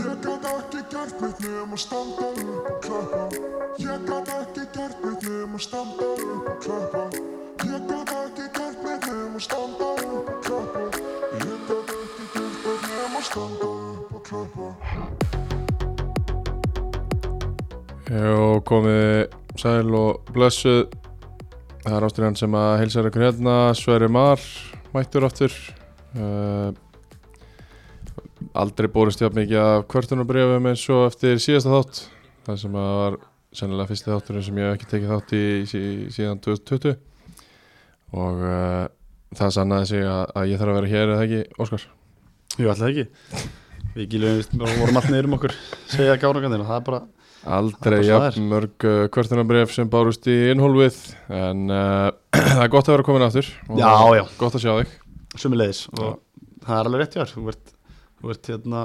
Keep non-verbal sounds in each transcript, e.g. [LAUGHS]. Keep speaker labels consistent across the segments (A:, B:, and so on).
A: ekki gert mitt nema standa upp og klappa Ég gat ekki gert mitt nema standa upp og klappa Ég gat ekki gert mitt nema standa upp og klappa Ég gat ekki gert mitt nema standa upp og klappa
B: og komið sæl og blessuð það er ásturinn sem að heilsar ykkur hérna Sverri Mar, mættur aftur uh, aldrei borist hjá mikið af kvörtunabrjöfum eins og eftir síðasta þátt það sem að var sennilega fyrsti þátturinn sem ég hef ekki tekið þátt í sí- síðan 2020 og uh, það sannaði sig að, að ég þarf að vera hér eða ekki, Óskar
C: Jú, alltaf ekki Við gílum, við vorum alltaf niður um okkur segja gárangandina, það er bara
B: Aldrei
C: Það er bara
B: jafn mörg uh, kvörtunabref sem bárust í innhólfið en uh, [CLEARS THROAT] það er gott að vera komin aftur og
C: Já,
B: það er
C: já.
B: Gott að sjá þig
C: sömulegis og það er alveg rétt hjá þér þú ert, þú ert hérna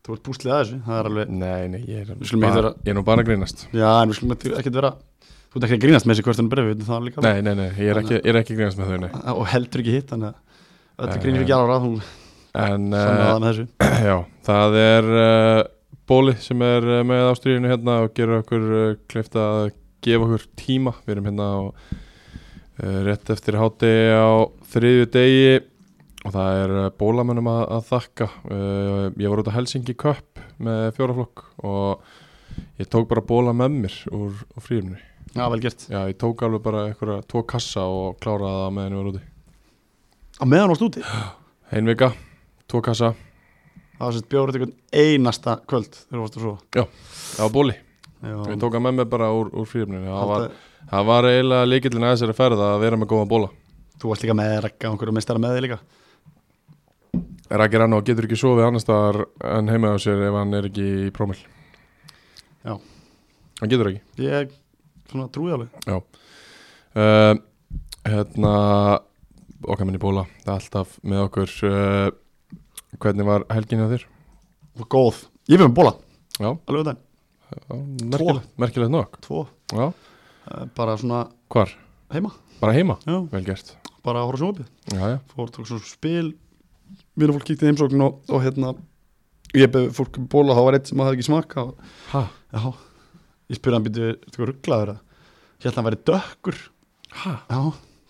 C: þú ert búslið að þessu, það er alveg
B: Nei, nei, ég er,
C: Við skulum ekki
B: bara,
C: vera-
B: ég er nú bara að grínast
C: já, en við skulum ekki- ekkert vera þú ert ekki að grínast með þessi hvertunum brefi, það er líka
B: Nei, nei, nei, ég er ekki, ég er ekki að grínast með þau nei.
C: og heldur ekki hitt, þannig að
B: Nei,
C: öllu grínir ekki ára hún
B: En
C: sannaði
B: uh,
C: það með þessu
B: já, það er uh, Bóli sem er uh, með ástríðinu hérna og gerur okkur uh, kleifta að gefa okkur tíma Við erum hérna á, uh, rétt eftir hátegi á þriðju degi og það er uh, bólamönnum að, að þakka uh, Ég var út á Helsingi Cup með fjóraflokk og ég tók bara bóla með mér úr, úr fríðinu
C: já, vel gert,
B: Já, ég tók alveg bara einhverja tvo kassa og kláraði það meðan ég var úti.
C: á meðan ást úti
B: Ein vika, tvo kassa,
C: það var sett bjórið einhvern einasta kvöld þegar þú varst að sofa
B: á bóli. Ég
C: já,
B: tók að með mig bara úr, úr frífninu. Það var,
C: halda-
B: það var eiginlega líkillin að þessari ferð að vera með góðan bóla.
C: þú varst líka með rekka og einhverju meistara með þig líka
B: Rækir hann og getur ekki sofið annar staðar en heima á sér ef hann er ekki í prómil.
C: Já.
B: Hann getur ekki.
C: ég svona trúi alveg
B: Uh, hérna, okkar minni bóla, það er alltaf með okkur. Uh, hvernig var helgin hjá þér?
C: og góð, ég fyrir með bóla
B: Já.
C: alveg þann,
B: Já, Merkilegt, merkilegt nokk.
C: tvo,
B: Já,
C: Eh, bara svona
B: hvar?
C: heima
B: Bara heima?
C: já,
B: Vel gert.
C: bara að horfa sjófið,
B: Já, já.
C: fór tók svona spil mér og fólk kíkti í heimsókn og, og hérna ég beði fólk um bóla, þá var eitt sem hafði ekki smaka og,
B: Hæ?
C: já, ég spurði hann býtu eitthvað rugglaður að hérna hann væri dökkur
B: Hæ?
C: já,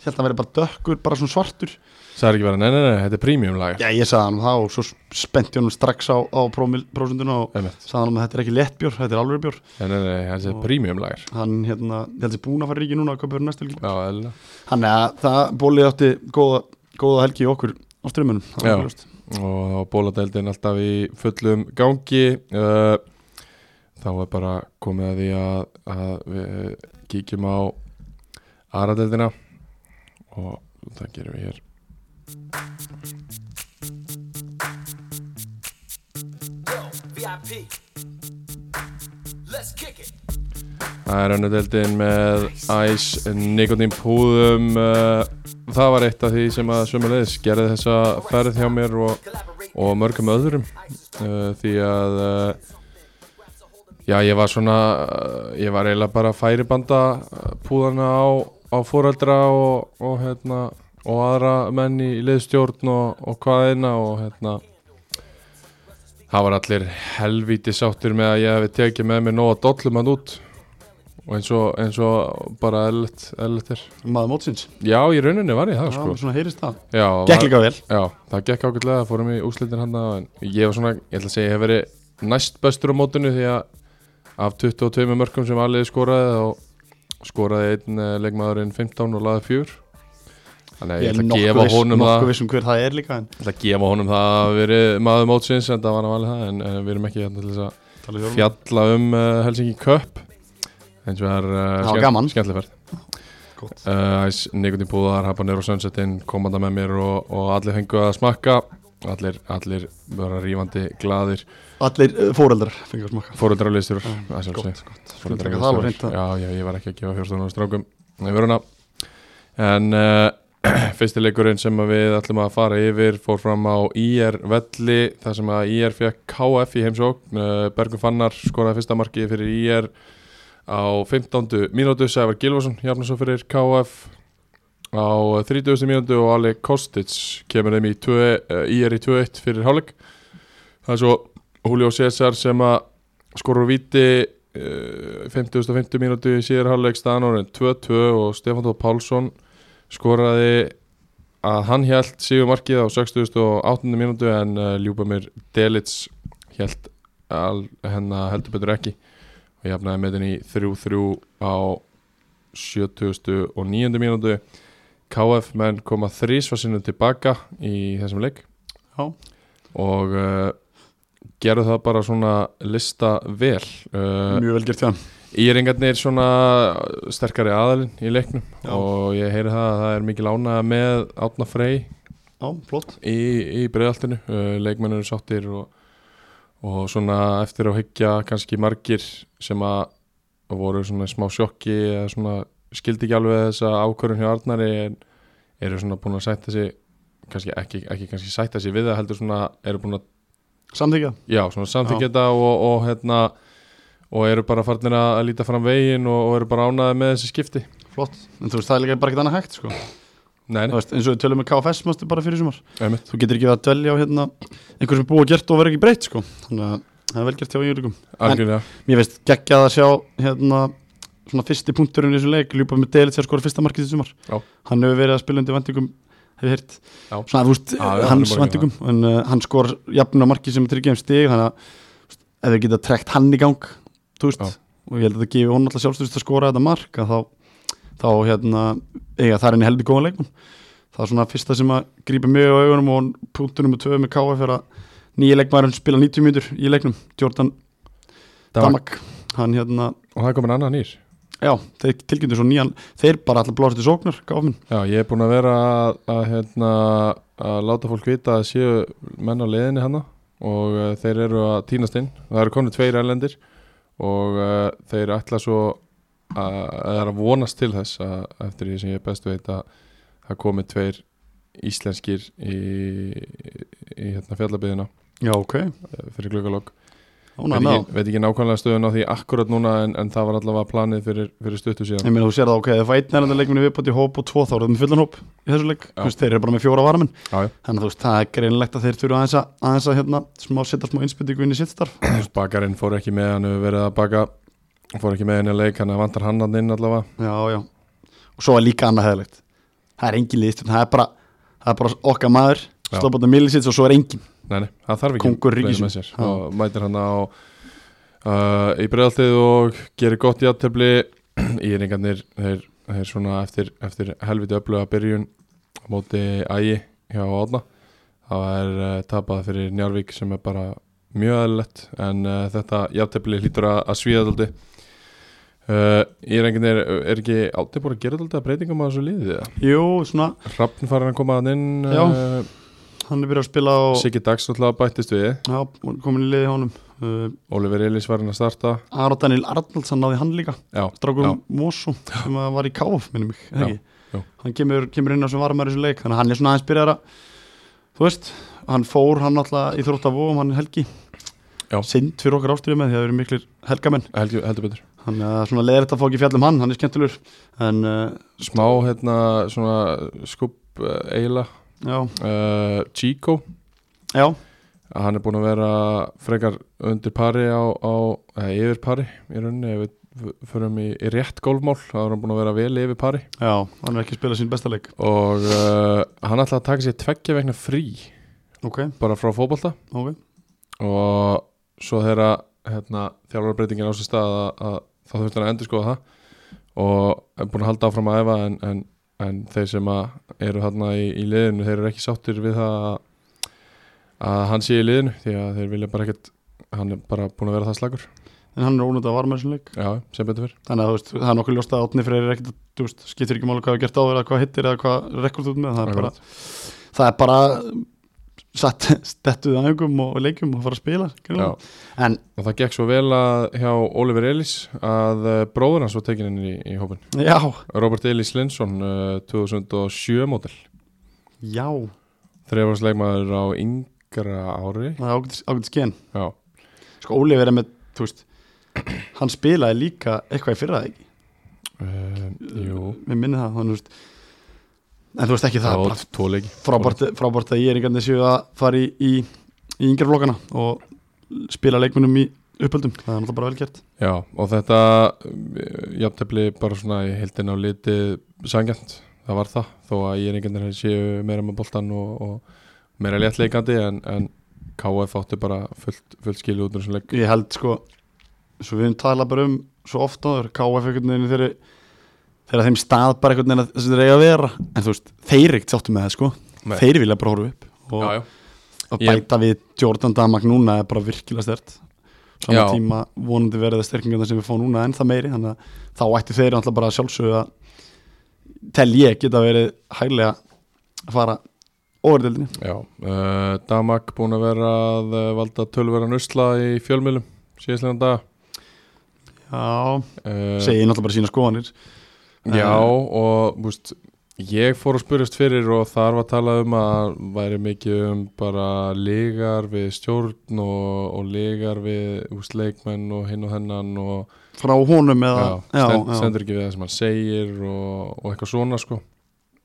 C: hérna hann væri bara dökkur, bara svona svartur
B: Það er ekki bara, nei, nei, nei, þetta er premium lag
C: já, ég sagði hann um það og svo spennti hann strax á, á prómil- prósunduna og
B: Einmitt.
C: sagði hann um að þetta er ekki lett bjór, þetta er alveg bjór
B: Nei, nei, nei, þetta er
C: Og-
B: premium lag
C: hann hérna, ég held sér búin að fara í ríki núna að köpa fyrir næstu helgi
B: Já, eða
C: Þannig að það bólið átti góða, góða helgi í okkur á strömmunum það
B: Já.
C: var augljóst.
B: Og þá er bóladeldin alltaf í fullum gangi uh, Þá er bara komið að því að, að við kíkjum á aðradeldina Og það gerum við hér
D: VIP. Let's kick it.
B: Það er önnudeldin með æs, nikotín púðum uh, Það var eitt af því sem að sömulegis gerði þessa ferð hjá mér og
D: Collaborate.
B: og mörgum öðrum uh, því að uh, já, ég var svona uh, ég var eiginlega bara að færibanda uh, púðana á, á fóreldra og, og hérna og aðra menn í liðstjórn og, og hvaðina og hérna það var allir helvíti sáttir með að ég hefði tekið með mér nóga dollum hann út og eins og, eins og bara eðlert, eðlert er
C: maður mótsins,
B: já, í rauninni var ég það
C: það
B: sko
C: var svona heyrist það
B: já, var-
C: Gekk líka vel,
B: Já, það gekk ágætlega, það fórum í úslitin hann en ég var svona, ég ætla að segja, ég hef verið næst bestur á mótinu því að af 22 mörgum sem alveg skoraði þá skoraði einn eh, leikmaðurinn 15 og laði 4 Þannig að ég ætla að gefa
C: viss,
B: honum það
C: nokkuð viss um hver það er líka en
B: ég ætla að gefa honum það að veri maður mótsins en það var hann alveg það en, en við erum ekki hérna til þess að
C: tala við fjörum.
B: fjalla um uh, Helsingi Cup eins og er
C: Það
B: uh,
C: var gaman.
B: skemmtileg ferð
C: Gott.
B: uh, Æs, Nikotín Púðar, Habanero Sunsetinn komanda með mér og, og allir fengu að smakka allir, allir vera rífandi gladir
C: Allir uh, fóreldrar fengur smaka
B: fóröldralistur
C: Mm, gott, gott. Skulum taka það alveg hreint
B: fóröldralistur
C: að-
B: já, já, ég var ekki að gefa fjórstunum strákum í vöruna en uh, [CLEARS THROAT] fyrsti leikurinn sem að við ætlum að fara yfir fór fram á IR Velli þar sem að IR fekk KF í heimsókn uh, Bergur Fannar skoraði fyrsta markið fyrir IR á 15. mínútu Sævar Gilvason jafnir svo fyrir KF á 30. mínútu og eh, Ali Kostic kemur þeim í 2, uh, IR í 2-1 fyrir hálfleik það er svo Julio César sem að skorur víti uh, 50.50 mínútu í síðar hálfleik staðan orðin 2-2 og Stefán Tóð Pálsson skoraði að hann hjælt síðu markið á 60.80 mínútu en uh, Ljúbamir Delits hjælt hennar heldur betur ekki og jafnaði metin í 3-3 á 70.90 mínútu KF menn koma þrísfarsinu tilbaka í þessum leik
C: Já.
B: og uh, gerðu það bara svona lista vel uh,
C: mjög vel gert hjá hann
B: Íringarnir svona sterkari aðalinn í leiknum
C: Já.
B: og ég heyri það að það er mikil ánægða með Átna Frey
C: Já, flott
B: í, í breiðaltinu, uh, leikmenn eru sáttir og, og svona eftir að hyggja kannski margir sem að voru svona í smá sjokki eða svona skildi ekki alveg þessa ákvörun hjá Arnari en eru svona búin að sætta sig kannski ekki, ekki kannski sætta sig við það heldur svona eru búin að
C: Samþykja
B: Já, svona samþykja þetta og, og hérna og eru bara farnir að að líta fram veginn og, og eru bara ánaði með þessi skipti
C: Flott En þú veist, það er líka bara ekkert annað hægt sko.
B: Nei,
C: Þú
B: nei,
C: veist, eins og við tölum um með KFS mástu bara fyrir sumar
B: einmitt
C: Þú getur ekki verið að dvelja á hérna einhver sem er búið og gert og verið ekki breytt sko. Þannig að það er vel gert hjá Júlikum
B: Algjörlega,
C: Mér veist geggjað að sjá hérna svona fyrsti punkturinn í þessum leik Ljúpa með Delitz er skora fyrsta markið í sumar
B: Já.
C: Hann hefur verið að spila undir vendingum hef ég heyrt
B: Já.
C: svona að úst
B: Já, já,
C: hans
B: hann er bara að
C: vendingum en uh, hann skor jafn á markið sem er tryggja um stig þannig að þú veist, ef við geta trekt hann í gang þú veist
B: Já.
C: og ég held að það gefi honum alltaf sjálfstyrst að skora þetta mark að þá, þá hérna eiga það er henni heldur góðan leikum það er svona fyrsta sem að grípa mjög á augunum og punktunum og tvö með KF er að nýja leikmæður spila 90 mínútur í leiknum Jordan
B: Damak.
C: Damak hann hérna,
B: og það er komin annan nýr
C: já, þeir tilkynntu svo nýjan þeir bara alltaf blásið til sóknar, gáfminn
B: Já, ég er búin að vera að, að hérna að láta fólk vita að séu menn á leiðinni hana og uh, þeir eru að týnast inn það eru komin tveir erlendir og uh, þeir ætla svo að, að er að vonast til þess að, eftir því sem ég best veit að það komi tveir íslenskir í, í hérna fjallabyðina
C: já, ok,
B: fyrir glöggalokk
C: ána
B: veit,
C: með
B: ekki- veit ekki nákvæmlega stöðun á því akkurat núna en, en það var allavega planið fyrir, fyrir stuttu
C: Ég
B: síðan
C: meina þú sér það ok, ef það einn erandi leikminni viðbót í hóp og tvo þá eru það með fullan hóp í þessu leik,
B: Já.
C: þú veist, þeir eru bara með fjóra varamenn
B: Já, já.
C: þannig að þú veist, það er greinlegt að þeir þurfa aðeins að, aðeins að hérna, smá setja smá innspytingu inn í sitt starf
B: bakarinn fór ekki með hann hefur verið að baka fór ekki með henni að leik hann vantar hann hann inn allavega
C: já, já, og svo er líka annað heðalegt það er engin liðstjórn, það er bara það er bara okkar maður,
B: Já.
C: slópað á millisits og svo er engin,
B: nei, nei, það þarf ekki
C: Kóngur
B: fleiri
C: ríkisins.
B: með sér.
C: Já.
B: og mætir hann á uh, í bregðaltið og gerir gott í aðtefli [CLEARS THROAT] í ringarnir þeir, þeir svona eftir, eftir helviti öfluga byrjun á móti ægi hjá Átna það er uh, tapað fyrir Njarvík sem er bara mjög aðlilegt en uh, þetta jafntefli hlýtur að, að svíða daldi uh, í ringarnir er ekki aldrei búin að gera daldi að breytingum á þessu liðið eða?
C: jú, svona
B: Hrafn farin að koma að inn
C: Já.
B: uh,
C: hann er byrjað að spila og
B: Siggi Dags alltaf bættist við
C: já, komin í liði hjá honum uh,
B: Oliver Elís farin að starta
C: Aron Daniel Arnalds, hann náði hann líka
B: Já,
C: strákur Mosu sem að var í KF minnum mig,
B: Já,
C: eða ekki
B: já.
C: hann kemur, kemur inn á sem varumæri þessu leik þannig að hann er svona aðeins byrjar að þú veist, hann fór hann alltaf í þrótt af vóum hann er helgi
B: Já.
C: sind fyrir okkar ástriðu með því að það eru miklir helgamenn
B: heldur, heldur betur
C: hann er svona leðir þetta að fá ekki fjallum hann, hann er skemmtilegur en uh,
B: Smá hérna svona skubb uh, Eila
C: já,
B: uh, Chico,
C: já,
B: hann er búinn að vera frekar undir pari á, á eða yfir pari í rauninni ef við f- förum í, í rétt golfmál þá er hann búinn að vera vel yfir pari
C: já hann er ekki að spila sín besta leik
B: og uh, hann ætlaði að taka sér tveggja vegna frí
C: ok,
B: bara frá fótbolta
C: ok,
B: og svo þegar hérna, þjálfarbreytingin á sér stað að, að þá þurfti hann að endur skoða það og er búin að halda áfram að efa en, en, en þeir sem að eru þarna í, í liðinu, þeir eru ekki sáttir við það að, að hann sé í liðinu því að þeir vilja bara ekkert hann er bara búin að vera það slagur
C: en hann er ónútið að varumæri þessu leik
B: já, sem betur fyrr
C: þannig að þú veist, það er nokkuð ljóst að átni fyrir ekkert að, þú veist, skiptir ekki máli hvað við gert áður eða hvað hittir eða hvað rekord út með það er bara, það er bara satt stettuð aðeingum og leikjum og fara að spila
B: já.
C: greinilega. en
B: og það gekk svo vel að hjá Oliver Ellis að eh, bróður hans var tekin inn í, í hópin
C: já,
B: Robert Ellis Linsson eh, 2007 mótel
C: já það
B: þrefarsleikmaður á yngra ári
C: er ágætis, ágætis gen
B: Já,
C: sko Ólið verið með, þú veist hann spilaði líka eitthvað í fyrra eða ekki
B: um, jú
C: mér minni það, þannig þú veist en þú veist ekki það,
B: Það
C: er
B: var
C: bara
B: tvo leiki
C: frábært, frábært að ég er einhvern veginn séu að fara í, í, í yngjaflokana og spila leikmunum í uppöldum það er náttúrulega bara vel gert
B: Já, og þetta eh, jafntefli bara svona í heildin á liti sangjant, það var það þó að ég er einhvern veginn séu meira með boltan og, og meira léttleikandi en, en KF átti bara fullt, fullt skilu út úr þessum leik
C: ég held sko svo við höfum talað bara um svo ofta áður KF einhvern veginn þeirri þegar þeim stað bara einhvern veginn að þessi þeir eiga að vera en þú veist, þeir eitt sáttu með það sko
B: Nei.
C: þeir vilja bara horfa upp og,
B: Já, já,
C: og
B: Ég-
C: bæta við Jordan Damak núna er bara virkilega stert saman
B: Já.
C: tíma vonandi verið það sterkingarna sem við fáum núna ennþá meiri þannig að þá ætti þeir alltaf bara sjálfsögðu að tel ég geta verið hæglega að fara overdeldinni
B: já. Uh, Damak búin að vera að eh, valda tölverðan usla í fjölmiðlum síðastlega dag
C: Já,
B: uh,
C: segi ég náttúrulega bara sína skoðanir
B: Já og búst, ég fór að spurjast fyrir og þar var talað um að væri mikið um bara ligar við stjórn og, og ligar við úst, leikmenn og hinn og hennan og
C: frá honum eða
B: já, stend, stendur ekki við það sem hann segir og, og eitthvað svona sko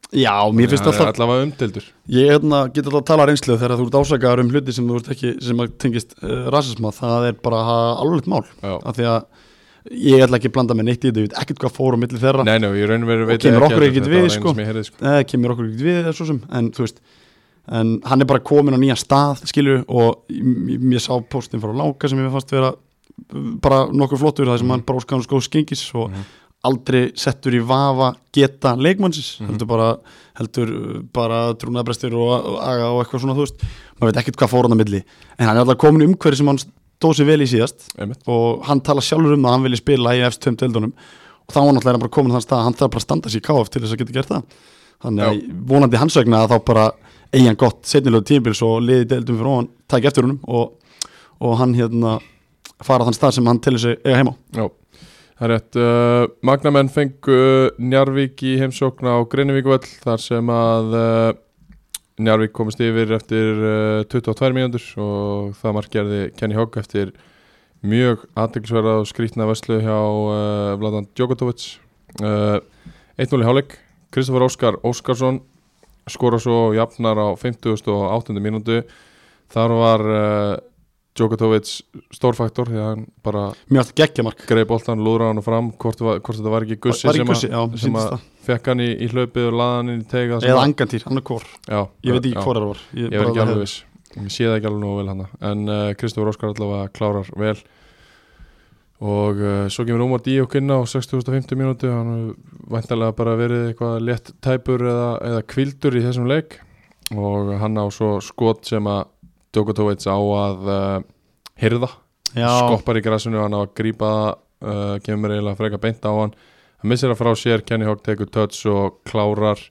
C: Já, mér finnst
B: Hann er
C: alltaf
B: allavega umdildur
C: Ég hérna, get alltaf að tala reynslu þegar þú ert ásakaður um hluti sem þú ert ekki sem að tengist uh, rasisma, það er bara alveg mál,
B: Já.
C: af því að ég ætla ekki að blanda með neitt í þetta, ég veit ekkert hvað fór á milli þeirra,
B: Nei, nei, ég raun og veru
C: Og
B: veit
C: kemur okkur
B: heldur,
C: ekkert
B: þetta
C: við,
B: var eina
C: sko.
B: sem ég heyrði, sko.
C: eh, kemur okkur ekki við eða svo sem, en þú veist en hann er bara komin á nýjan stað, skilur og ég, ég sá postin frá Láka sem ég fannst vera uh, bara nokkuð flottur, það sem hann bara óskaðan skóð skengis og aldrei settur í vafa geta leikmannsins heldur bara, heldur uh, bara trúnaðbrestir og og aga og eitthvað svona þú veist, maður veit ekkert hvað fór hann að milli en hann er alltaf komin í umhverfi sem hann stóð sér vel í síðast
B: Einmitt.
C: og hann tala sjálfur um það að hann vilji spila í F2 deildunum og þá var náttúrulega hann bara komin þann stað að hann þarf bara að standa sér í KF til þess að geta gert það þannig að vonandi hans vegna að þá bara eigi hann gott setnilegu tímabils og liði deildum fyrir hann tæk eftir honum og, og hann hérna fara á þann stað sem hann til þess að eiga heima á.
B: Já, það er rétt. Uh, Magnamenn fengu Njarvík í heimsókn á Greinivíkvöll þar sem að uh, Njarvík komist yfir eftir uh, 22 mínútur og það markgerði Kenny Hogg eftir mjög aðdeglisverða og skrýtna verslu hjá uh, Vladan Djokotovic. Uh, 1-0 í hálfleik. Kristoffer Óskar Óskarsson skora svo jafnar á 50. og 8. mínútu. Þar var uh, Djokotovic stórfaktor því að hann bara
C: mjög aftur geggja mark
B: greið boltan, lúðra hann fram hvort, var, hvort þetta var ekki Gussi
C: Var- var ekki
B: sem, að-
C: Gussi, já,
B: sem
C: sýndist
B: að
C: það.
B: fekk hann í, í hlaupið og laði hann inn í tega
C: eða angantýr, hann er kór,
B: já,
C: ég veit ekki
B: já,
C: hvora það var
B: ég veit ekki alveg viss, ég sé það ekki alveg nógu vel hann en uh, Kristofur Óskar allavega klárar vel og uh, svo kemur Ómar Díok inn á 6050 mínútu hann hefur væntalega bara verið eitthvað létt tæpur eða, eða kvildur í þessum leik og hann á svo skot sem að Djokotovic á að uh, hyrða
C: já,
B: skoppar í græsunu hann á að grípa það uh, kemur eiginlega freka beint á hann hann missir það frá sér, Kenny Hogg tekur touch og klárar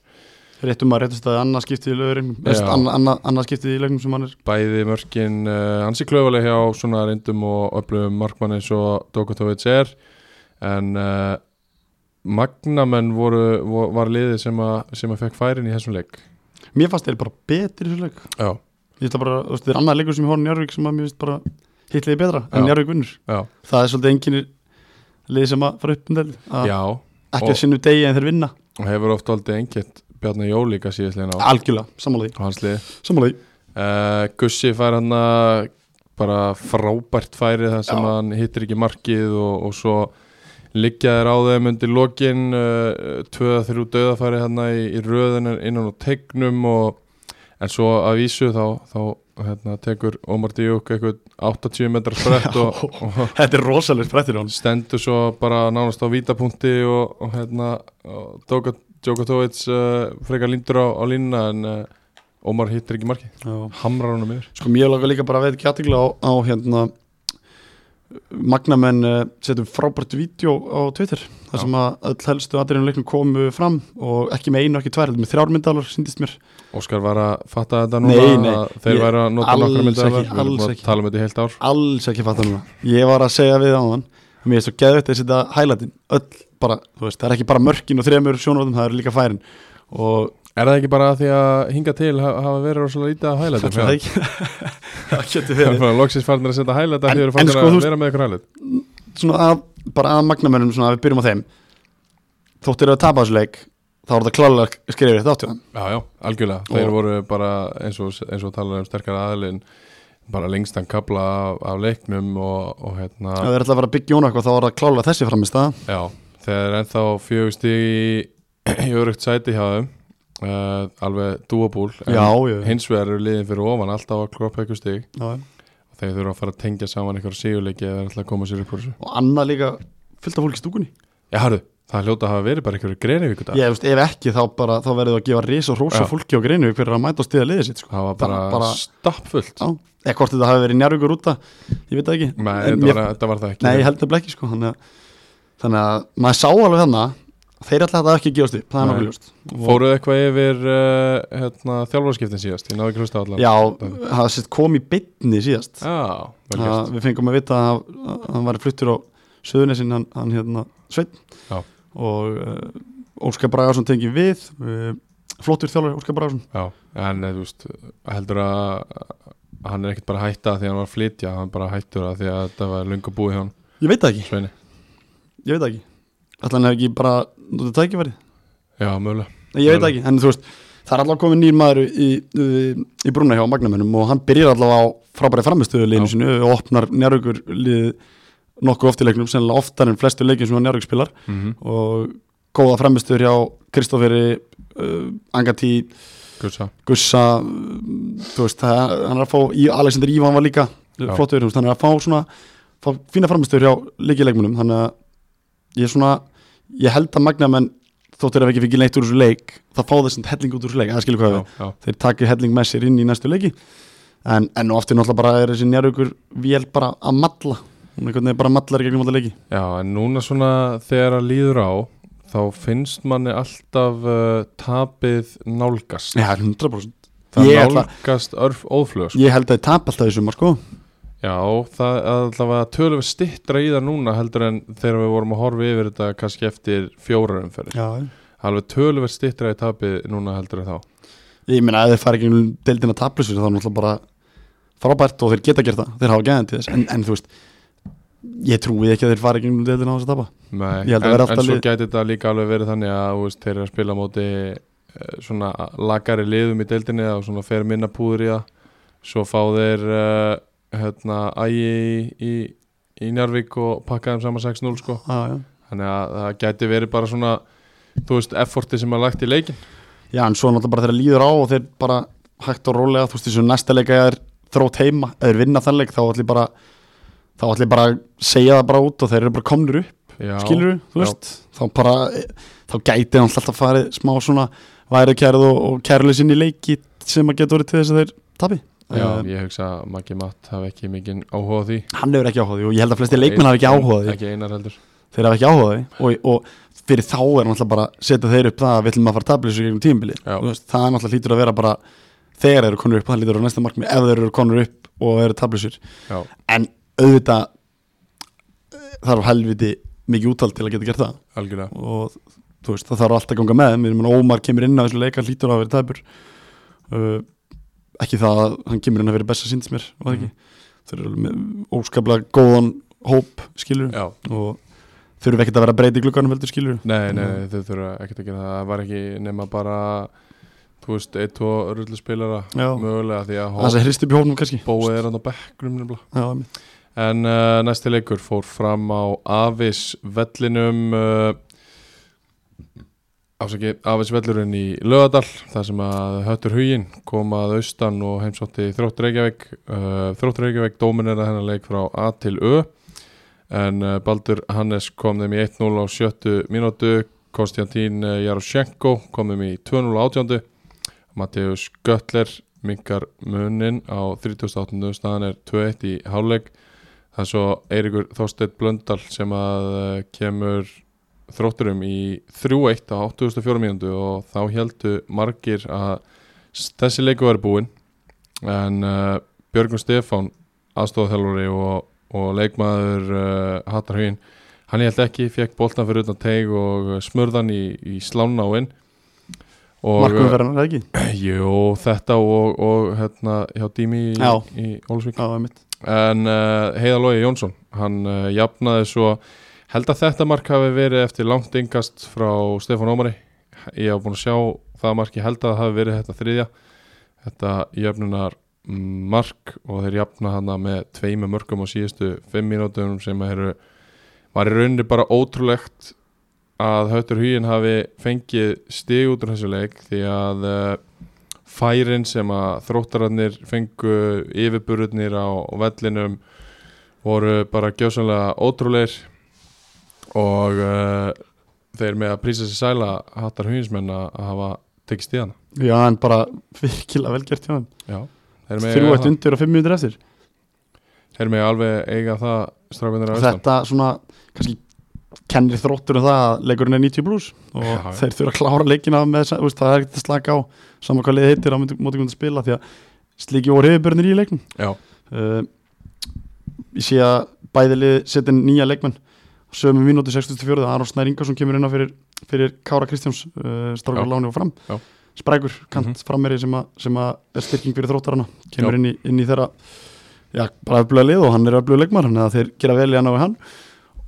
C: réttum um að réttast að annað skiptið í lögurinn
B: Já.
C: annað anna, anna skiptið í lögum sem hann er
B: bæði mörkin uh, ansi klöfuleg hjá svona reyndum og öflugum markmann eins og Dokotovic er en uh, Magnamenn voru, vo- var liðið sem, að- sem að fekk færin í þessum leik
C: mér fannst þeir bara betri í þessu leik
B: Já,
C: ég ætla bara, þú veist, þeir annað leikur sem ég horfði Njárvík sem að mér finnst bara hitliði betra en
B: Já.
C: Njárvík vinnur,
B: já,
C: það er svolítið enginir lið sem að fara upp um dæli ekki
B: já og
C: að
B: og-
C: sinnu degi en þeir vinna,
B: hefur oft aldrei engett Bjarni Jó líka síðastlegin á
C: algjörlega, sammála
B: á hans liði
C: því sammála því,
B: Uh, Gussi fær hann að bara frábært færi þar sem
C: Já.
B: hann hittir ekki markið og, og svo liggja þér á þeim undir lokin uh, tvöða þrjú döðafæri hann í, í röðin innan á tegnum og en svo að vísu þá, þá hérna, tekur Omar Díuk eitthvað 80 metrar frett og, og
C: þetta er rosalega sprettir hann
B: stendur svo bara nánast á vítapunkti og, og hérna og Dóka, Djokotovic uh, frekar lindur á, á línuna en uh, Omar hittir ekki markið
C: já.
B: hamrar hann um yfir
C: Sko mér langar líka bara að veit ekki aðtikla á, á hérna Magnamenn uh, setum frábært vídeo á Twitter þar
B: Já.
C: sem að öll helstu aðriðinu leiknum komu fram og ekki með einu, ekki tvær, heldur með þrjármyndalar síndist mér.
B: Óskar var að fatta þetta
C: Nei,
B: núna
C: nei,
B: að þeir
C: ég-
B: væri að nota
C: alls
B: nokkra myndar
C: ekki,
B: við erum
C: alls
B: búin að
C: ekki.
B: tala um þetta í heilt ár
C: Alls ekki fatta núna. Ég var að segja við á hann mér er svo geðvægt að setja highlightin öll bara, þú veist, það er ekki bara mörkin og þremur sjónvöldum, það eru líka færin og
B: Er það ekki bara því að hinga til ha- hafa verið rosalega lítið að hælæta
C: það er ekki [LAUGHS] það getur verið
B: [LAUGHS] Loksins farnir að setja hælæta
C: En-
B: þegar
C: en
B: þeir eru
C: sko,
B: farnir
C: þú
B: að
C: veist-
B: vera með ykkur hælæt
C: svona að, bara að magnamennum svona að við byrjum á þeim þóttir að tapa þessu leik þá er það klálega skrifið þetta áttu hann
B: Já, já, algjörlega Þeir
C: Og-
B: voru bara eins og, eins og talar um sterkara aðilin bara lengstan kabla af, af leiknum og, og hérna
C: Ef þeir ætla að vera að byggja hún eitthvað þá er það klálega þessi framist það
B: Já, þegar er ennþá fjögur stig í, í örugt sæti hjá þeim uh, alveg dúabúl en
C: Já, já.
B: hins vegar eru liðin fyrir ofan alltaf að kloppa eitthvað stig
C: Og
B: og þeir þurfa að fara að tengja saman eitthvað síguleiki eða er alltaf að koma sér upp úr þessu
C: annað líka fylgta fólk í stúkunni
B: Já, harðu, það er hljóta að hafa verið bara eitthvað greiðvík
C: Ég veist, ef ekki þá bara, þá verður það að gefa ris og hrósa
B: Já.
C: fólki á greinu fyrir að mæta og stiða liðið sitt sko.
B: það var bara,
C: Það
B: bara stappfullt
C: já, eða hvort þetta hafi verið njárvíkur úta ég veit það ekki
B: Nei,
C: En
B: þetta,
C: mér-
B: var, þetta var það ekki
C: Nei, ég held nefnilega ekki sko þannig að, þannig að maður sá alveg þannig að þeir ætla þetta ekki að gefast upp, það er
B: Nei.
C: nokkuð ljóst
B: Fóruðu eitthvað yfir uh, hérna, þjálfarskiptin síðast, ég náðu ekki hlusta allan
C: Já, það sett kom í bytni síðast
B: Já, vel
C: að,
B: gert
C: Við fengum að vita að, að hann var fluttur á Suðunesin, hann, hann hérna Sveinn
B: Já.
C: og uh, Óskar Bragarsson tengi við uh, flottur þjálfur Óskar Bragarsson
B: Já, en eh, þú veist, heldur að að hann er ekkert bara að hætta því að hann var að flytja hann bara hættur að því að þetta var lunga búið hjá hann
C: Ég veit það ekki,
B: Sveini,
C: ég veit það ekki Ætla hann hafi ekki bara notið tækifæri
B: já, mögulega
C: Nei, Ég veit það
B: Alveg.
C: ekki, en þú veist Það er allavega komið nýr maður í, í, í brúna hjá Magnamennum og hann byrjar allavega á frábæri framistöðu liðinu
B: Já.
C: sinu og opnar njárvíkur lið nokkuð oft í leiknum, sennilega oftar en flestu leikin sem hann njárvík spilar
B: mm -hmm.
C: og góða framistöður hjá Kristoferi uh, Angatí,
B: Guðsa,
C: Gussa uh, þú veist, það, hann er að fá í, Alexander Ívan var líka
B: Já.
C: flottur, þú veist, hann er að fá svona fá fína framistöður hjá leikileikmunum þannig að ég er svona ég held að Magnamenn þóttur ef ekki fikk neitt úr þessu leik þá fá þessum helling út úr þessu leik, það skilur hvað
B: já,
C: við
B: já,
C: þeir taki helling með sér inn í næstu leiki en enn og aftur náttúrulega bara er þessi njárvíkur vél bara að matla hún einhvern veginn bara matlar í gegnum alltaf leiki
B: já, en núna svona þegar að líður á þá finnst manni alltaf uh, tapið nálgast
C: Já, 100%
B: það
C: ég ætla-
B: nálgast örf óflög sko.
C: Ég held að þið tap alltaf í sumar sko
B: já, það er allavega tölum við stittra í það núna heldur en þegar við vorum að horfa yfir þetta kannski eftir fjórarum fyrir
C: Já
B: alveg tölum við stittra í tapið núna heldur en þá
C: Ég meina að þeir fara ekki um deildina taplusur þá er náttúrulega bara frábært og þeir geta gert það þeir hafa gæðin til þess en, en þú veist ég trúi ekki að þeir fara ekki um deildina á þess að tapa
B: Nei,
C: Ég held að
B: en,
C: vera
B: en
C: alltaf
B: svo
C: lið-
B: gæti þetta líka alveg verið þannig að þú veist, þeir eru að spila á móti eh, svona lagari liðum í deildinni og svona fer minna púður í það svo fá þeir uh, hérna, ægi í, í, í Njarvík og pakka þeim saman 6-0 sko.
C: Já, já
B: þannig að það gæti verið bara svona þú veist, efforti sem er lagt í leikin
C: Já, en svo náttúrulega bara þeirra líður á og þeir bara hægt og rólega, þú veist þessu næsta leika eða þeir þrótt heima, eða þeir vinna þann leik þá ætli bara, þá ætli bara að segja það bara út og þeir eru bara komnir upp
B: Já,
C: skilur
B: já.
C: þú veist, þá bara þá gæti hann alltaf farið smá svona værið kærið og, og kærleysinn í leiki sem að geta orðið til þess að þeir tapi
B: Já,
C: Eh,
B: ég hugsa að Maggi Matt hafi ekki mikinn áhuga á því
C: hann hefur ekki áhugaði og ég held að flesti leikmenn hafi ekki áhugaði
B: Ekki einar heldur
C: þeir hafi ekki áhugaði og, og fyrir þá er hann alltaf bara að setja þeir upp það að við ætlum að fara tabli þessu gegnum tímbili
B: Já.
C: veist, það er alltaf lítur að vera bara þegar þeir eru konur upp, það lítur að vera næsta markmið ef þeir eru konur upp og eru tablisur
B: Já,
C: en auðvitað eh, þarf helviti mikið útald til að geta gert það
B: algjörlega
C: og þú veist, það þarf alltaf að ganga með þeim. Ég meina, Ómar kemur inn á þessu leika lítur á að vera tæpur uh, ekki það að hann kemur inn að vera besta síndis mér var það ekki?
B: Mhm.
C: þeir eru með óskaplega góðan hóp skilur
B: Já,
C: og þurfum ekkert að vera að breyta í glugganum heldur skilur
B: Nei, nei, nei, þau þurfa ekkert að gera það Það var ekki nema bara Þú veist, ein, tvo rulluspilara
C: Já.
B: Mögulega því að
C: það
B: hóp
C: sem hrist upp í hópnum kannski
B: Bóið er hann á bekknum nefnilega.
C: Já, einmitt.
B: En uh, næsti leikur fór fram á Avis vellinum uh, Afsaki, Avis vellurinn í Lögadal þar sem að Höttur Huginn kom að austan og heimsótti Þrótt Reykjavík uh, Þrótt Reykjavík dóminir að hennar leik frá A til Ö en uh, Baldur Hannes kom þeim í 1-0 á sjöttu mínútu Konstantín eh, Jaroshenko kom þeim í 2-0 á átjándu Mattius Göttler minkar munin á 38. staðan er 2-1 í hálfleik það er svo Eirikur Þorstedt Blöndal sem að eh, kemur þrótturum í 3-1 á 84 mínútu og þá heldu margir að s- þessi leiku var búinn en uh, Björgun Stefán aðstofþjálfari og, og leikmaður uh, Hattar Huginn hann held ekki, fekk boltan fyrir utan teig og smurðan í, í slánáinn
C: markmið verðan, er það ekki?
B: Jú, þetta og, og hérna hjá Dími í,
C: Já.
B: í Ólusvík
C: Já, einmitt.
B: En uh, Heiðar Lógi Jónsson, hann uh, jafnaði svo Held að þetta mark hafi verið eftir langt yngast frá Stefán Ómari Ég hef búin að sjá það mark, ég held að það hafi verið þetta þriðja Þetta jöfnunar mark og þeir jafna hana með tveimu mörgum á síðustu fimm mínútum sem eru, var í rauninni bara ótrúlegt að Höttur Hugin hafi fengið stig út úr þessu leik því að uh, færin sem að þróttararnir fengu yfirburðnir á vellinum voru bara gjósanlega ótrúleir og uh, þeir með að prísa sér sæla hattar huginsmenn að að hafa tekið stíðana
C: Já, en bara [LAUGHS] virkilega vel gert hjá hann
B: Já, þeir með
C: Þrjú
B: eiga,
C: eitt
B: það.
C: undir og fimm minnir eftir
B: Þeir mega alveg eiga það strafvinnir á
C: og
B: austan
C: þetta svona, kannski kennir þróttur um það að leikurinn er 90 pluss og
B: Já, já.
C: þeir þurfa að klára leikina með, þessa- þú veist, það er ekkert að slaka á saman hvað liðið heitir á móti móti komið að spila því að slíki voru hefurburðinir í leiknum
B: Já,
C: uh, ég sé að bæði lið setja inn nýja leikmenn sömu mínúti 64, Aron Snær Ingarsson kemur inn á fyrir, fyrir Kára Kristjáns uh,
B: Já.
C: strákur Láni og fram
B: Já.
C: Sprækur, kant, mm
B: Mhm.
C: frammeri sem, að- sem að er styrking fyrir þróttarana kemur
B: Já.
C: inn í, inn í þeirra já, bara öfluga lið og hann er öfluga leikmar þannig að þeir gera vel í hann á við hann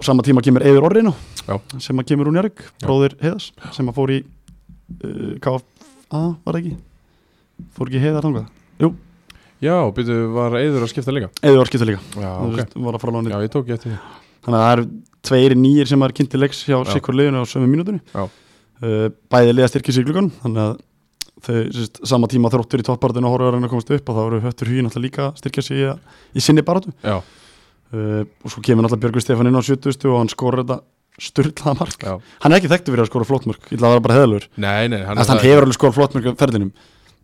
C: og sama tíma kemur Eður Orrinu
B: Já.
C: sem að kemur hún Jarek,
B: Já.
C: bróðir Heiðars sem að fór í uh, KFA var það ekki fór ekki Heiðar þangað,
B: Já býtu, var Eður að skipta líka
C: Eður var skipta líka
B: Já,
C: Þú
B: ok
C: veist, var að fara láni
B: Já, ég tók ég eftir því
C: þannig að það eru tveir nýjir sem er kynnti leiks hjá
B: Já.
C: sikkur liðinu á sömu mínútunni
B: Já.
C: uh, bæði liða styrkir siglugunum þannig að þau sérst, sama tíma þróttur í toppbaratinu og horfður að reyna að komast upp og þá eru höttur hugin alltaf líka að styrkja sig í, að- í sinni baratu
B: Já,
C: uh, og svo kemur alltaf Björgur Stefán inn á 70 og hann skorur þetta styrlaða mark
B: já
C: hann er ekki þekktu fyrir að skora flottmörk, ég ætla að vera bara heðalur
B: Nei, nei, hann,
C: hann, hann hefur alveg skorað flottmörk á ferðinum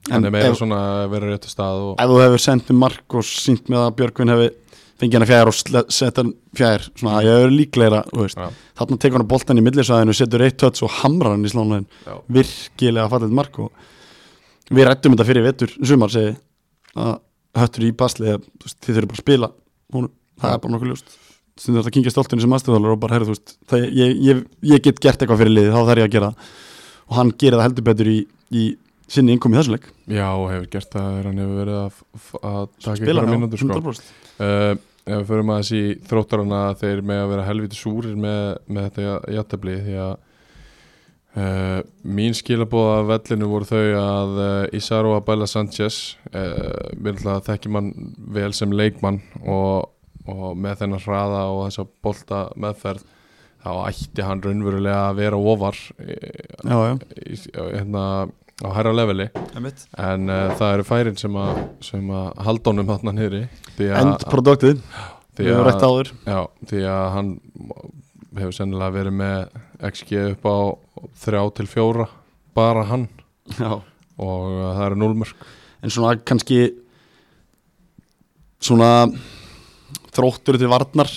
B: hann
C: en
B: er meira
C: ef,
B: svona að vera á réttu stað og,
C: ef þú hefur sendt með mark og sínt með að Björgvin hefur fengið hann fjær og sle- sett hann fjær svona, ég hefur líklegra, þú veist
B: já,
C: þarna tekur hann boltan í millisvæðinu setur eitt tötts og hamrar hann í slánlegin
B: já,
C: virkilega fallið mark og við rættum þetta fyrir vettur sumar segi að höttur í basli að þú veist, þið þurfum bara að spila hún, það er bara nokkuð ljóst stundum þetta kynkja stoltinu sem aðstöðalar og bara herri þú veist það, ég, ég, ég get gert eitthvað fyrir liðið þá þarf ég að gera það og hann gerir það heldur betur í, í sinni innkomi þessu leik
B: já, og hefur gert það þegar hann hefur verið að, f- að taka
C: spila
B: einhverja
C: já,
B: mínútur sko
C: 100%.
B: uh, ef við förum aðeins í þróttarana þeir með að vera helviti súrir með, með þetta játtabli því að uh, mín skilabóða af vellinu voru þau að uh, Isaro Abela Sanchez uh, við ætla þekkjum hann vel sem leikmann og, og með þennan hraða og þessa bolta meðferð þá ætti hann raunverulega að vera ofar eh,
C: já, já,
B: í, hérna, á herra leveli en uh, það eru færin sem að, sem að halda honum þarna niðri því að-
C: endproduktið,
B: því
C: við
B: að-
C: höfum rætt áður
B: Já, því að hann hefur sennilega verið með XG upp á þrjá til fjóra bara hann
C: já
B: og uh, það eru núlmörk
C: en svona kannski svona þróttur til varnar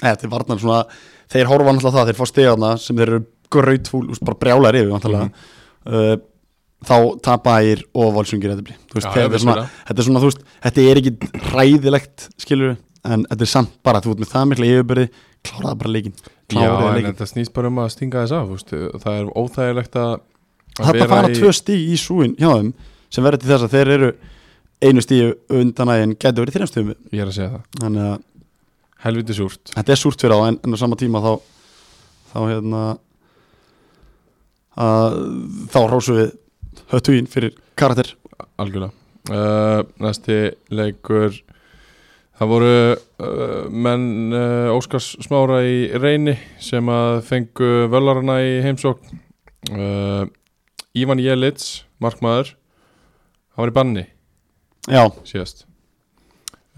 C: eða til varnar svona þeir horfa náttúrulega það, þeir fá stegana sem þeir eru grautfúl, úst, bara brjálar yfir vantarlega
B: Mhm.
C: uh, þá tapægir og valsungir þetta blir Þú veist,
B: Já, já,
C: þetta, er
B: vissulega.
C: svona, þetta er svona, þú veist, þetta er ekki ræðilegt skilur en þetta er samt bara, þú veit með það mikla yfirbyrði kláraða bara leikin,
B: Já,
C: kláraða
B: en
C: leikin
B: þetta snýst bara um að stinga þess af úst. það er óþægilegt að að
C: þetta
B: vera
C: fara
B: í-
C: tvö stíg í súin hjá þeim sem verður til þess að þeir eru einu stíg undan að en getur verið þrjum stígum
B: Ég er að segja það,
C: þannig að
B: helviti súrt
C: þetta er súrt fyrir á en, en á sama tíma þá þá hérna að, þá hrósum við höttuginn fyrir karakter
B: algjörlega uh, Næsti leikur það voru uh, menn uh, Óskars Smára í reyni sem að fengu völarna í heimsókn uh, Ívan Jelits markmaður hann var í banni
C: já,
B: síðast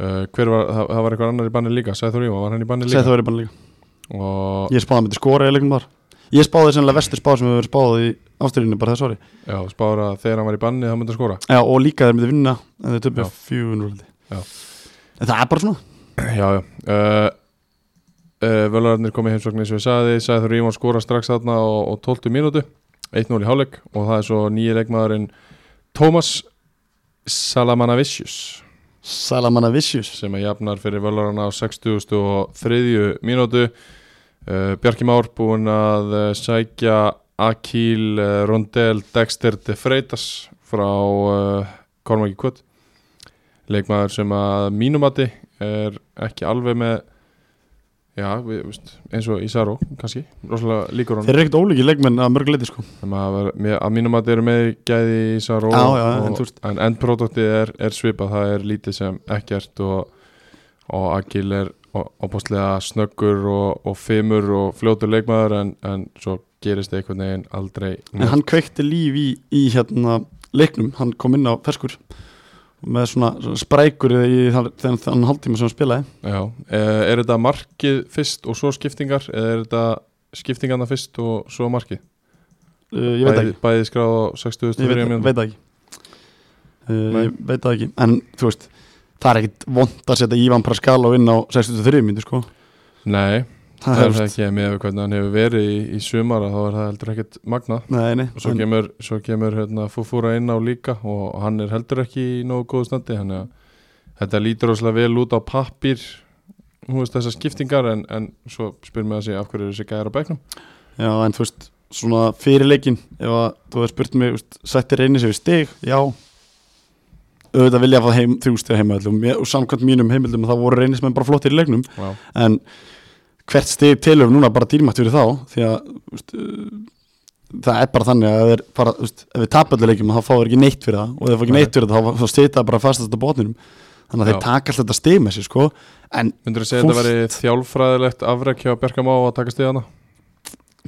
B: uh, hver var, það, það var eitthvað annar í banni líka Sæþór Ívan, var hann í banni
C: segð
B: líka
C: það verið bara líka
B: og
C: ég spáði að myndi skora í leiknum þar ég spáði sennilega vestu spáð sem við verið spáði í ástyrjunni bara þess ári
B: já, spára að þegar hann var í banni þá myndi að skora
C: já, og líka þeir myndi vinna en þeir
B: Já.
C: töfum fjögunur
B: Já.
C: en það er bara svona
B: Já, já uh, uh, Völararnir komið heimsóknir sem ég sagði Sæður Ívan skora strax þarna og, og 12 mínútu 1-0 í hálfleik og það er svo nýja leikmaðurinn Tómas Salamanavicius
C: Salamanna Vicious
B: sem er jafnar fyrir Völararna á 60 og 3 mínútu uh, Bjarki Már búinn að uh, sækja Akil uh, Rondell Dexter de Freitas frá uh, Kormaki Kvöt leikmaður sem að mínumati er ekki alveg með já, við, veist, eins og Ísaró kannski, rosalega líkur honum
C: Þeir eru ekkert ólíki leikmenn að mörg leiti sko
B: Þannig að, var, mér, að mínum að þeir eru með gæði í Ísar og,
C: Já, já, en þú
B: og,
C: veist-
B: en endproduktið er, er svipað, það er lítið sem ekkert og, og Agil er opastlega snöggur og, og fimur og fljótur leikmaður en, en svo gerist einhvern veginn aldrei
C: En hann kveikti líf í, í hérna leiknum, hann kom inn á ferskur með svona, svona sprækur í þann, þann, þann hálftíma sem hann spilaði
B: Já, eh, er þetta markið fyrst og svo skiptingar eða er þetta skiptingarna fyrst og svo markið?
C: uh, Ég veit það
B: Bæði-
C: ekki,
B: Bæði skráð á 60.
C: ég veit,
B: mínútur
C: veit það ekki uh,
B: Nei.
C: Ég veit það ekki, en þú veist það er ekkit vond að setja Ívan Praskalov inn á 63 myndu sko
B: Nei,
C: Það
B: það er
C: þú
B: það
C: veist,
B: ekki með hvernig hann hefur verið í, í sumar að þá er það heldur ekkert magnað
C: Nei, nei,
B: og svo
C: en,
B: kemur, svo kemur hérna, Fufura inn á líka og hann er heldur ekki í nógu góðu standi þannig að þetta lítur óslega vel út á pappir hún veist þessar skiptingar en, en svo spyr mig að segja af hverju er þessi gæðar á bæknum
C: já, en þú veist svona fyrir leikin, ef að þú hefur spurt mig þú veist, sættir reyni sér við stig, já auðvitað vilja að fá heim, þrjú stig heima öllum og samkvæmt mínum heimildum þá voru reynismenn bara flottir í leiknum
B: Já,
C: en hvert stig telur núna bara dýrmætt fyrir þá því að úst, það er bara þannig að ef þeir fara, úst, ef við tapalluleikjum þá fá þeir ekki neitt fyrir það og ef þeir fá ekki
B: Nei.
C: neitt fyrir það þá, þá stýta bara fastast á botninum þannig
B: Já.
C: að þeir taka alltaf þetta stig með sér sko en
B: myndur þú segja að þetta
C: Fúlt.
B: veri þjálfræðilegt afrek hjá Bjarkamá að taka stíðana?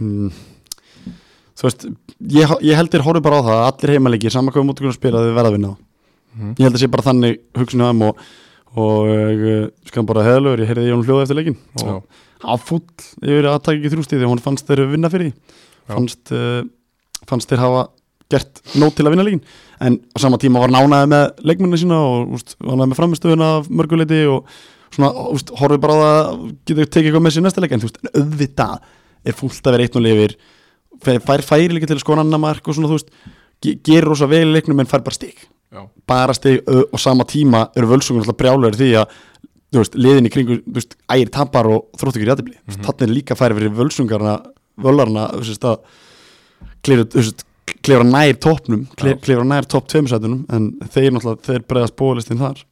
C: mm, þú veist ég, ég heldur horfið bara á það að allir heimaleikir saman hvað við mútið að spila að þið verða að vinna þá.
B: Mhm.
C: ég held að sé bara þannig hugsun hjá þeim og, og uh, skan bara heðalögur, ég heyrði Jón Hljóð eftir leikin og
B: Já,
C: hann var fúll yfir að taka ekki þrjústið því að hún fannst þeir vinna fyrir því
B: Já.
C: fannst, uh, fannst þeir hafa gert nót til að vinna líkin en á sama tíma var nánaði með leikmunni sína og úst, nánaði með framistöðuna af mörguleiti og svona, úst, horfið bara á það að geta tekið eitthvað með sér í næsta leik en þú veist, en auðvitað er fúlt að vera eitt og lifir fær færi líka til að skona annar mark og svona þú veist, ge- gerir rosa vel í leiknum en fær bara stig
B: já,
C: bara stig ö, og sama tíma eru völsungur alltaf brjálæður því að þú veist, liðin í kringu, þú veist, ægir tapar og þrótt ykkur í aðeibli,
B: Mhm.
C: mm -hmm. þannig er líka færi fyrir völsungarna, völarna þú veist, að klifra, þú veist, klifra nær toppnum,
B: Já.
C: klif- klifra nær topp tveimsætunum, en þeir náttúrulega þeir bregðast bóðlistin þar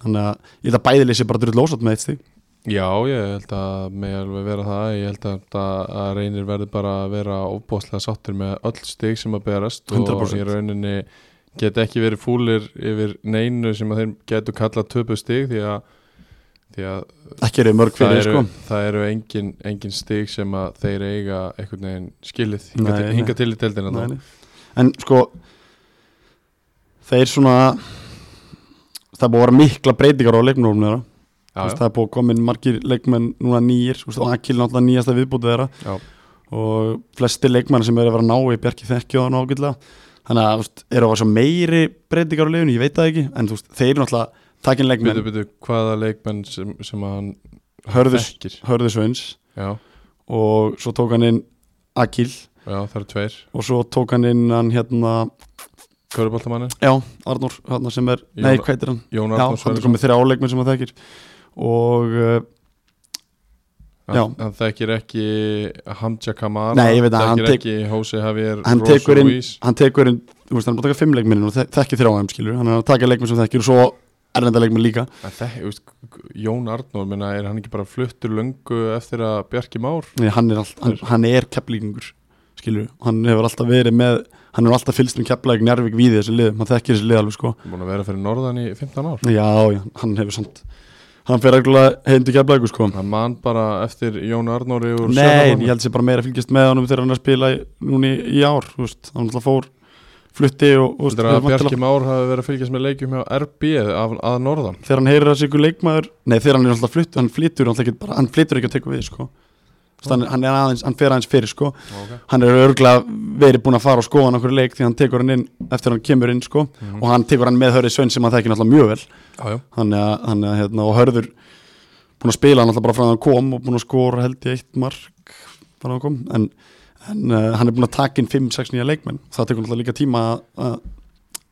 C: þannig að ég held að bæðileg sé bara drull ósátt með eitt stig
B: já, ég held að mig alveg vera það, ég held að, að að reynir verði bara að vera óbóðslega sáttir með öll stig sem að berast og
C: 100%.
B: í rauninni get ekki verið fúlir yfir neinu sem að þeir getur kallað töpu stig því að, því að
C: ekki eru mörg
B: það
C: fyrir,
B: eru,
C: sko
B: það eru engin, engin stig sem að þeir eiga einhvern veginn skilið hinga,
C: Nei,
B: til,
C: nei.
B: hinga til í deildina
C: Nei,
B: þá
C: nei. en sko þeir svona það er búið að vera mikla breytingar á leikmennum þeirra Þú
B: já,
C: veist,
B: Sko-
C: það er búið að koma inn margir leikmenn núna nýjir þú veist, og Akil náttúrulega nýjasta viðbútið þeirra
B: já, já,
C: og flesti leikmenn sem eru að vera ná í Bjarki þekki og hann ágætlega þannig að þú veist, eru að vera svo meiri breytingar á liðinu, ég veit það ekki en þú veist, þeir náttúrulega takin leikmenn
B: byrju, byrju, hvaða leikmenn sem, sem að hann
C: Hörður,
B: þekkir
C: Hörður Sveins
B: já,
C: og svo tók hann inn Akil
B: já, það eru tveir
C: og svo tók hann inn hann hérna
B: Köruboltamannin,
C: já, Arnór, hérna sem er, nei,
B: Jón-
C: hvað heitir hann
B: Jón
C: já,
B: Arnór
C: hann er komið þeirra áleikmenn sem hann þekkir og, uh, já.
B: hann, hann þekkir ekki Hamja Kamara
C: Nei, ég veit að hann
B: þekkir
C: tek-
B: ekki Jose Javier
C: hann
B: Rosso
C: tekur inn,
B: Ruiz.
C: hann tekur inn þú veist, hann er bara að taka fimm leikminni og þek- þekkir þrjá þeim skilur, hann er að taka leikminn sem þekkir og svo erlenda leikminn líka
B: En þek, þú veist, Jón Arnór, minna, er hann ekki bara fluttur löngu eftir að Bjarki Már
C: Nei, hann er, all, hann, hann er kepplíkingur skilur, hann hefur allaf verið með hann hefur alltaf fylgst um kepplæk njárvík við þessi lið, hann þekkir þessi lið alveg sko
B: búin að vera fyrir norðan í 15 ár
C: já, já, hann hefur samt hann fer reglulega heim til kepplæku sko
B: hann man bara eftir Jón Arnóri úr
C: Nei,
B: Sjöfnarhólmi.
C: ég held sér bara meira að fylgjast með honum þegar hann er að spila í, núna í, í ár þú veist, hann alltaf fór flutti og, og þú veist,
B: Heldur að
C: hefur væntanlega-
B: Bjarki Már hafi verið að fylgjast með leikjum hjá RB af, að norðan
C: þegar hann heyrir að sig ykkur leikmaður nei þegar hann er alltaf flutt, hann flytur alltaf ekki bara, hann flytur ekki að teka við sko Þú veist, hann, hann er aðeins, hann fer aðeins fyrir sko
B: okay.
C: hann er örglega verið búin að fara og skoða hann okkur leik því hann tekur hann inn eftir hann kemur inn sko og hann tekur hann með Hörði Svein sem hann þekkir náttúrulega mjög vel
B: já, já.
C: hann er, hann er hérna og Hörður búin að spila hann alltaf bara frá því að hann kom og búin að skora held ég eitt mark bara hann kom en, en uh, hann er búin að taka inn 5-6 nýja leikmenn það tekur náttúrulega líka tíma að- að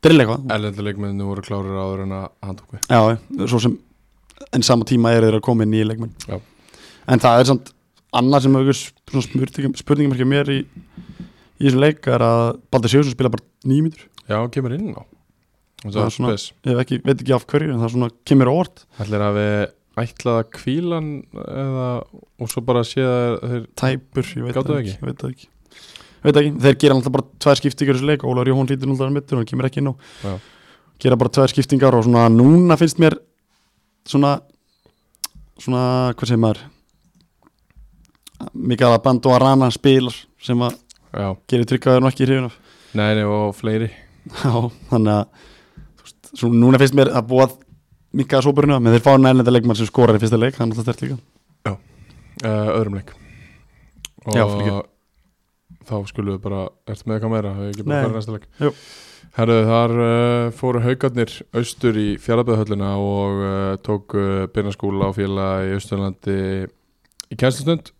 C: drilla eitthvað
B: erlendu leikmennu voru klárir áður en að hann tók við
C: Já, já, svo sem en sama tíma er þeir að koma inn í leikmenn
B: Já.
C: en það er samt annað sem hefur spurningum, spurningum ekki mér í, í þessum leik er að Baldur Sigursson spila bara nýjum mítur
B: já, hann kemur inn á
C: Það er svona- ég hef ekki, veit ekki af hverju en það svona kemur á óvart
B: Ætlir að við ætlað að kvíla hann eða, og svo bara sé að þeir
C: tæpur, ég veit
B: Gátu
C: það
B: það
C: ekki, ég veit það ekki veit það ekki, þeir gera alltaf bara tvær skiptingar í þessu leik, Ólaur Jóhann hlýtur náttúrulega mittur hann kemur ekki inn á,
B: Já.
C: gera bara tvær skiptingar og svona núna finnst mér svona svona, hvað segir maður mikið að band og að rana spilar sem að
B: já,
C: gerir tryggjaður nú ekki í hrifun af
B: neini og fleiri
C: [LAUGHS] Já, þannig að þú veist, svona, núna finnst mér að búa mikið að sópurinu, menn þeir fá nælenda leikmann sem skorar í fyrsta leik, þannig að það er stert líka
B: uh, öðrum leik og
C: Já, fyrirgefðu.
B: þá skulum við bara, ertu með eitthvað meira? Hefur ekki bara
C: Nei.
B: farið í næsta leik?
C: Jú.
B: Herru, þar uh, fóru haugarnir austur í fjárabæðahöllina og uh, tók uh, byrnaskúla á fjöla í Austurlandi í kænslustund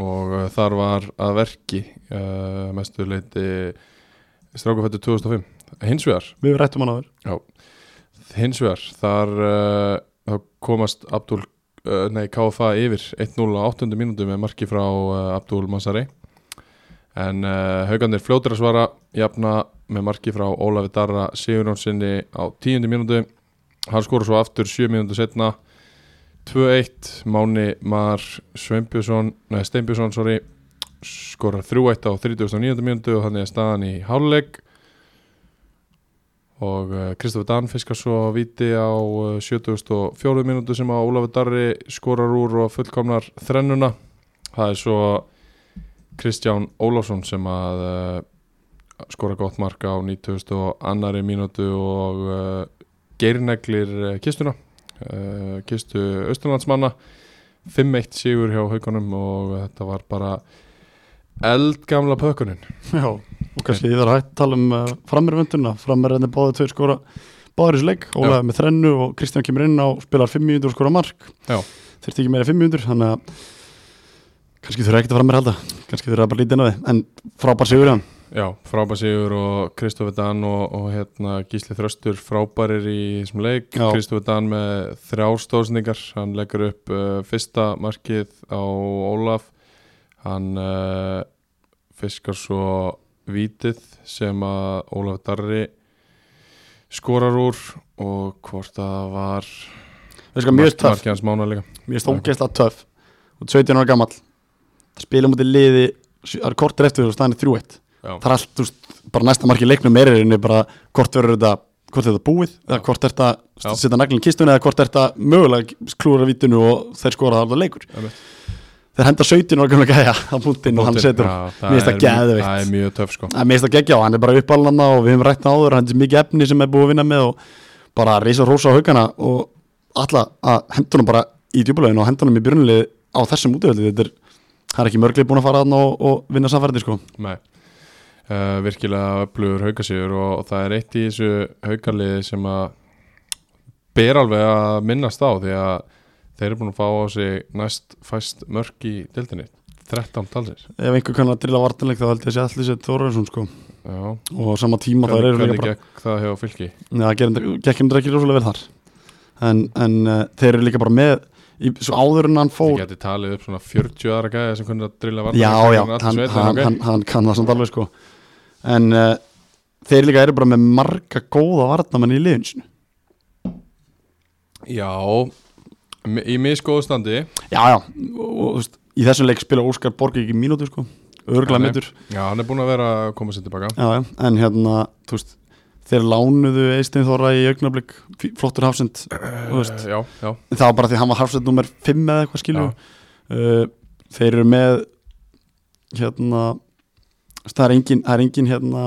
B: og uh, þar var að verki uh, mestu leiti strákufættu 2005 hins vegar
C: Við rættum hann áður
B: hins vegar þar uh, þá komast Abdul uh, nei KFA yfir 1-0 á 8. mínútu með marki frá uh, Abdul Massari en uh, haugandir fljótur að svara jafna með marki frá Ólafi Darra Sigurjónssoni á 10. mínútu hann skora svo aftur 7 mínútu setna 2-1 Máni Mar Sveinbjörnsson nei Steinbjörnsson sorry skorar 3-1 á 39. mínútu og þannig er staðan í háluleik og eh, Kristofur Dan fiskar svo víti á eh, 74 minútu sem að Ólafur Darri skorar úr og fullkomnar þrennuna það er svo Kristján Ólafsson sem að uh, skora gott mark á 92 minútu og uh, geirneglir eh, kistuna uh, kistu austurlandsmanna 5-1 sigur hjá haugunum og þetta var bara eldgamla pökunin
C: Já, og kannski ég þarf að hægt tala um uh, framirvönduna, framirvöndin báði tveir skora báður þessu leik, Ólaði með þrennu og Kristján kemur inn á, spilar 500 og skora mark
B: Já.
C: þurfti ekki meira 500 þannig að kannski þurfa ekkert að framir halda kannski þurfa bara lítið inn á þið, en frábær sigur hann
B: Já, frábær sigur og Kristofur Dan og, og hérna, Gísli Þröstur frábærir í þessum leik
C: Já.
B: Kristofur Dan með þrjár stóðsningar hann leggur upp uh, fyrsta markið á Ólaf hann uh, fiskar svo vítið sem að Ólaf Darri skorar úr og hvort það var
C: Við sko, mjög töff,
B: hans mána líka
C: mjög stókislega töff og 17 ára gamall spilum út í liði, sjö- það er kortir eftir og staðan er 3-1
B: Já.
C: það er allt, þú veist, bara næsta marki leiknum er í rauninni bara hvort verður þetta hvort er þetta búið, eða hvort er þetta
B: Já.
C: setja naglinn í kistunni eða hvort er þetta mögulega klúra vítinu og þeir skora það alveg leikur
B: Einmitt.
C: þeir henda 17 og gamlega gæja á punktinn og hann setur hann.
B: Já,
C: Mér finnst
B: það
C: það
B: er-
C: geðveikt.
B: það er mjög töff sko
C: Það er mest að gegja og hann er bara uppalana og við hefum rætt það áður, hann er mikið efni sem er búið að vinna með og bara reysa rosa á haugana og alla að hendunum bara í djúbulögin og hendunum í björnulegi á þessum útöfaldi, þetta er hann er ekki mörglið búin að fara þarna og, og vinna samfærdi sko.
B: Nei, uh, virkilega öflugur haukasíður og, og það er eitt í þessu haukaliði sem að ber alveg að minnast á því að þeir eru búin að fá á sig næst fæst mörk í deildinni 13 talsir
C: Ef einhver kannar að drilla vartanleik þá held ég að sé allir sér Þorvarsson sko
B: Já,
C: og á sama tíma þá
B: hvernig,
C: eru líka
B: hvernig
C: bara,
B: gekk það hjá fylki?
C: neða, það gerir- gekk um drekki rosalega vel þar en, en uh, þeir eru líka bara með í, svo áður en hann
B: Þið
C: fór
B: geti talið upp svona 40 aðra gæði sem kunni að drilla varna
C: já, já, hann, hann, hann, hann kann það samt alveg sko en uh, þeir líka eru bara með marga góða varnamenn í liðin sinu
B: já mi- í misgóðu standi
C: já, já, og, og þú veist, í þessum leik spila Óskar Borg ekki mínútu sko örgla
B: Nei, nei.
C: mínútur,
B: Já, hann er búin að vera að koma sér tilbaka
C: já, já, en hérna þú veist, þeir lánuðu Eistein Þóra í augnablik, fí- flottur hafsend þú veist,
B: Eh, Já, já,
C: það var bara því að hann var hafsend nummer 5 eða eitthvað
B: já,
C: skilur uh, þeir eru með hérna þú veist, það er engin, það er engin hérna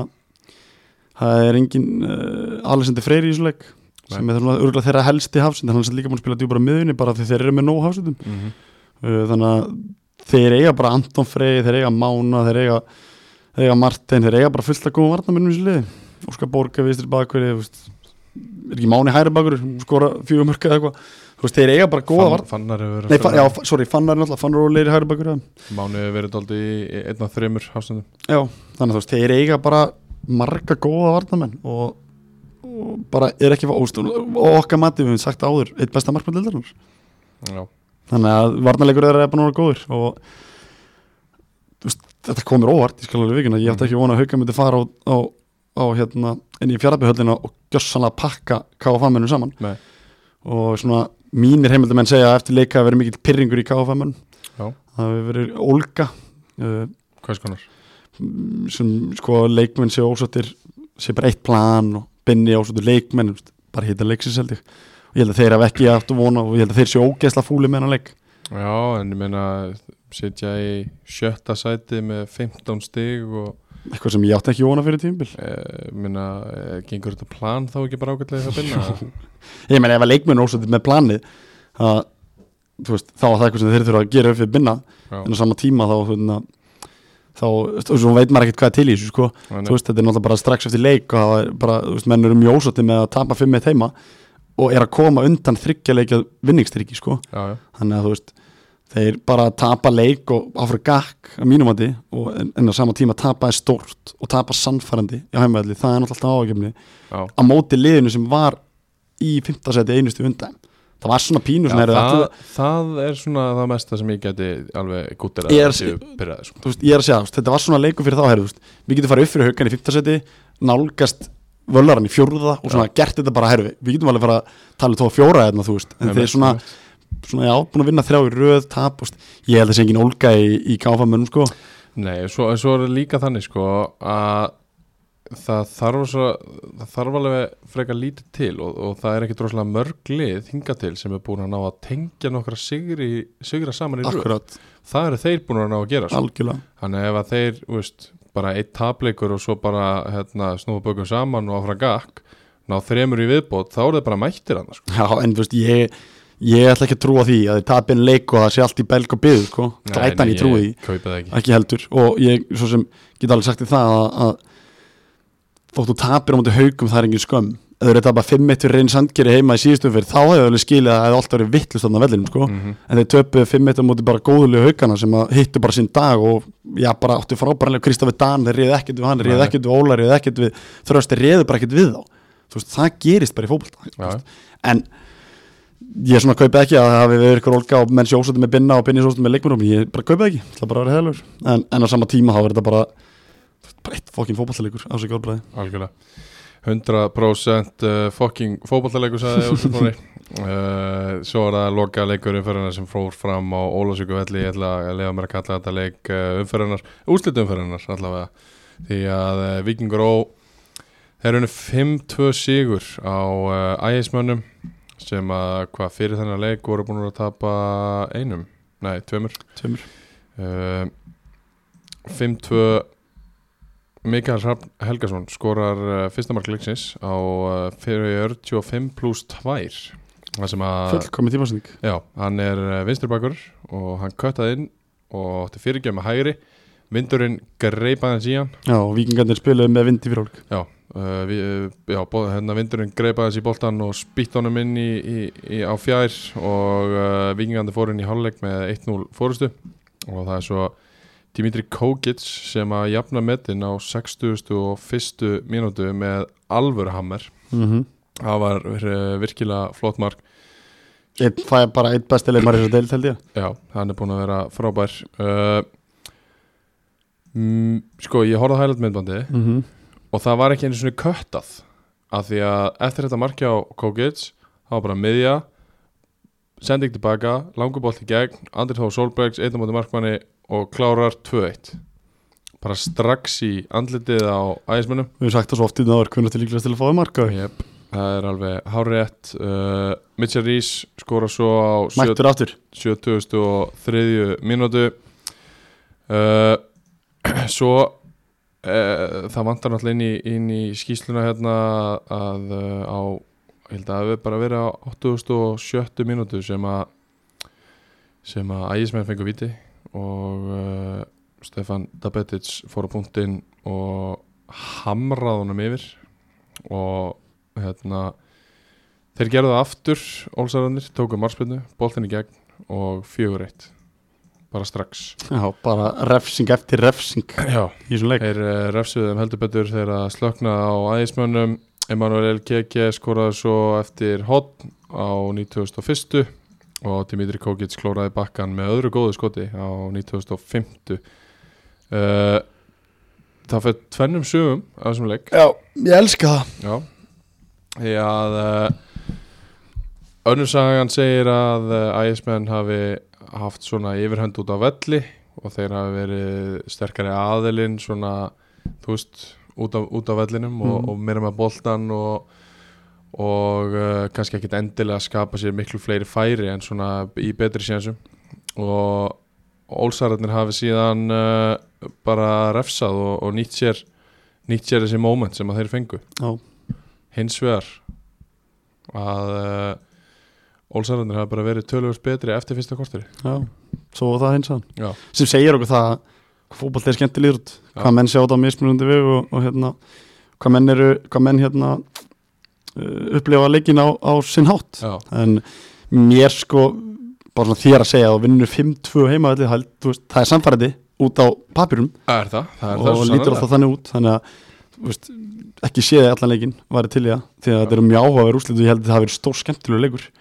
C: það er engin uh, Alexander Freyr í þessu leik
B: Nei.
C: sem er svona örgulega þeirra helsti hafsend hann er samt líka búin að spila djúpar á miðunni bara því þeir eru með nóg hafsendum
B: mm
C: uh, þannig að þeir eiga bara Anton Frey þeir eiga Mána, þeir eiga þeir eiga Martin, þeir eiga bara fullt að góða varnamennum í þessu liði Óskar Borga, Vistri Bakveri er ekki Máni Hæri Bakur skora fjögumörka eða eitthvað Þú veist, þeir eiga bara góða
B: Fann,
C: varn
B: fannar hefur verið að
C: Nei,
B: spila-
C: fa já, fa- sorry, Fannar er náttúrulega, Fannar og Leiri Hæri Bakur eða
B: Mánu hefur verið daldi í einna þreymur hafsendum
C: Já, þannig að þú veist, þeir eiga bara marga góða varnamenn og, og bara er ekki óst og okkar mati, við höfum sagt áður eitt besta markmann dildarnar
B: Já,
C: þannig að varnarleikur þeirra er bara núna góður og þú veist, þetta komur óvart, ég skal alveg vikuna ég átti ekki vona að hauka myndi fara á, á, á hérna, inn í fjarabyhöllina og gjössanlega pakka KFA-mennum saman
B: Nei.
C: og svona mínir heimildamenn segja að eftir leika hafi verið mikill pyrringur í KFM-un
B: Já.
C: það hefur verið ólga uh,
B: Hvers konar?
C: sem sko leikmenn sé ósáttir sé bara eitt plan og binni ósáttir leikmenn þú veist, bara hita leiksins held ég og ég held að þeir hafa ekki átt að vona og ég held að þeir sé ógeðsla fúli með hann leik
B: Já, en ég meina sitja í sjötta sæti með 15 stig og
C: eitthvað sem ég átti ekki vona fyrir tímbil
B: eh, ég meina, eh, gengur þetta plan þá ekki bara ágætlega það [LAUGHS] byrna?
C: ég meina ef að leikmenn er ósáttir með planið að, þú veist, þá er það eitthvað sem þeir þurfa að gera upp fyrir binna en á sama tíma þá þú veist, þá, þú veist, svo veit maður ekkert hvað er til í þessu sko þú veist, þetta er náttúrulega bara strax eftir leik og það er bara, þú veist, menn eru mjög ósátti með að tapa fimm eitt heima og er að koma undan þryggjaleikja vinningstryggi sko.
B: Já, já,
C: þannig að þú veist þeir bara tapa leik og áfra gakk að mínum mati og en, en á sama tíma tapa er stórt og tapa sannfærandi í heimvelli, það er náttúrulega áhægjumni
B: já.
C: á móti liðinu sem var í fimmtasæti einustu undan það var svona pínu
B: Já,
C: sem er
B: það,
C: allir,
B: það er svona það mesta sem ég geti alveg gúttir
C: Ég er-
B: að séu pyrraði sko.
C: þú veist, ég er að segja, þú veist, þetta var svona leikur fyrir þá herri, þú veist, við getum farið upp fyrir haukan í fimmtarsæti nálgast völaran í fjórða og svona gert þetta bara herfi við getum alveg fara að tala um tóa fjóra hérna, þú veist, en
B: Nei,
C: þeir
B: nei,
C: svona,
B: nei.
C: svona já, búin að vinna þrjá í röð, tap, þú veist, ég held að sé engin ólga í, í káfamönnum, sko
B: Nei, svo, en svo er það líka þannig sko að það þarf, svo, það þarf alveg frekar lítið til og, og það er ekki droslega mörg lið hinga til sem er búin að ná að tengja nokkra sigri, sigra saman í röð
C: akkurat,
B: það eru þeir búin að ná að gera sko.
C: algjörlega
B: þannig ef að þeir, þú veist, bara eitt tapleikur og svo bara hérna, snúfa bökum saman og áfra gakk ná þremur í viðbót, þá eru þeir bara mættir hann sko.
C: já, en þú veist, ég ég ætla ekki að trúa því að þið tapin leik og það sé allt í belg og byðu, sko, grætan
B: Nei,
C: ég trúi því
B: ég kaupi það ekki
C: ekki heldur og ég svo sem get alveg sagt í það að, að þótt þú tapir á móti haugum það er engin skömm eða þú eru tapað 5-1 fyrir reyn sandgeri heima í síðustu fyrir þá hefur alveg skilið að það hefði alltaf verið vittlust þarna á vellinum sko
B: Mhm.
C: en þeir töpuðu 5-1 á móti bara góðulegu haugana sem að hittu bara sinn dag og já bara áttu frábæranlega Kristofi Dan þeir reyði ekkert við hann, reyði
B: Nei.
C: ekkert við Óla reyði ekkert við þrösti reyði bara ekkert við þá þú veist það gerist bara í fótbolta þú
B: Já.
C: veist. en ég svona kaupið ekki að það hafi verið ykkur olga og menn sjósætti með binna og binni sjósætti með leikmennum ég bara kaupið ekki, það bara að vera heðalur en, en á sama tíma þá er þetta bara bara eitt fokkin fótballleikur á sig orðbræði
B: Algjörlega 100% uh, fokking fótballalegur sagði Óskar Þóri uh, Svo er það loka leikur umferðarnar sem fór fram á Ólásjöku velli Ég ætla að lega mér að kalla þetta leik uh, umferðarnar Úslit umferðarnar allavega Því að uh, Vikingur Ó Þeir eru 5-2 sigur á uh, ægismönnum sem að hvað fyrir þennan leik voru búin að tapa einum Nei, tveimur
C: tveimur
B: Uh, 5-2 Mikael Hrafn Helgason skorar uh, fyrsta mark leiksins á uh, fyrir 45 pluss 2 það sem að
C: fullkomi tímasending
B: já, hann er uh, vinstribakur og hann köttaði inn og átti fyrirgjöf með hægri vindurinn greip aðeins í hann
C: já og vikingarnir spiluðu með vindi fyrir olg
B: já, uh, við, já bó, hérna vindurinn greip aðeins í boltan og spýtt honum inn í, í, í, á fjær og uh, vikingandi fór inn í hálfleik með 1-0 fórustu og það er svo Dimitri Kogic sem að jafna metin á 60. og 1. mínútu með alvöru hammer
C: mm -hmm.
B: það var eh, virkilega flott mark
C: það er bara eitt besti leikmar í þessu deil held ég
B: já, hann er búin að vera frábær uh, mm, sko, ég horfði á highlight myndbandi
C: mm -hmm.
B: og það var ekki einu svona köttað af því að eftir þetta markja á Kogic það var bara miðja sending tilbaka, langur bolt í gegn Andri Þóð Solbergs, einn á móti markmanni og klárar 2-1 bara strax í andlitið á ægismennum
C: við hefum sagt það svo oft í náður hvernig til líklegast til að fáið marka
B: yep. það er alveg hárétt uh, Mitchell Rees skora svo á sjö-
C: mættur aftur
B: 73. mínútu uh, [CLEARS THROAT] Svo uh, það vantar náttúrulega inn í, inn í skýsluna hérna að uh, á, ég held að við bara verið á 87. mínútu sem að sem að ægismenn fengur viti og uh, Stefan Dabetic fór á punktinn og hamrað honum yfir og hérna þeir gerðu það aftur Ólsararnir, tóku marspinnu, boltinn í gegn og fjögur eitt bara strax
C: já bara refsing eftir refsing
B: Já,
C: í þessum leik
B: þeir uh, refsuðum heldur betur þegar að slökna á æðismönnum Emanuel KG skoraði svo eftir hotn á 91. og Dimitri Kogic klóraði bakkan með öðru góðu skoti á 95. Uh, það fyrir tvennum sögum af þessum leik
C: já, ég elska það
B: Já Því að uh, eh, Önnur sagan segir að ægismenn hafi haft svona yfirhönd út á velli og þeir hafi verið sterkari aðilinn svona, þú veist, út á, út á vellinum og,
C: Mhm.
B: og meira með boltan og, og uh, kannski ekkit endilega að skapa sér miklu fleiri færi en svona í betri sénsum og ólsararnir hafi síðan uh, bara refsað og, og nýtt sér nýtt sér þessi moment sem að þeir fengu
C: Já.
B: hins vegar að uh, Ólsararnir hafa bara verið tölvöld betri eftir fyrsta korteri
C: Já, svo var það hins að
B: Já.
C: sem segir okkur það hvað fótboll er skemmtilegur út,
B: Já.
C: hvað menn sjá þetta á mismunandi veg og, og hérna hvað menn eru, hvað menn hérna uh, upplifa leikin á, á sinn hátt
B: Já,
C: en mér sko bara svona þér að segja að þú vinnur 5-2 heima allir hald, þú veist, það er samfærandi út á papirum
B: það er það, það er það svo
C: og lítur
B: sannarlega.
C: alltaf þannig út þannig að þú veist, ekki séði allan leikin væri til í það, því að þetta eru mjög áhugaður úrslit og ég held að það hafi verið stór skemmtilegur leikur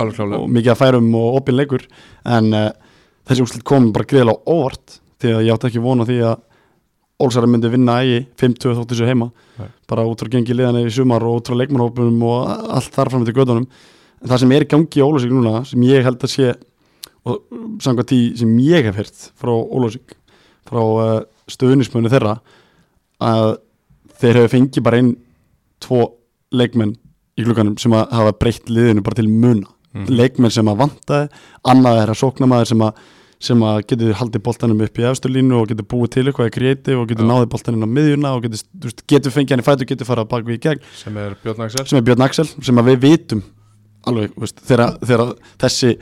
B: Alveg klálega
C: og mikið að færum og opinn leikur en uh, þessi úrslit kom bara greiðlega óvart því að ég átti ekki vona því að Ólsara myndi vinna ægi 5-2 þóttu sér heima
B: Nei.
C: bara út frá gengi liðan í sumar og út frá leikmannhópunum og a- allt þar fram til gödunum en það sem er í gangi í Ólásík núna sem ég held að sé og samkvæmt því sem ég hef hirt frá Ólásík frá uh, stöðunismunni þeirra að þeir hefur fengið bara einn tvo leikmenn í glukkanum sem að hafa breytt liðinu bara til muna
B: Mhm.
C: leikmenn sem að vantaði annað er að sóknamaður sem að sem að getur haldið boltanum upp í efsturlínu og getur búið til eitthvað í kreiti og getur
B: Já.
C: náðið boltanum á miðjuna og getur, þú veist, getur fengið hann í fætu og getur farað bak við í gegn
B: sem er Björn Axel
C: sem er Björn Axel sem að við vitum alveg, þú veist, þegar, þegar þessi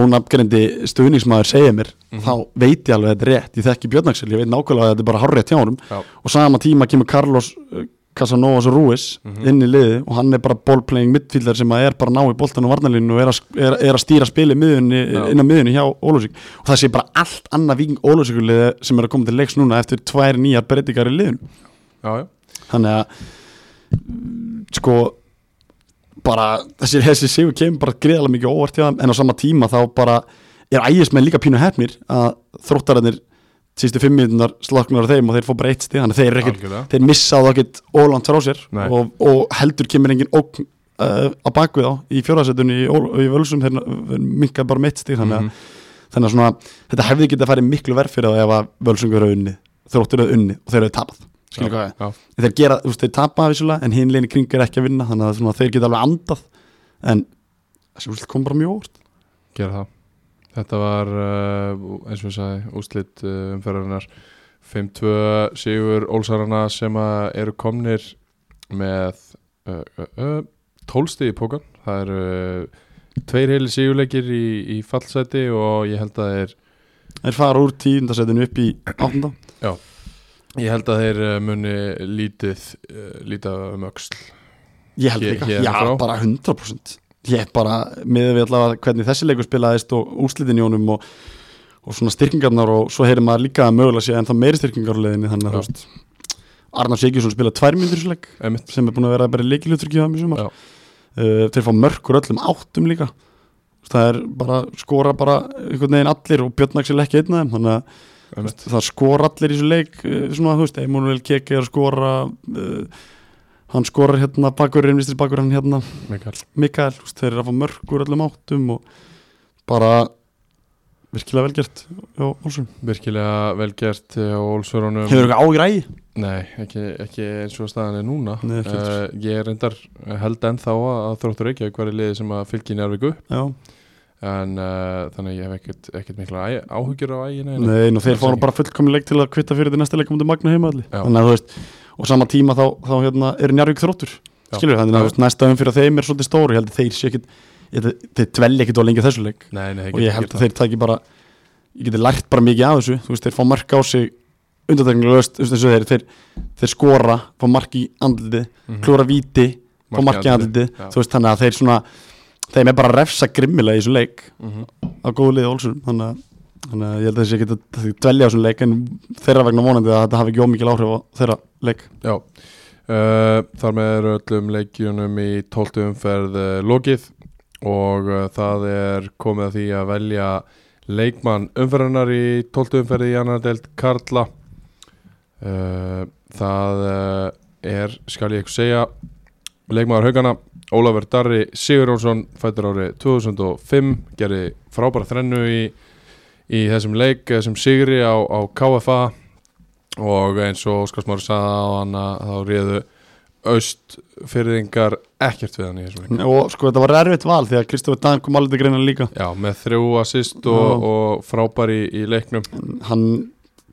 C: ónafngrendi stuðningsmaður segja mér
B: Mhm.
C: þá veit ég alveg að þetta er rétt ég þekki Björn Axel, ég veit nákvæmlega að þetta er bara hárrétt hjá honum
B: Já,
C: og sama tíma kemur Carlos uh, Casanovas Ruiz
B: Mhm.
C: inn í liði og hann er bara ballplaying midfielder sem að er bara að ná í boltan og varnalínu og er að, er, er að stýra spili
B: Já.
C: miðunni, inn á miðunni hjá Ólúsík og það sé bara allt annað viking Ólúsíkuliði sem er að koma til leiks núna eftir tvær nýjar breytingar í liðun
B: já, já,
C: þannig að mm, sko bara þessi, þessi sigur kemur bara greiðlega mikið óvart hjá þeim en á sama tíma þá bara er ægismenn líka pínu hefnir að þróttararnir sístu fimm minútunar slaknar á þeim og þeir fór bara eitt stig þannig að þeir eru ekkert
B: algjörlega
C: þeir missa það ekkert ólant frá sér
B: Nei.
C: og, og heldur kemur engin ógn uh, á bakvið á í fjóraðsetunni í, Ól- í völsum þeir mingar bara mitt stíð
B: Mhm.
C: þannig, að, þannig að svona, þetta hefði getið að fara miklu verð fyrir það ef að völsungur eru unni þróttur eru unni og þeir eru tapað skilur
B: Já,
C: hvað ég?
B: já.
C: En þeir, gera, þú veist, þeir tapa vissulega en hinn leini kring er ekki að vinna þannig að svona, þeir geta alveg andað en þessi úrslit kom bara mjög óvart
B: gera það Þetta var, uh, eins og ég sagði, úslit uh, umferðarinnar 5-2 sigur Ólsarana sem að eru komnir með uh, uh, uh, 12 stig í pókan Það eru uh, tveir heili sigurleikir í, í fallseti og ég held að þeir
C: þeir fara úr tíundasetinu upp í áttunda
B: Ég held að þeir eh, muni lítið uh, lítið um öxl
C: Ég held
B: Hér-
C: líka,
B: héðan
C: já
B: frá?
C: bara 100% Ég bara, með við allavega hvernig þessi leikur spilaðist og úslitin í honum og, og svona styrkingarnar og svo heyrir maður líka að mögulega sé en þá meiri styrkingar á leiðinni þannig
B: Já.
C: að þú veist Arnar Sigurðsson spilaði tvær myndir leik
B: Einmitt.
C: sem er búin að vera bara leikilutur ekki á þeim í sumar
B: Já.
C: uh, Þeir fá mörkur öllum áttum líka Þú veist, Það er bara, skora bara einhvern veginn allir og Björn Axel ekki einn af þeim þannig að
B: einmitt.
C: það skor allir í þessu leik eh, svona, þú veist, Emanuel Keke er að skora uh, hann skorar hérna bakurinn, vistir bakurinn hérna
B: Mikael
C: Mikael, þú veist, þeir eru að fá mörgur öllum áttum og bara virkilega velgjert já, Olsson
B: Virkilega vel gert eh, á Ólsörunum
C: Hefur eitthvað ágjur ægi?
B: Nei, ekki, ekki eins og staðan er núna
C: Nei, ekki
B: uh, Ég er reyndar eh, held ennþá að að Þróttur Reykjavík var í liði sem að fylgin er við guð
C: Já,
B: en uh, þannig að ég hef ekkert, ekkert mikla æ, áhugjur á æginu
C: nei, nú þeir
B: alls
C: fá
B: ekki.
C: bara fullkomin leik til að kvitta fyrir því næsta leik um til Magna heima allir
B: Já.
C: þannig að þú veist, og sama tíma þá, þá hérna, er Njarvík þróttur,
B: Já.
C: skilur þannig að
B: Já.
C: þú veist, næsta umfyrir þeim er svolítið stóri, ég held að þeir sé ekkit ég held að þeir dvelja ekkit á lengi þessu leik
B: Nei, nei,
C: og ég held að þeir taki bara ég geti lært bara mikið af þessu þú veist, þeir fá mark á sig undanteknilegust þeir, þeir, þeir skora, fá mark í andliti klóra víti,
B: Mhm.
C: fá Mm. mark í andliti
B: já.
C: þú veist, þannig að þeir svona þeim er bara að refsa grimmilega í þessum leik
B: Mhm.
C: á góðu liði Olsson þannig að Þannig að ég held að þessi geta þeir dvelja á þessum leik en þeirra vegna vonandi að þetta hafi ekki ómikil áhrif á þeirra leik.
B: Já, uh, þar með eru öllum leikjunum í 12. umferð uh, lokið og uh, það er komið að því að velja leikmann umferðunar í 12. umferði í annar deild Karla uh, Það uh, er, skal ég ykkur segja, leikmaður haugana Ólafur Darri Sigurjónsson fættur árið 2005 gerði frábæra þrennu í, í þessum leik, þessum sigri á, á KFA og eins og Óskar Smári sagði á hann þá réðu aust fyrðingar ekkert við hann í þessum leik
C: og sko þetta var erfitt val því að Kristofur Dan kom alveg til greina líka
B: Já, með þrjú assist og,
C: Já.
B: og frábæri í leiknum
C: hann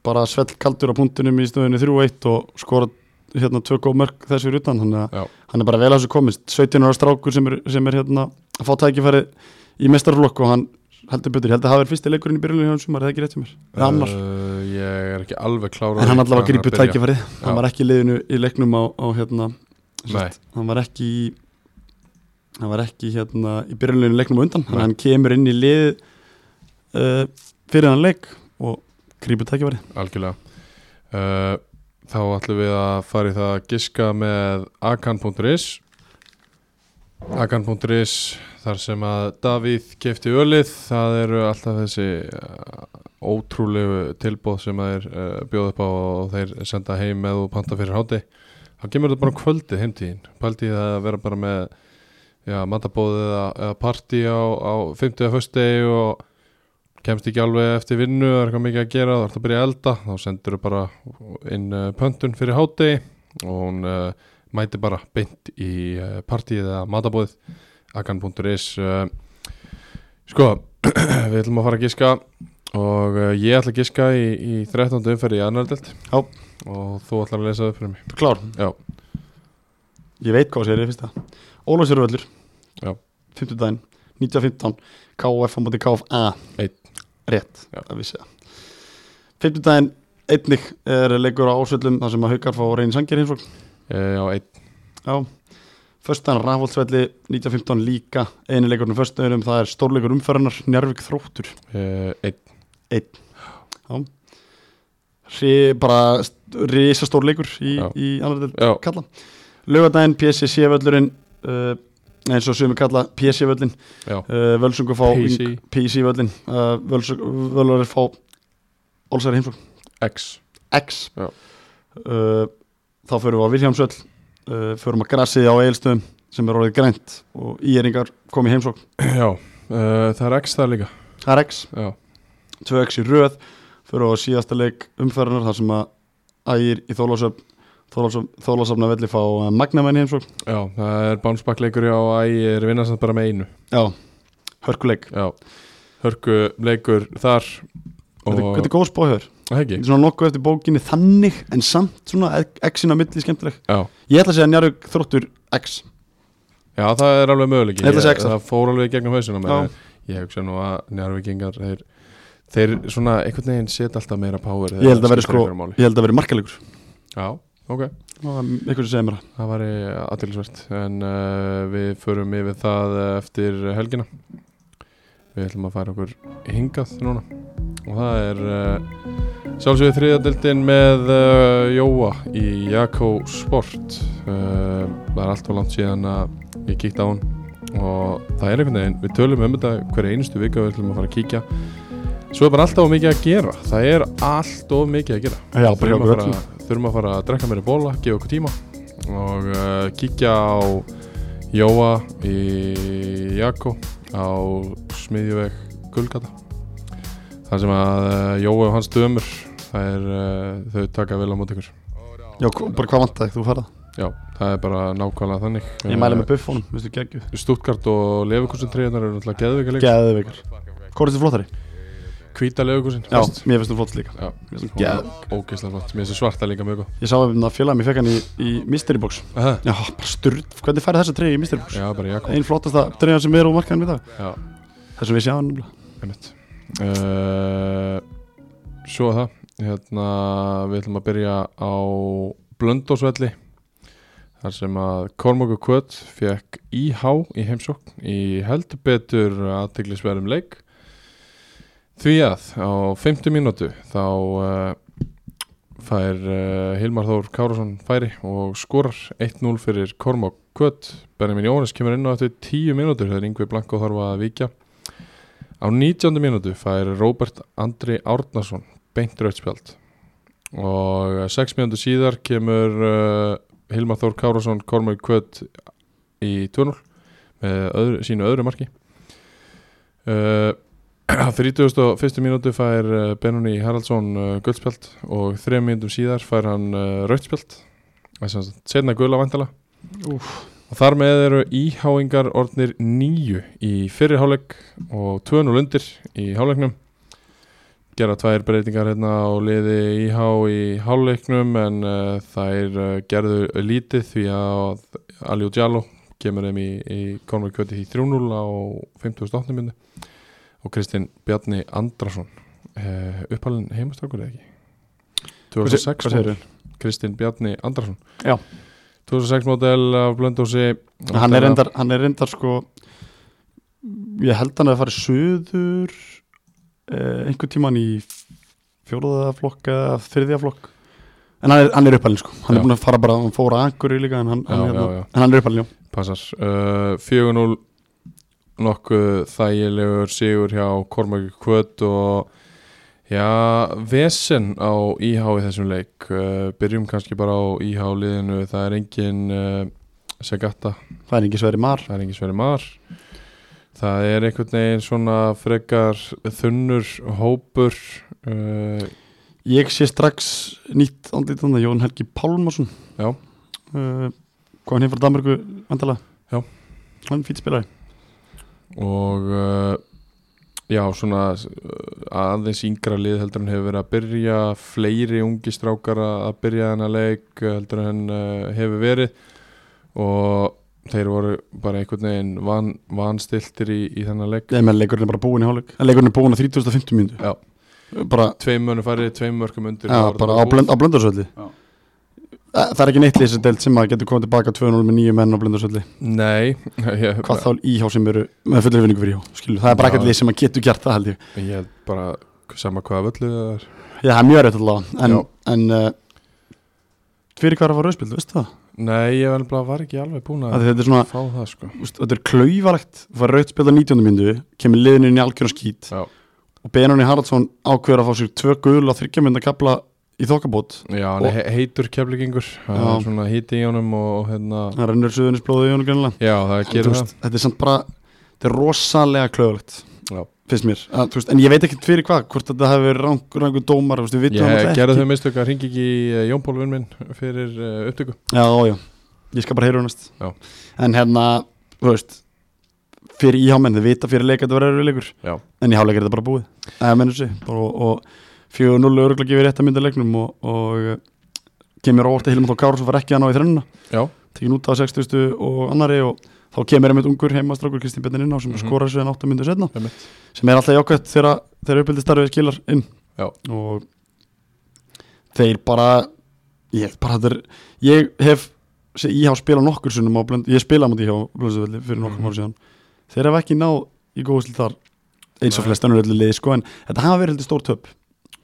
C: bara svell kaldur á punktunum í stöðunni 3-1 og skora hérna tvö góð mörg þessu fyrir utan þannig
B: Já.
C: að hann er bara vel að þessu komist 17 ára strákur sem er, sem er hérna að fá tækifæri í mestarflokk og hann heldur betur, ég held að hafa verið fyrsti leikurinn í byrjunni hjá hans sumar, er það ekki rétt hjá mér, eða annar
B: Uh, Ég er ekki alveg klára
C: en hann allavega grípur tækifærið,
B: Já.
C: hann var ekki í liðinu í leiknum á, á hérna sem
B: Nei.
C: sagt, hann var ekki í hann var ekki hérna í byrjunleginu leiknum á undan þannig
B: Nei.
C: að hann kemur inn í lið uh, fyrir hann leik og grípur tækifærið
B: Algjörlega uh, Þá ætlum við að fara í það að giska með akan.is akan.is þar sem að Davíð kefti ölið það eru alltaf þessi uh, ótrúlegu tilbóð sem að þeir uh, bjóða upp á og þeir senda heim með og panta fyrir háti þá kemur þetta bara á kvöldi heimtíðin pældi í það að vera bara með já, matabóð eða, eða partí á, á 50. að föstudegi og kemst ekki alveg eftir vinnu það er eitthvað mikið að gera, það er að byrja að elda þá sendur þau bara inn eh, pöntun fyrir hátegi og hún uh, mæti bara beint í uh, partíið eða matabóðið akan.is uh, sko, [CLEARS THROAT] við ætlum að fara að giska og uh, ég ætla að giska í, í 13. umferði í annardelt
C: Já.
B: og þú ætlar að lesa það upp fyrir mig
C: Ertu Klár?
B: Já.
C: Ég veit hvað það segir í fyrsta Ólafsjörvöldur
B: Já.
C: 50 daginn 1915 KF á móti KFA
B: Einn.
C: Rétt
B: Já.
C: Það vissi það 50 daginn einnig er leikur á ásvöllum þar sem að haukar fá reyni sangir hins og
B: uh, já, einn,
C: Já Föstaðan Rafóldsvelli 1915 líka eini leikurinn föstaðunum það er stórleikur umferðarnar Njárvík þróttur
B: uh, einn
C: Rí, bara risastór leikur í,
B: Já.
C: í annar del
B: já,
C: kalla Laugardaginn PSC völlurinn uh, eins og sumi kalla PSC völlin
B: já,
C: uh, Völsungur fá
B: PC.
C: Yng- PC völlin uh, Völsungur fá Olsæri heimsókn
B: x
C: X
B: Já.
C: uh, þá förum við á Viljámsvöll uh, förum að grassið á Egilstöðum sem er orðið grænt og íeringar komið heimsókn
B: já, uh, það er x það líka
C: það er X,
B: já,
C: 2X í röð förum við á síðasta leik umferðunar þar sem að ægir í Þólasöfn Þólasöfna velli fá uh, Magnamenn heimsókn
B: já, það er bánsbakkleikur já, æg er vinnarsamt bara með einu
C: já, hörkuleik
B: Já, hörku leikur þar og
C: Þetta, þetta er góð spáhjör
B: Það ekki,
C: Þetta er svona nokkuð eftir bókinni þannig en samt svona X-in á milli skemmtileg
B: já.
C: Ég ætla að segja Njarvík þróttur X
B: já, það er alveg möguleiki
C: Ég ætla að segja
B: Ég-
C: Axel.
B: Það fór alveg í gegnum hausina
C: Já.
B: mér Ég hugsa nú að njárvikingar þeir, þeir svona einhvern veginn setja alltaf meira power
C: Ég held að vera
B: skiptir
C: sko,
B: einhverju máli.
C: ég held að vera markalegur
B: Já, ok,
C: Það er Eitthvað sem segir mér það
B: það var aðtilsvert En uh, við förum yfir það eh, eftir helgina Við ætlum að fara okkur hingað núna Og það er uh, sjálfsögðu þriðadeldin með uh, Jóa í Jakko Sport. Uh, það er allt og langt síðan að ég kíkti á hann og það er einhvern veginn, við tölum um þetta hverja einustu vika við ætlum að fara að kíkja. Svo er bara alltaf of mikið að gera, það er allt of mikið að gera.
C: Já, bara hjá
B: Þurfum að
C: okkur
B: fara- Þurfum að fara að drekka meira bóla, gefa okkur tíma og uh, kíkja á Jóa í Jakko á smiðjuveg Gullgata þar sem að uh, Jói og hans dömur það er, uh, þau taka vel á mót ykkur
C: Já, hva- bara hvað vantaði þú farað
B: já, það er bara nákvæmlega þannig Uh,
C: Ég mæli með buffunum, veistu, geggju
B: Stuttgart og Lefukursin tríðunar eru náttúrulega geðvika líka
C: Geðveikar Hvor er þetta flottari?
B: hvíta Lefukursin
C: Já, mér finnst þú flott líka
B: já.
C: Mér finnst hún geð-
B: ógeðslega flott, mér finnst svarta líka mjög góð
C: Ég sá hérna að félagum, ég fekk hann í, í Mystery Box
B: Aha.
C: Já, bara styrd, hvernig færi þessa treyja í Mystery Box?
B: já, bara Jakko
C: Einn flottasta treyja sem er á markaðan við dag
B: já,
C: Þessum við sjáum nefnilega
B: einmitt uh, svo er það hérna, við ætlum að byrja á Blöndósvelli þar sem að Kormokur Kvöt fekk IH í heimsókn í heldur betur aðteglisverðum leik því að á 50 mínútu þá uh, fær uh, Hilmar Þór Kárásson færi og skorar 1-0 fyrir Kormok Kvöt Benjamin Jóhannes kemur inn á eftir 10 mínútur þegar Yngvi Blanko þarf að víkja á 19. mínútu fær Robert Andri Árnason beint rauðspjald og eh, 6 mínútu eh, síðar kemur uh, Hilmar Þór Kárásson Kormok Kvöt í 2-0 með öðru, sínu öðru marki [CLEARS THROAT] uh, 31. mínútu fær eh, Benóni Haraldsson uh, guldspjald og 3 mínútum síðar fær hann uh, rautspjald setna gula vantala og þar með eru íháingar orðnir nýju í fyrri hálfleik og 2-0 undir í hálfleiknum gera tvær breytingar hérna á liði íhá í hálfleiknum en uh, þær uh, gerðu lítið því að Aliu Djaló kemur þeim í, í konverkjöti í 3-0 á 58. minni og Kristinn Bjarni Andrason uh, uppalinn heimastrakur eða ekki 2006
C: Hvað segirðu?
B: Kristinn Bjarni Andrason
C: Já.
B: 2006 model af Blöndósi
C: hann er, reyndar, hann er reyndar sko ég held hann að fara suður eh, einhvern tíman í fjóruða flokk eða þriðja flokk en hann er, hann er uppalinn sko
B: Já.
C: hann er búin að fara bara, hann fór að akkur í líka en hann,
B: Já,
C: hann, hérna,
B: já, já.
C: En hann er uppalinn, já
B: Passar uh, 4-0 nokkuð þægilegur sigur hjá Kormaki Kvöt og já, vesen á IH í þessum leik uh, byrjum kannski bara á IH liðinu það er engin uh, Segata,
C: það er ekki sveri mar
B: það er engin Sveri Mar það er einhvern veginn svona frekar þunnur hópur uh,
C: ég sé strax nýtt andlít þannig Jón Helgi Pálmarsson
B: Já.
C: uh, kom hann heim frá Danmarku vandala
B: Já.
C: hann er fýtt spilari
B: og uh, já, svona uh, aðeins yngra lið heldur en hefur verið að byrja fleiri ungi strákar að að byrja þennan leik heldur en uh, hefur verið og þeir voru bara einhvern veginn van, vanstiltir í, í þennan leik
C: Nei, menn leikurinn er bara búin í hálfleik En leikurinn er búin á 30.50 mínútu Eh,
B: Já.
C: Bara
B: tveim mönnu farið, tveim mörgum undir
C: Já,
B: og
C: bara
B: það
C: á,
B: var
C: blönd, á blöndarsöldi
B: Já.
C: Þa- Það er ekki neitt lýsindelt sem að getur komið tilbaka 2-0 með nýju menn á blöndarsöldi
B: Nei, [LAUGHS] ég,
C: Hvað þá íhá sem eru með fullir vinningu fyrir íhá Skilur, það er bara
B: Já.
C: ekkert lýs sem að getur gert það held ég
B: ég held bara sama hvaða völlu það er
C: Já, það er mjög rétt allavega En,
B: Já.
C: en uh, fyrir hverja var rauðspild, veistu það?
B: Nei, ég vel bara var ekki alveg búin
C: Af
B: að
C: því Þetta er svona,
B: fá það sko
C: úst, þetta er klaufalegt Var rauðspild á 19. myndu, kemur liðinu inn í algjörn skít
B: Já.
C: Og Benóni Haraldsson ákveður að fá sér tvö gul á þryggjaminda kapla í þokkabót
B: Já, hann
C: Og-
B: er he- heitur keflingingur Það
C: Já.
B: er svona híti í honum og, og hérna
C: Það rennur suðunisblóðu í honum greinlega
B: Já, það
C: Þú
B: gerir það
C: veist, þetta er samt bara þetta er rosalega klöðulegt
B: Já.
C: finnst mér, að, þú veist, en ég veit ekki fyrir hvað hvort þetta hefur verið rangur, rangur dómar þú veist, við vitum það
B: Ég
C: náttúrulega
B: gerði
C: ekki.
B: þau mistök að ringi ekki í eh, Jón Pálvin minn fyrir uh, upptöku
C: já, já, ég skal bara heyra hún næst
B: Já.
C: en hérna, þú veist fyrir íhámenn, þau vita fyrir leik að þetta verður erfiður leikur,
B: Já.
C: en í háleik er þetta bara búið það mennur sig, bara og, og 4-0 öruglega gefið rétt að mynda leiknum og, og eh, kemur óvart að Hilmar Þór Kársson var ekki að ná í þrennuna
B: Já,
C: tekin út á 60 og annari og þá kemur einmitt ungur heimastrákur Kristinn Bjarni inn á sem
B: Mhm.
C: skorar sér en 8 myndu setna
B: Einmitt.
C: sem er alltaf jákvæmt þegar, þegar uppbyldið starfið skilar inn
B: Já.
C: og þeir bara ég, bara þetta er, ég hef sé, ég haf spilað nokkur sunnum á blönd, ég spilaði á móti hjá blöndsöðvelli fyrir nokkur mm
B: Mhm.
C: ára síðan þeir hafa ekki náð í góðsli þar eins
B: Nei.
C: og flest önnur öllu liði sko en þetta hafa verið heldur stór töp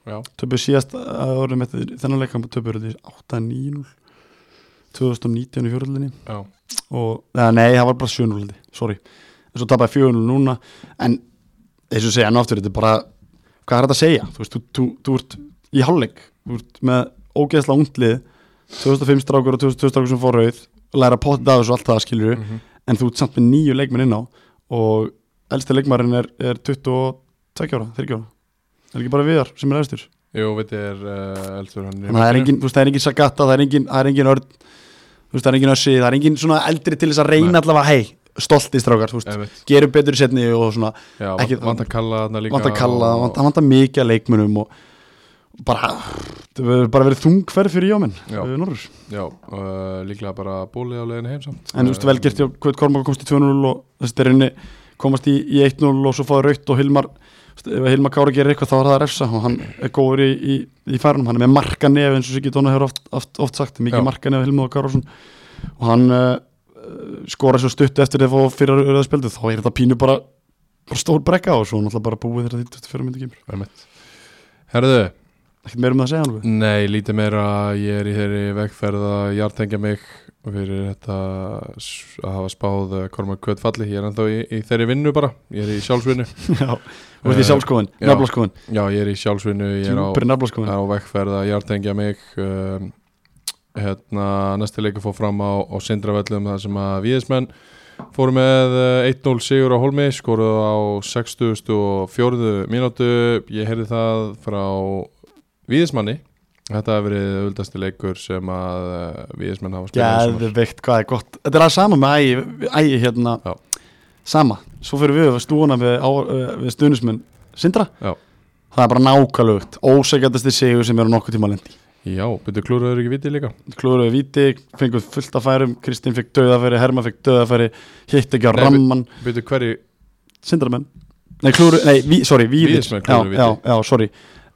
B: já,
C: töpuð síðast eh, að orðum eftir þennan leikamp töpuð öllu 8-9 2019 í fjörullinni
B: já
C: og, eða nei, það var bara 7-0 held ég, sorry, en svo tapaði 4-0 núna en eins og ég segja enn og aftur, þetta er bara, hvað er þetta að segja þú veist, þú, þú, þú ert í hálfleik þú ert með ógeðsla unglið 2005 strákur og 2002 strákur sem fór rauð læra pottið af þessu og allt það skilur
B: mm
C: en þú ert samt með nýju leikmenn inn á og elsti leikmærin er, er 22 ára, 30 ára það er ekki bara viðar sem er efstur
B: Jú, veit ég er uh, eldur hann í
C: þannig að það er
B: markinu.
C: engin, þú veist, það er engin Sagata, það er engin, það er engin örn, þú veist, það er engin össi, það er engin svona eldri til þess að reyna
B: Nei.
C: allavega, hei, stolti strákar, þú veist,
B: Einmitt.
C: gerum betur í setni og svona,
B: Já,
C: Ekki-
B: vant að kalla þarna líka
C: vant að kalla,
B: og-
C: vant að mikið að leikmunum og bara, það hefur bara verið þungferð fyrir jáminn,
B: Já.
C: Norrur,
B: Já, uh, líklega bara bólið á leiðinu heim samt Eh,
C: en þú veist, vel gert, já, Kvöld Kormaka komst í 2-0 og þessi derinni komast í, í 1-0 og svo fáið raut og Hilmar, þú veist, ef Hilmar Kári gerir eitthvað þá er það að refsa og hann er góður í, í, í færunum, hann er með marka nef eins og Siggi Dóna hefur oft, oft, oft sagt, mikið
B: Já.
C: marka nef Hilmar Kárásson og hann uh, skora svo stutt eftir þegar það fyrir að spildu þá er þetta pínu bara, bara stór brekka og svo náttúrulega bara búið þegar þetta fyrir myndi kemur
B: Einmitt. Herðu,
C: ekkert meira um það
B: [LAUGHS]
C: að segja alveg
B: nei, lítið meira ég er í þeirri vegferð að jartengja mig fyrir þetta s- að hafa spáð uh, Kormar Kvöt falli ég er ennþá í, í þeirri vinnu bara ég er í sjálfsvinnu
C: Já, þú veist
B: Eh,
C: í sjálfskoðin,
B: já.
C: naflaskoðin,
B: Já, ég er í sjálfsvinnu, ég er á
C: djúpir
B: Það
C: naflaskoðin
B: er á vegferð að jartengja mig um, hérna, næsti leikur fór fram á, á sindrafellum þar sem að viðismenn Fóru með eh, 1-0 sigur á Holmi, skoruðu á 64. mínútu, ég heyrði það frá Víðismanni. Þetta hefur verið auðvitaðsti leikur sem að eh, Víðismenn hafa spilað. í sumar.
C: Geðveikt, hvað er gott Þetta er að sama með ægi, ægi hérna
B: Já.
C: Sama, svo fyrir við að stúana við, á, eh, við stuðnismenn Sindra
B: Já.
C: Það er bara nákvæmlegt, ósækjandasti sigur sem eru nokkuð tíma lendi
B: Já, byrju klúruður ekki vitið líka.
C: Klúruðu viti, fengum fullt af færum Kristín fekk döðafæri, Herma fekk döðafæri Hitt ekki á
B: Nei, við-
C: ramman
B: Byrju hverju,
C: Sindramenn Nei, klúru, nei, ví, sorry, víðir
B: Víðismenn klúðruðu
C: já, já,
B: víti.
C: já, sorry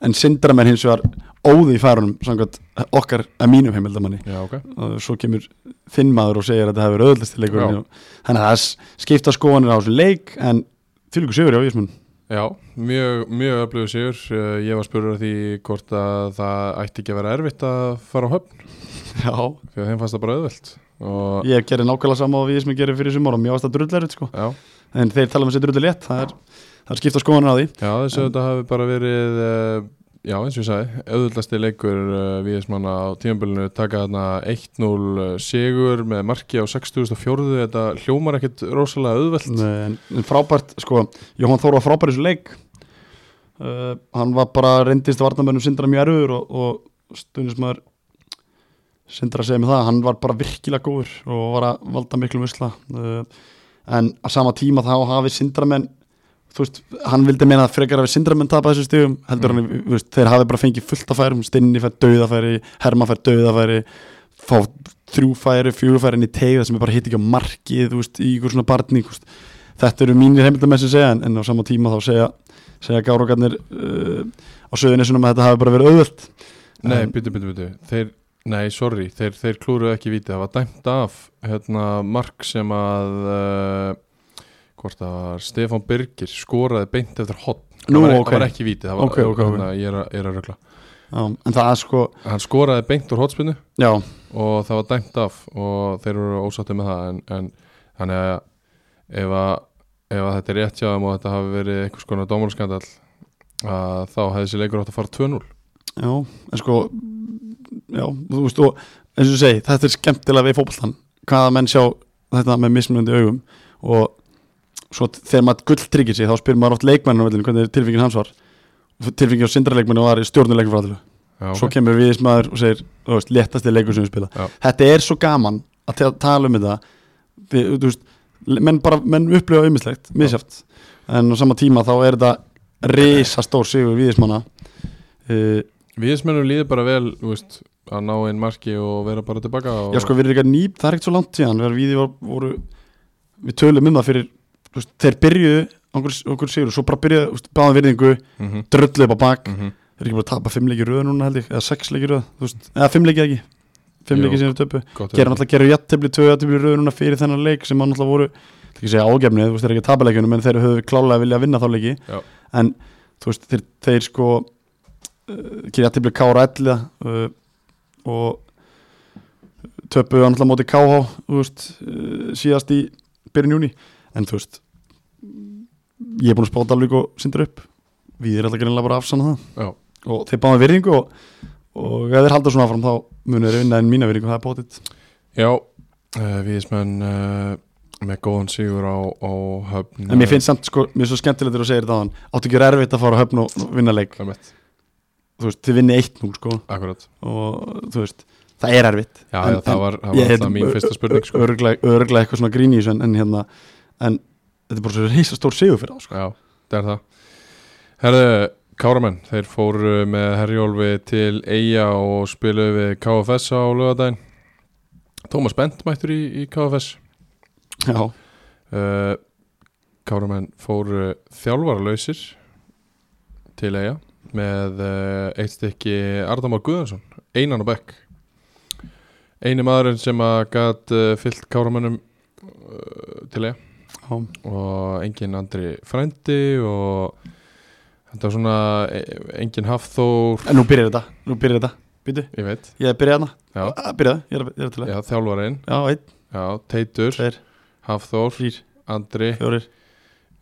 C: En Sindramenn hins vegar óði í færunum Samkvæmt okkar að mínum heimildamanni
B: já ok.
C: og Svo kemur þinn maður og segir að þetta hefur öðlasti leikur
B: Já.
C: Þannig að það s- skipta skoðanir á þessu leik En þvílíku sigur já, Víðismenn
B: Já, mjög, mjög öflugur sigur. Eh, Ég var spurður að því hvort að það ætti ekki að vera erfitt að fara á höfn,
C: Já
B: því að þeim fannst það bara auðvelt. Og,
C: Ég gerði nákvæmlega sama og Víðismenn gerir fyrir sumar Og mjög aðstæð drullarut sko
B: já,
C: En þeir tala um þessi drullu létt Það er, það er skipta skoðanir á því
B: já, þessu þetta hafi bara verið, eh, já, eins og ég sagði, auðvöldasti leikur eh, viðismanna á tímabölinu taka þarna 1-0 sigur með marki á 6004. Þetta hljómar ekkit rosalega auðvelt.
C: Nei, en, en frábært, sko Jóhann Þór var frábær í þessu leik uh, hann var bara reyndist varnamönnum Sindra mjög erfur og, og stundismæður Sindra segir mig það, hann var bara virkilega góður og var að valda miklu musla uh, en á sama tíma þá hafi Sindramenn þú veist, hann vildi meina að frekar hafi Sindramenn tapað þessu stíðum, heldur mm. hann þú veist, þeir hafi bara fengið fullt af færum, Stinni fær döðafæri Herma fær döðafæri fá þrjú færi, fjögur færi inn í teig það sem er bara hitt ekki á markið, þú veist, í ykkur svona barni, þú veist, þetta eru mínir heimildamenn sem segja, en, en á sama tíma þá segja segja gárókarnir uh, á söðunissunum að þetta hafi bara verið auðvöld
B: Nei,
C: En-
B: byttu, byttu, byttu Þeir, nei, sorry, þeir, þeir klúruðu ekki viti Það var dæmt af hérna, mark sem að uh, hvort það var Stefán Birgir skoraði beint eftir hot
C: Nú,
B: það, var, e-
C: ok.
B: það var ekki viti það var,
C: Ok, ok, ok.
B: hérna, Ég, er að, ég er að rögla
C: Já, en það er sko,
B: Hann skoraði beint úr hotspinnu
C: já,
B: og það var dæmt af og þeir eru ósáttið með það en, en þannig að ef, að ef að þetta er rétt hjá þeim og þetta hafi verið einhvers konar dómarskandall að þá hefði þessi leikur átt að fara 2-0
C: já, en sko já, þú veist, og eins og ég segi, þetta er skemmtilega við fótboltan hvaða menn sjá þetta með mismunandi augum og svo t- þegar maður gulltryggir sig, þá spyr maður oft leikmenninu vellinu hvernig tilfengin hans var tilfengin á sindraleikmennu var í stjórnuleikum frá allu
B: Já,
C: svo
B: ok.
C: kemur viðismæður og segir þú veist, léttasti leikur sem við spila
B: Já.
C: þetta er svo gaman að te- tala um þetta við, þú veist, menn, bara, menn upplifa umislegt, misjátt en á sama tíma þá er þetta risastór sigur viðismanna uh,
B: Viðismennum líður bara vel þú veist, að ná einn marki og vera bara tilbaka og...
C: já sko við erum eitthvað nýp, það er ekkert svo langt síðan við, við, var, voru, við tölum um það fyrir þú veist, þeir byrjuðu okkur, okkur sigur og svo bara byrjuðu, þú veist, báðan virðingu
B: Mhm,
C: drullu upp á bak,
B: mhm.
C: þeir eru ekki bara að tapa fimm leiki röð núna held ég, eða sex leiki röð þú veist, eða fimm leiki ekki fimm
B: Jú.
C: leiki sem við töpu
B: Gott auðvitað.
C: gera náttúrulega gerur jættibli, tvö jættibli röður núna fyrir þennan leik sem hann náttúrulega voru ég ætla ekki að segja ágefnið, þú veist þeir eru ekki að tapa leikjunum en þeir höfðu klálega vilja að vinna þá leiki
B: Já.
C: en þú veist þeir, þeir sko uh, gerur jættibli kára ellida uh, og töpuðu hann náttúrulega móti káhá þú veist uh, síðast í byrjun júni en þú veist ég er búin að spáta alveg og sindur upp við erum alltaf greinlega bara að afsanna
B: Já.
C: það og þeir báðum virðingu og, og ef þeir halda svona áfram þá munur þeir vinna en mína virðingu það er bótitt
B: Já, uh, viðismenn uh, með góðan sigur á, á höfn eh,
C: En mér finnst samt, sko, mér er svo skemmtilegt þegar þú segir þetta á hann Áttu ekki verið erfitt að fara á höfn og og vinna leik
B: Það er mitt,
C: Þú veist, þið vinni eitt nú, sko
B: akkurat
C: Og þú veist, það er erfitt
B: Já,
C: En-
B: en, það
C: en-
B: var, það var alltaf mín fyrsta spurning sko.
C: Örglega, örglega eitthvað svona grín í þessu en, en hérna, en þetta er bara svo reisa stór sigur fyrir það, sko
B: Já, það er það Herðu, Káramenn, þeir fóru með Herjólfi til Eyja og spiluðu við KFS á lögadaginn Tómas Bent mættur í, í KFS
C: Já,
B: uh, Káramenn fóru þjálfarlausir til eiga með uh, eitt stykki Ardamár Guðansson, einan á bekk eini maðurinn sem að gat uh, fyllt Káramennum uh, til eiga
C: já,
B: og engin andri frændi og þetta var svona e- engin hafþór
C: en nú byrjar þetta, nú byrjar þetta Býtu,
B: ég veit,
C: ég byrja hérna
B: já,
C: Ah, Byrjaðu, ég er, ég er til að
B: já þjálfarinn
C: Já, einn,
B: já, Teitur,
C: tveir,
B: Hafþór,
C: þrýr,
B: Andri
C: fjórir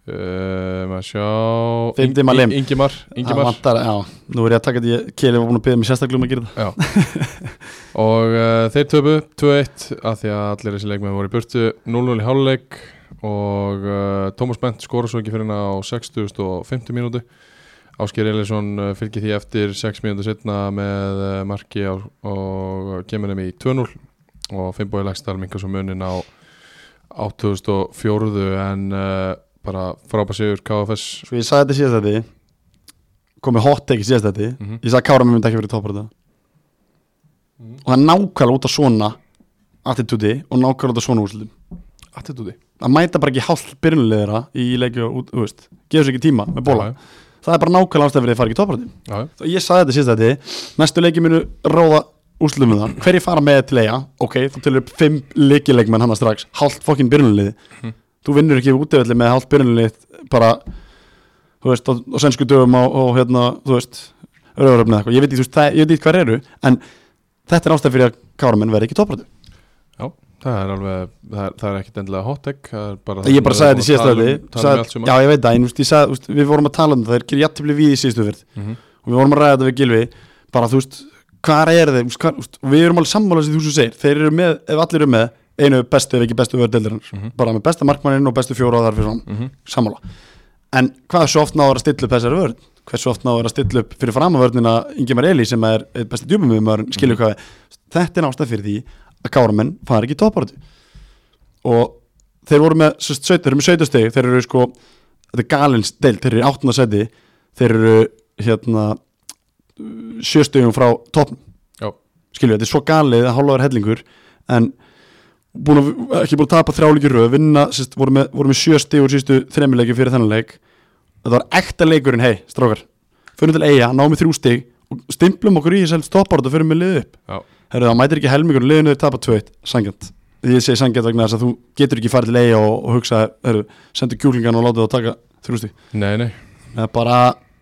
B: Uh, maður sjá
C: Fimmti Malim.
B: Ingimar,
C: Það
B: Ingimar.
C: vantar, já, nú er ég að taka þetta, ég- Keli var búin að byrja mig sérstaklega um að gera það
B: Já. og uh, þeir töpu 2-1 að því að allir þessi leikmenn voru í burtu 0-0 í háluleik og uh, Tómas Bent skora svo ekki fyrir hennar á 60 og 50 mínútu Ásker Eliasson uh, fylgir því eftir 6 mínútu setna með uh, marki á, og kemur þeim í 2-0 og Finnbói Lækstar minkar svo munin á 8004 en uh, bara frábær sigur KFS
C: Svo ég sagði þetta síðast þetta Komið hot take í síðast þetta
B: Mhm.
C: Ég sagði Kára mér myndi ekki verið toppar þetta Og það er nákvæmlega út af svona Attitúti og nákvæmlega út af svona úrslutum
B: Attitúti
C: Að mæta bara ekki hálf byrjunulegðara í leikju og út, þú veist, gefur sér ekki tíma með bóla Það er bara nákvæmlega ástæð fyrir að fara ekki toppar þetta
B: Já, já.
C: Og ég sagði þetta síðast þetta Næstu leiki munu róða úrslutum með það Hverjir fara með til eiga, ok, þú telur upp fimm leikileikmenn hana strax Hálft fokkin byrjunulegði þú vinnur ekki útöfelli með hálft byrjunlið bara, þú veist, á, á sænsku dögum og, og hérna, þú veist rauðaröfni eða eitthvað, ég veit ekki, þú veist, það, ég veit ekki hvað eru en þetta er ástæð fyrir að káramenn verði ekki topparötu.
B: Já, það er alveg, það er, það er ekkit endilega hot take það er bara
C: Ég bara sagði þetta í síðasta
B: Tala um- Tala um allt
C: öfni
B: sem
C: Já, ég veit það, en þú veist, ég sagði, þú veist, við vorum að tala um það það er jættibli við í síðustu verð
B: Mhm.
C: og við vorum að ræða þetta við Gilvi bara, þú veist, hvað er þeir, þú veist, hvað, þú veist, og við erum alveg sammála sem þú svo segir, þeir eru með, ef allir eru með einu bestu ef ekki bestu vördeildarinn
B: Mhm.
C: bara með besta markmanninn og bestu fjóra og þar fyrir svona sammála en hvað svo oft náður að stilla upp þessari vörn hversu oft náður að stilla upp fyrir framavörnina Ingemar Eli sem er einn besti djúbumumörn skilur
B: Mhm.
C: hvað við, þetta er ástæð fyrir því að káramenn fara ekki í topparötu og þeir voru með sérst, saut, þeir eru með 17 steg, þeir eru sko þetta er galins deild, þeir eru í 8. seti þeir eru hérna 7 stegum frá topn
B: Já.
C: skilur við, þetta er svo galið að hálfaður hellingur en búin að, ekki búin að tapa þrjáleikir röð vinna, sérst, voru með, voru með sjö stíð úr sístu þremileiki fyrir þennan leik þetta var ekta leikurinn, hei, strákar fyrir til eiga, námið þrjú stíg og stimplum okkur í þess að stoppa þetta fyrir með liðu upp
B: Já.
C: herru það mætir ekki helmingur liðinu þeir tapa tveitt, sangjant ég segi sangjant vegna þess að þú getur ekki farið til eiga og, og hugsa, herru, sendu kjúklingan og láta það taka þrjú stíg
B: Nei, nei,
C: eða bara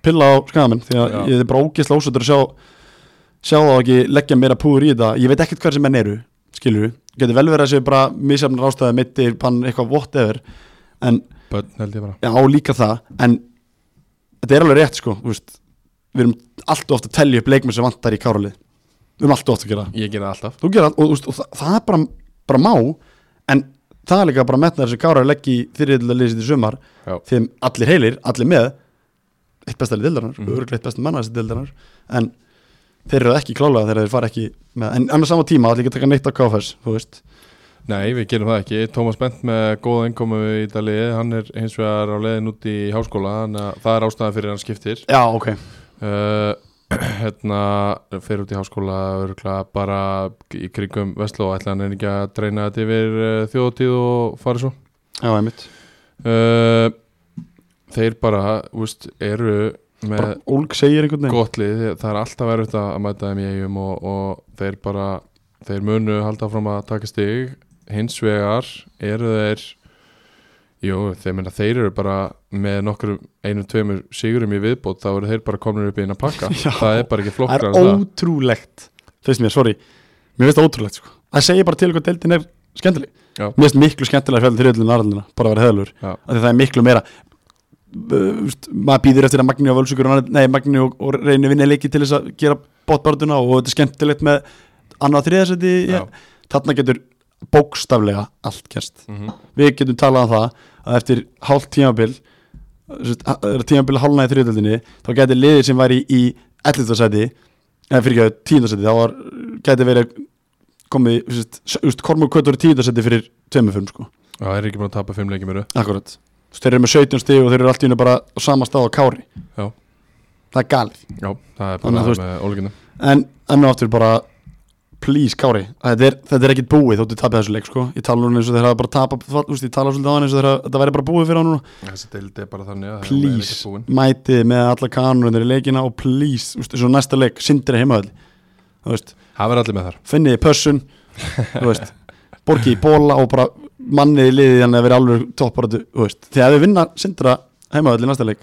C: pilla á skamin því að
B: Já.
C: ég er bara ógeðslega ósöldur að sjá sjá þá ekki leggja meira púður í þetta ég veit ekkert hvað sem menn eru, skilur getur vel verið að séu bara misjafnar ástæði mittir, pann, eitthvað, whatever en
B: bönn held ég bara
C: já, líka það en þetta er alveg rétt sko, þú veist við erum allt og ofta að telja upp leikmenn sem vantar í káralið við erum allt og ofta að gera það
B: Ég gera alltaf
C: þú gerir allt og, þú veist, og það, það er bara, bara má en það er líka bara metnaður sem Kára legg í þyrriðilega liðið sitt í sumar
B: Já.
C: þeim allir heilir, allir með eitt besta lið dildarinnar, mm. örgleitt besta manna þessi dildarinnar en þeir eru það ekki klálega þegar þeir fara ekki með, en annars sama tíma allir ekki að taka neitt á KFS, þú veist
B: Nei, við gerum það ekki Tómas Bent með góða innkomu í Dalí Hann er hins vegar á leiðin út í háskóla Þannig að það er ástæðan fyrir hann skiptir
C: Já, ok,
B: uh, [CLEARS THROAT] Hérna, fer út í háskóla Örgla bara í kringum Vestló Ætla hann er ekki að dreina þetta yfir uh, þjóðtíð og fara svo
C: já, einmitt
B: uh, Þeir bara, úst, eru með
C: bara Ólg segir einhvern
B: Eh,
C: veginn
B: gott lið, það er alltaf verið að mæta þeim í eigum og, og þeir bara þeir munu halda fram að taka stig hins vegar eru þeir jú, þeir meina þeir eru bara með nokkur einum, tveimur sigurum í viðbót þá eru þeir bara komin upp í eina
C: [LAUGHS]
B: pakka
C: Já.
B: það er bara ekki
C: Það
B: flokkar
C: er ótrúlegt, finnst mér, sorry Mér finnst það ótrúlegt, sko Það segir bara til hvað deildin er skemmtileg
B: Já.
C: Mér finnst miklu skemmtilega fjölinn þriðlun aðraldina bara að vera heðalur
B: Já.
C: af því það er miklu meira uh, veist, maður býður eftir að Magni og Völsugur nei, Magni og, og reynir vinna leiki til þess að gera bótbárduna og þetta er skemmtilegt með annað þriðasæti
B: Já.
C: þarna getur bókstaflega allt gerst
B: Mhm.
C: við getum talað um það að eftir hálft tímabil tímabil hálfna í þriðasætinni þá getur liðið sem væri í 11. sæti eða fyrir ekki að 10. sæti þá var, getur verið komið, þú veist, úst, Kormur Kvötur í 10. sæti fyrir tveimur fyrir sko
B: Já, þeir eru ekki búin að tapa fimm leikjum eru
C: Akkurat Þú veist, Þeir eru með 17 stig og þeir eru allt í hennu bara á sama stað á kári
B: Já.
C: Það er galið
B: Já, það er
C: Þannig
B: bara
C: að þú veist-
B: með ólíkina
C: En enn og aftur bara Please kári Þetta er, þetta er ekkit búið þóttu tapið þessu leik sko Ég tala núna eins og þeir hafa bara tapað þú veist, Ég tala svolítið á hann eins og þeir hafa Þetta væri bara búið fyrir hann núna
B: Þessi deildi er bara þannig að
C: Please Mætið með alla kanunir í leikina Og please Þú veist, Svo næsta leik Sindri heimaðall Þú veist
B: Það verður allir með þar
C: Finniði pössun Þú veist Borgið í bóla og bara Mannið í liðið Þannig að vera alveg topparötu Þú veist Þegar við vinna Sindra heimaðall í næsta leik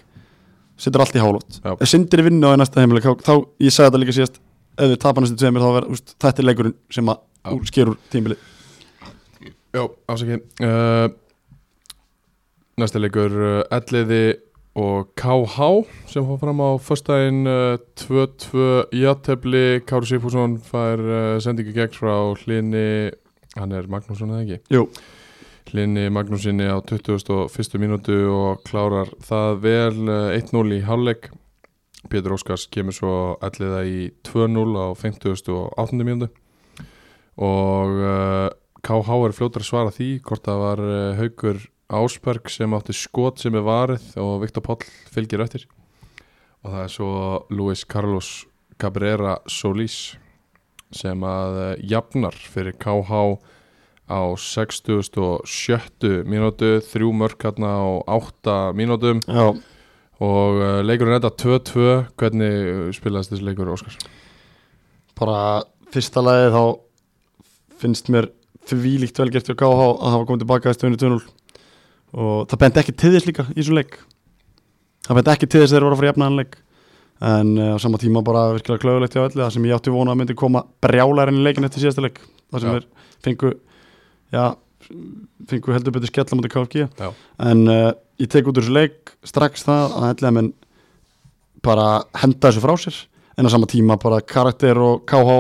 C: Sindra allt í hálót
B: Já.
C: Ef Sindri vinna á í næsta heimaðall þá, þá, ég sagði þetta líka síðast Ef við tapa næstu tveimur Þá vera, úst, þetta er leikurinn Sem
B: Já.
C: að úr- sker úr tímili
B: Jó, afsakið uh, Næsta Eh, leikur uh, Elliði og KH sem fór fram á föstudaginn uh, 2-2 játefli Kári Sigfússon fær uh, sendingu gegn frá hlinni hann er Magnússon eða ekki
C: Jú,
B: Hlinni Magnúsinni á 21. mínútu og klárar það vel eh, 1-0 í hálfleik. Pétur Óskars kemur svo alliða í 2-0 á 58. mínútu og uh, KH er fljótur að svara því hvort það var uh, Haukur Ásberg sem átti skot sem er varið og Viktor Páll fylgir eftir og það er svo Luis Carlos Cabrera Solís sem að uh, jafnar fyrir KH á 67. mínútu, þrjú mörk hérna á 8 mínútum
C: já,
B: og uh, leikurinn enda 2-2, hvernig uh, spilaðist þessi leikur Óskars?
C: bara fyrsta lagi þá finnst mér því líkt velgert hjá KH að hafa komið tilbaka í stöðunni 2-0 og það benti ekki til þess líka í þessum leik það benti ekki til þess að þeir voru að fara jafnaðan leik en eh, á sama tíma bara virkilega klöðulegt hjá öllu það sem ég átti vona að myndi koma brjálærin í leikin eftir síðasta leik það sem
B: Já.
C: þeir fengu já, fengu heldur betur skella mútið KFG
B: Já.
C: en uh, ég tek út úr þessu leik strax það að hellega menn bara henda þessu frá sér en á sama tíma bara karakter og KH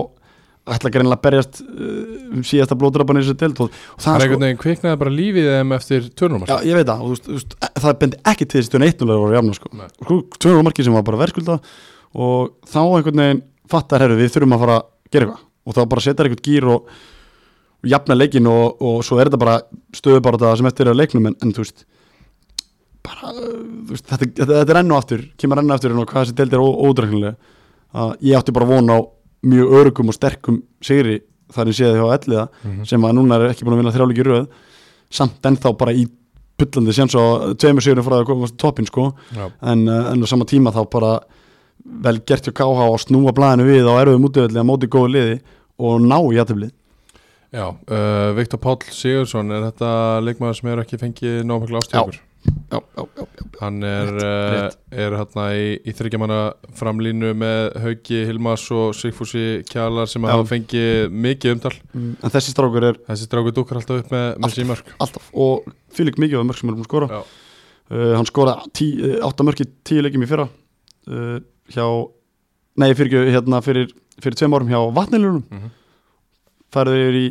C: ætla ekki reynilega að berjast uh, um síðasta blóðdrapan í þessu deild og, og
B: Það er
C: það er sko,
B: einhvern veginn kviknaði bara lífið þeim eftir
C: já,
B: törnumar
C: ég veit það og, þú veist, þú veist, e- það bendi ekki til þessi 21 og jafna sko,
B: Nei.
C: sko 200 marki sem var bara verðskulda og þá einhvern veginn fattar herru við þurfum að fara að gera eitthvað og þá bara setjar einhvern gýr og, og jafna leikin og, og svo er þetta bara stöðu bara það sem eftir er að leiknum en, en þú veist bara, uh, þú veist, þetta, þetta, þetta er enn og aftur kemur enn og aftur en hvað þessi deild er ódraknilega að ég átti bara von á mjög örugum og sterkum sigri þar en séði hjá Elliða sem að núna er ekki búin að vinna þrjáleiki röð samt ennþá bara í pullandi séns og tveimur sigurum frá það að komast á toppin sko
B: Já,
C: en, eh, en á sama tíma þá bara vel gert hjá KH að snúa blæðinu við á erfiðum útöðli að móti góðu liði og ná í aðtöflið
B: já uh, Viktor Páll Sigursson, er þetta leikmaður sem er ekki fengið nóg miklu
C: Já.
B: ástöður?
C: já, já, já, já.
B: Hann er,
C: Rétt,
B: uh,
C: rétt.
B: er hérna í, í þryggjamanna framlínu með Hauki Hilmas og Sigfúsi Kjalar sem
C: Já.
B: hafa fengið mikið umtal.
C: Mm, en þessi strákur er
B: Þessi dráku dúkar alltaf upp með, með
C: Alltaf.
B: símörk.
C: alltaf og fylg mikið af mörg sem er búin að skora
B: Já.
C: uh, hann skoraði 8 mörg í 10 leikjum í fyrra uh, hjá nei fyrir, ekki, hérna, fyrir, fyrir tveim árum hjá vatnilunum
B: Mhm.
C: færður yfir í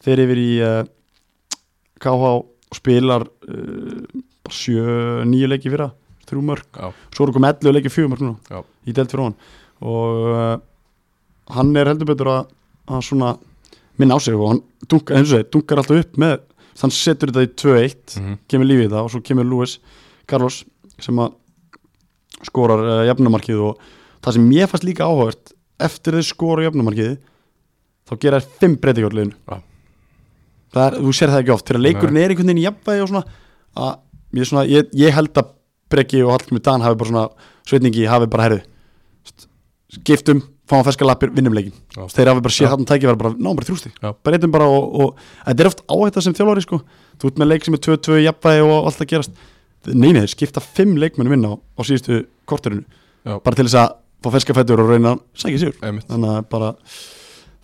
C: fer yfir í uh, KH og spilar uh, bara 7 nýju leiki í fyrra þrjú mörg
B: Já,
C: svo eru komið 11 leikir fjögur mörg
B: Já.
C: núna í delt fyrir hann og uh, hann er heldur betur að, að svona minna á sig og hann dunkar, eins og þeir, dunkar alltaf upp með hann setur þetta í 2-1
B: mm
C: kemur lífið í það og svo kemur Luis Carlos sem að skorar uh, jafnumarkið og það sem ég fannst líka áhugavert eftir þeir skora jafnumarkið þá gera þeir fimm breytingjörliðinu
B: Já.
C: það er, þú sér það ekki oft þegar leikurinn er einhvern veginn í jafnvægi og svona að ég, svona, ég, ég held að Breki og Hallgrimur Dan hafi bara svona sveitningi hafi bara herðu st- skiptum, fáum ferska lappir, vinnum leikin
B: Já.
C: þeir hafi bara séð
B: Já.
C: þarna tæki bara, náum bara þrjústi
B: Já.
C: breytum bara og, og þetta er oft áhætta sem þjálfari sko þú ert með leik sem er 2-2 jafnvægi og allt að gerast Nei, nei, þeir skipta fimm leikmennum inn á, á síðustu korterinu
B: Já.
C: bara til þess að fá ferska fættur og reyna að sækja sigur
B: einmitt.
C: þannig að bara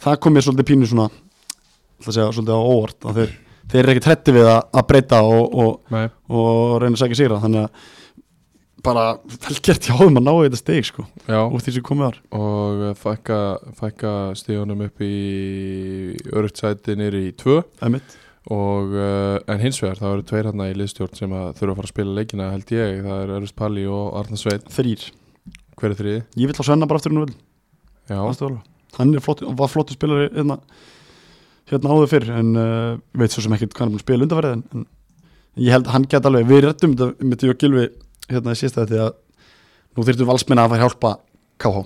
C: það kom mér svolítið pínu svona ætla að segja svolítið á óvart að þeir, þeir eru ekki tretti við að, að breyta og, og,
B: Nei,
C: og reyna að sækja sigra þannig að bara vel gert hjá þeim að ná í þetta steg sko
B: já,
C: úr því sem komið var
B: og eh, fækka, fækka stíðunum upp í örugt sæti nýri í tvö
C: Einmitt.
B: og, eh, en hins vegar það eru tveir hérna í liðstjórn sem að þurfa að fara að spila leikina held ég, það er Örust Palli og Arna Sveit
C: þrýr,
B: hver er þriði?
C: ég vil á Svenna bara aftur hún vil
B: Já,
C: hann er flott, var flottu spilari hérna, hérna áður fyrr en uh, veit svo sem ekkert hvað hann er búin að spila undarverið en, en ég held að hann get alveg við rettum þetta með því og gilvi hérna í sísta því að nú þyrftum valsmenn að fara að hjálpa KH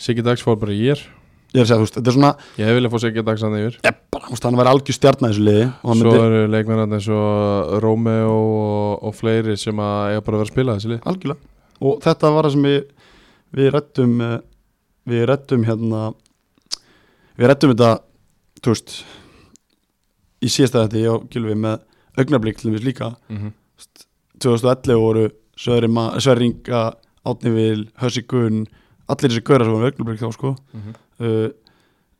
B: Siggi Dags fór bara ég er
C: ég er að segja, þú veist, þetta er svona
B: ég vilja fá Siggi Dags hann yfir
C: ég, bara, þú veist, hann væri algjör stjarnar þessu liði og hann
B: Svo
C: myndi
B: eru leikmennarnir eins og Rómeo og, og fleiri sem að eiga bara að vera að spila þessi lið
C: algjörlega og þetta var það sem við við rettum við rettum hérna við rettum þetta þú veist í síðasta þetta ég og Gylfi með augnablík til þess líka
B: mm -hmm.
C: 2011 voru Sverri Ma- Sverrir Inga, Átni Vil, Hössi Gunn allir þessi gaurar sem voru augnablík þá sko
B: Mhm.
C: uh,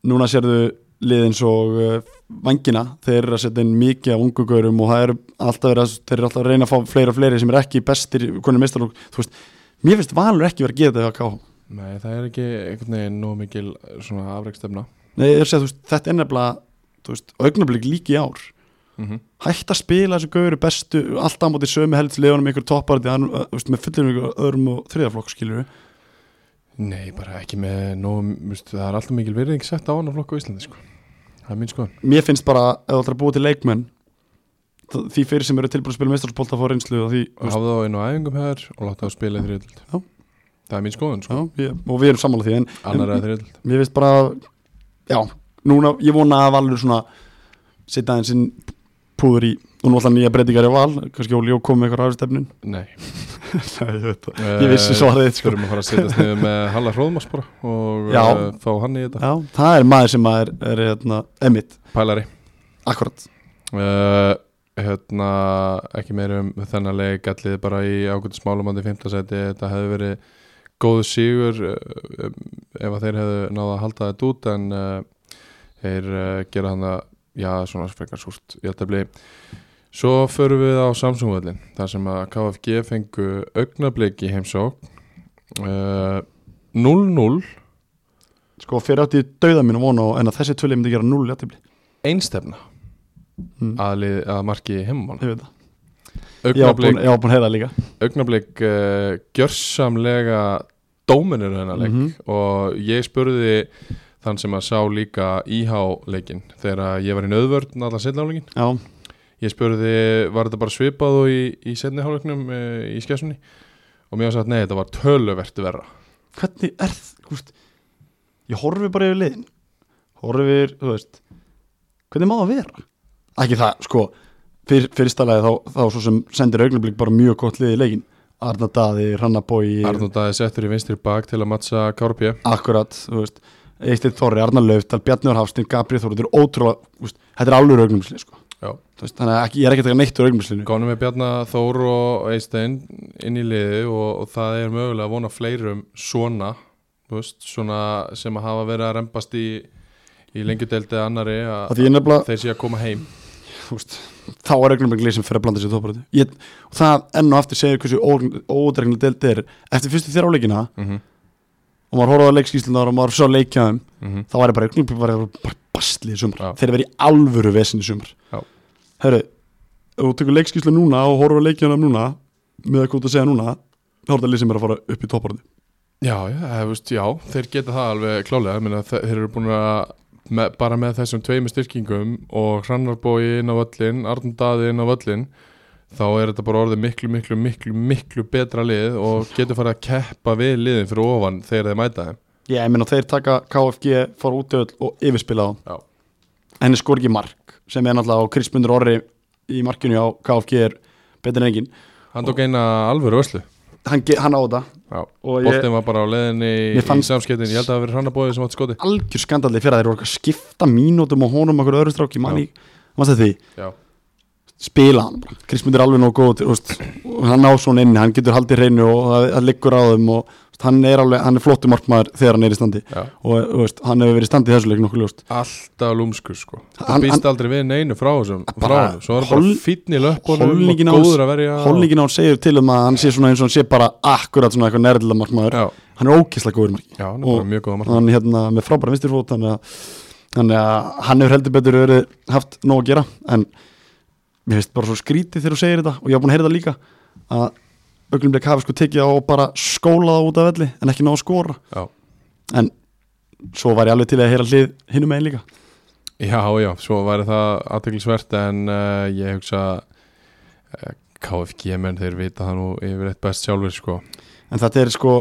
C: núna sérðu liðin svo uh, vangina, þeir eru að setja inn mikið af ungu gaurum og það eru alltaf verið að, þeir eru alltaf að reyna að fá fleira og fleiri sem eru ekki bestir, konum mistalók, þú veist mér finnst Valur ekki verið að gera þetta hjá KH
B: Nei, það er ekki einhvern veginn nóg mikil svona afreikstefna
C: Nei, ég er að segja, þú veist, þetta er nefnilega þú veist, augnablík líki í ár
B: mm
C: Mhm.
B: -hmm.
C: hægt að spila þessu gauður bestu alltaf á móti sömu heldslegunum ykkur toppar því að hann, uh, þú veist, með fullir ykkur öðrum og þriðaflokk skilur við
B: Nei, bara ekki með nóg, veist, það er alltaf mikil virðing sett á hann á flokku á Íslandi sko. Það er mín skoðan
C: mér finnst bara, ef þú ætlar að búa til leikmenn þ- því fyrir sem eru tilbúin að spila meistarspólta að fá reynslu og því, þú
B: og
C: veist,
B: hafði þá inn á æfingum hér og láta þá spila í þriðöld
C: Já.
B: það er mín skoðun sko.
C: já, ég, og við erum sammála því en
B: annar eða þriðöld
C: mér finnst bara já, núna, ég vona að Valur svona setja aðeins inn púður í, og nú alltaf nýja breytingar í Val, kannski Óli og komið eitthvað ráðstefnin
B: nei
C: [LAUGHS] Nei, ég veit það, ég vissi svarið sko.
B: þurfum að fara að setjast niður með Halla Hróðmars bara og
C: Já.
B: uh, fá hann í þetta
C: já, það er maður sem er, er hérna, emitt,
B: pælari
C: akkurat
B: uh, hérna ekki meir um þennan leik allir bara í ágætismálumandi 15 seti þetta hefði verið góðu sigur uh, um, ef að þeir hefðu náða að halda þetta út en uh, þeir uh, gera hann að já svona frekar súrt jættabli svo förum við á Samsung-völlin þar sem að KFG fengu augnablik í heimsók uh, 0-0
C: Sko fyrir átti ég dauða mín og vona á- en að þessi tvöli myndi gera 0 játtifli
B: einstefna
C: Mm.
B: að, lið, að marki heimamann
C: Ég veit það Ég var
B: augnablik
C: búin, ég var búin að heyra það líka
B: augnablik uh, gjörsamlega dóminur hennar leik
C: Mhm.
B: og ég spurði þann sem að sá líka íhá-leikin þegar ég var í nöðvörn allan setláleikinn
C: Já,
B: ég spurði var þetta bara svipað og í, í setni hálfleiknum uh, í skessunni og mér var sagt nei þetta var töluvert verra
C: hvernig er það Gúst, Ég horfi bara yfir liðin Horfi yfir, þú veist Hvernig má það vera? Ekki það, sko fyr, Fyrstalega þá, þá svo sem sendir augnablik bara mjög gott lið í leikin Arna Daði, Rannabói
B: Arnónd aðeins settur í vinstri bak til að mattsa Kárpjö
C: Akkurat, þú veist Eisteinn Þorri, Arna Lauftal, Bjarnur Hafstin, Gabriel Þorri Þetta er ótrúlega, þú veist, þetta er alveg augnumsli sko.
B: Já.
C: Þú veist, Þannig að ekki, ég er ekki að taka neitt úr augnumslinu
B: Gónum við Bjarnar Þór og Eistein inn í liði og, og það er mögulega að vona fleirum svona, þú veist, svona sem að hafa verið að rempast í, í lengjudeldi eða annari
C: Af
B: að,
C: Því ég nefnilega,
B: þeir sé að koma heim.
C: þú veist, þá er augnablik lið sem fyrir að blanda sér tóparötu og það enn og aftur segir hversu ódregnlega delt er eftir fyrstu þér áleikina
B: Mm -hmm.
C: og maður horfði á leikskíslunar og maður svo leikjaðum
B: Mm -hmm.
C: þá var ég bara augnablik bara, bara bastlið í sumar
B: Já.
C: þeir verið í alvöru vesin í sumar
B: Já.
C: herru, ef þú tekur leikskíslu núna og horfður á leikjaðum núna með að kóta að segja núna þá er það lið sem er að fara upp í tóparötu
B: Já, já, eh, þú veist, já, þeir geta það alveg klálega, ég meina, þe- þeir eru búin að með, bara með þessum tveimu styrkingum og hrannarbói inn á völlin, Arndaði inn á völlin, þá er þetta bara orðið miklu, miklu, miklu, miklu betra lið og getur farið að keppa við liðin fyrir ofan þegar þeir mæta þeim.
C: ég meina þeir taka KFG fara út í öll og yfirspila þá
B: Já.
C: en þeir skor ekki mark sem er náttúrulega á Krispundur Orri í markinu á KFG er betur en engin
B: Hann tók eina alvöru vörslu
C: hann, ge- hann á þetta Og ég-
B: Boltin var bara á leðinni í,
C: Mér
B: í
C: fannst-
B: samskiptin Ég held að það hafi verið hrannabóðið sem átt skoti
C: algjör skandalli fyrir að þeir voru eitthvað að skipta mínútum og honum okkur öðru stráki manni, mannst þetta því,
B: Já,
C: spila hann bara. Krismund er alveg nóg góð til, þú veist, og hann á svona inni, hann getur haldið hreinu og það, það liggur á þeim og þú veist, hann er alveg, hann er flottur markmaður þegar hann er í standi
B: já
C: og þú veist, hann hefur verið í standi í þessu leik nokkuð ljóst
B: Alltaf lúmskur sko
C: Hann-
B: Það býst aldrei við neinu frá þessum frá
C: Bara
B: honum Svo var hann
C: hol-
B: bara fínn í löpunum og
C: holningin á-
B: góður að verja og-
C: holningin á hann segir til um að hann sé svona eins og hann sé bara akkurat svona eitthvað nærðilega markmaður
B: Já,
C: hann er ókislega góður í marki
B: já, hann er
C: Og-
B: bara mjög góða
C: og hann hérna með frábæra vinstirfót þannig að, þannig að hann hefur heldur betur verið haft nóg að gera en mér finnst bara svo skrítið þegar þú segir þetta og ég var búin að heyra það líka að augnumleik hafi sko tekið á og bara skólaða út af velli en ekki ná að skora
B: mark
C: en svo var ég alveg til að heyra hlið hinum einn líka
B: Já, já, svo væri það aðteglisvert en uh, ég hugsa uh, KFG menn þeir vita það nú yfir eitt best sjálfur sko
C: en þetta er sko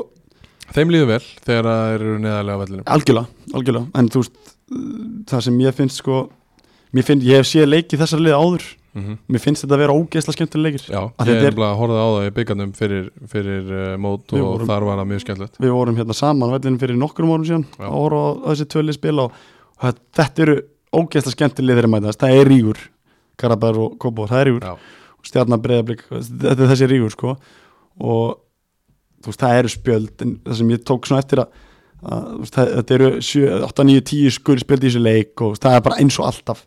B: Þeim líður vel þegar þeir eru neðarlega á vellinum
C: algjörlega, algjörlega en þú veist það sem ég finnst sko mér finnst, ég hef séð leikið þessar lið áður
B: mm
C: mér finnst þetta að vera ógeðsla skemmtileg leikir
B: Já,
C: Mhm. Að
B: ég
C: þetta
B: er
C: er-
B: bara að horfa á það í byggandum fyrir, fyrir uh, mót
C: Við
B: og
C: vorum-
B: þar var það mjög skemmtilegt
C: við vorum hérna saman á vellinum fyrir nokkrum árum síðan
B: Já.
C: að horfa á þessi tvöli spila og, og það- þetta eru ógeðslega skemmtilegir að mætast, það er rígur Karabær og Kópóður, það er rígur
B: Já.
C: stjarnabreiðablík, þetta er þessi rígur sko og þú veist, það eru spjöld en það sem ég tók svona eftir að að, þú veist, það- þetta eru 7, 8, 9, 10 skur spild í þessu leik og þú veist, það er bara eins og alltaf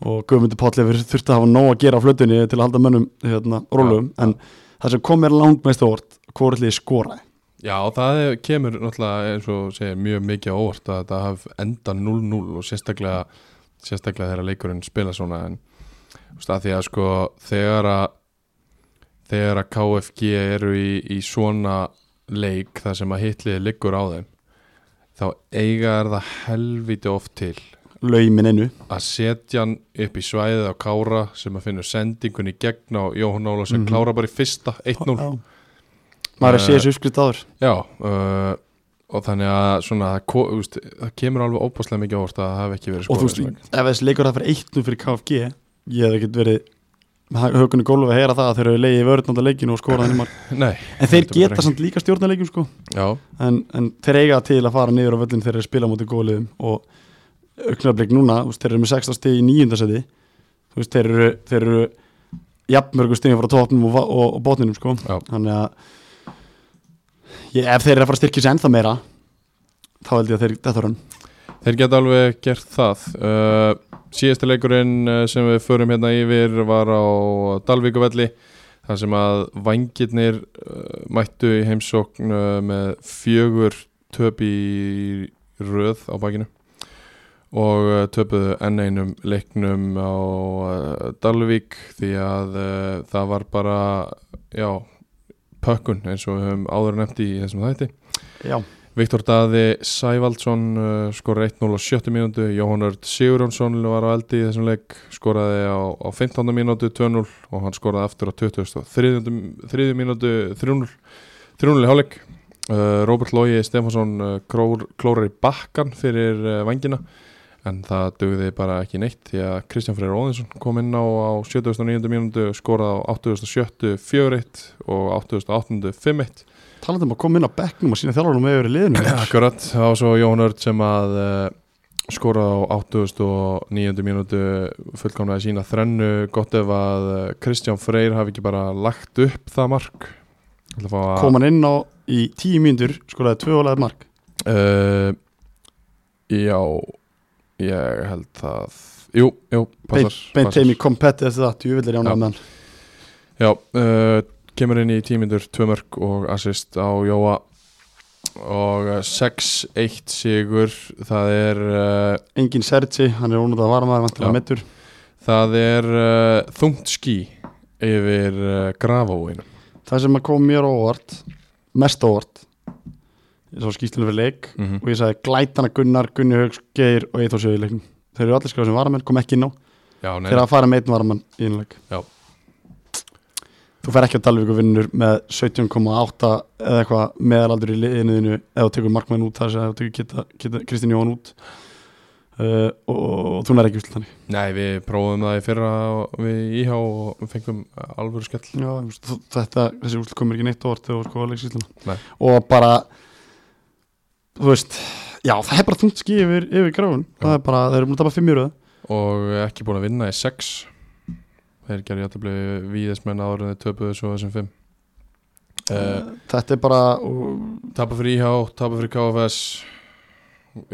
C: og Guðmundur Páll hefur þurft að hafa nóg að gera á flötunni til að halda mönnum hérna, rólugum en það sem kom mér langmest á orð hvorlið skoraði
B: Já, það er, kemur náttúrulega eins og segir mjög mikið á óvart að þetta haf enda 0-0 og sérstaklega sérstaklega þegar leikurinn spila svona en þú veist, að því að sko þegar að þegar að KFG eru í, í svona leik þar sem að hitliði liggur á þeim þá eiga er það helviti oft til
C: laumin innu
B: að setja hann upp í svæðið á Kára sem að finnur sendingun í gegn á Jóhann Ólafs sem klára bara í fyrsta 1-0
C: Já. maður er að sé þessu uppskrift áður
B: Já, uh, og þannig að svona, það ko- þú veist, það kemur alveg óbáslega mikið ávort að það hafi ekki verið
C: og þú
B: skorað
C: veist, ef þessi leikur það fyrir 1-0 fyrir KFG ég hef ekkert verið hökunni gólfi að heyra það að þeir eru leiði í vörðnanda leikinu og [COUGHS] skoraði henni mark
B: Nei,
C: en
B: Þetta
C: þeir
B: bara
C: geta
B: ekki.
C: samt líka stjórna leikum sko
B: já,
C: en, en þeir eiga til að fara niður á völlin þegar þeir spila mútið góliðum og auknarblik núna, þú veist, þeir eru með 16 stig í níundasæti þú veist, þeir eru, þeir eru jafnmörgum stigum frá tóknum og, va- og, og botninum sko
B: Já.
C: þannig að ég, ef þeir eru að fara að styrkja sér ennþá meira þá held ég að þeir þetta rann
B: þeir geta alveg gert það uh, Síðasti leikurinn eh, sem við förum hérna yfir var á Dalvíkuvelli þar sem að vangirnir uh, mættu í heimsókn uh, með fjögur töp í röð á bakinu og uh, töpuðu enn einum leiknum á uh, Dalvík því að uh, það var bara já, pökkun eins og við höfum áður nefnt í þessum þætti
C: Já,
B: Viktor Daði Sævaldsson uh, skoraði 1-0 á 7. mínútu Jóhann Örd Sigurjónsson var á eldi í þessum leik skoraði á, á 15. mínútu 2-0 og hann skoraði aftur á 20. 3. mínútu 3-0 3-0 í hálfleik uh, Róbert Lógi Stefansson uh, klór, klórar í bakkan fyrir uh, vangina en það dugði bara ekki neitt því að Kristján Freyr Óðinsson kom inn á, á 79. mínútu skoraði á 87. 4-1 og 88. 5-1
C: talandi um að koma inn á bekknum og sína þjálfarum með yfir í liðinu
B: Akkurat, það var svo Jón Örd sem að uh, skoraði á 89. mínútu fullkomnaði sína þrennu gott ef að eh, Kristján Freyr hafi ekki bara lagt upp það mark Ætla að fá að-
C: kom hann inn á í tíu mínútur skoraði tvö ólega mark
B: Eh, Já, ég held það Jú, jú,
C: beint
B: passar
C: beint
B: passar.
C: heim í kompeti eftir það, djúvillir
B: Já.
C: jána með hann
B: Já, uh, kemur inn í tímindur tvömörk og assist á Jóa og eh, 6-1 sigur það er uh,
C: engin Sergi, hann er ónútað að varmaður vantilega
B: Já.
C: mittur
B: Það er uh, þungt ský yfir uh, grafóinu
C: það sem að kom mér á óvart mest á óvart ég sá skýstunum fyrir leik
B: Mm.
C: og ég sagði glætana Gunnar, Gunni Haugs, Geir og Eithor Sjöðu í leiknum þeir eru allir skráð sem varamenn, kom ekki inn á
B: Já, nei,
C: þeir eru að fara með einn varamenn í einu leik
B: Já.
C: þú fer ekki á Dalvík og vinnur með 17,8 eða eitthvað meðalaldur í liðinuðinu eða þú tekur markmann út þar sem þú tekur Kidda- Kidda- Kristín Jóhann út uh, og, og, og þú nær ekki úslit þannig
B: nei, við prófum það í fyrra og- við íhá og fengum alvöru skell
C: Já, þú veist, þú- þetta, þessi úslit komur ekki neitt á orð þegar þú sko að
B: Nei.
C: leiksýsluna og bara þú veist, já það er bara þungt skið yfir, yfir gráfun, það
B: Já.
C: er bara, þeir eru búin að tapa fimm í röð
B: og ekki búin að vinna í 6 Þeir gerðu jættabli víðismenn áður en þeir töpuðu svo þessum 5 uh,
C: þetta er bara og,
B: Tapa fyrir íhá, tapa fyrir KFS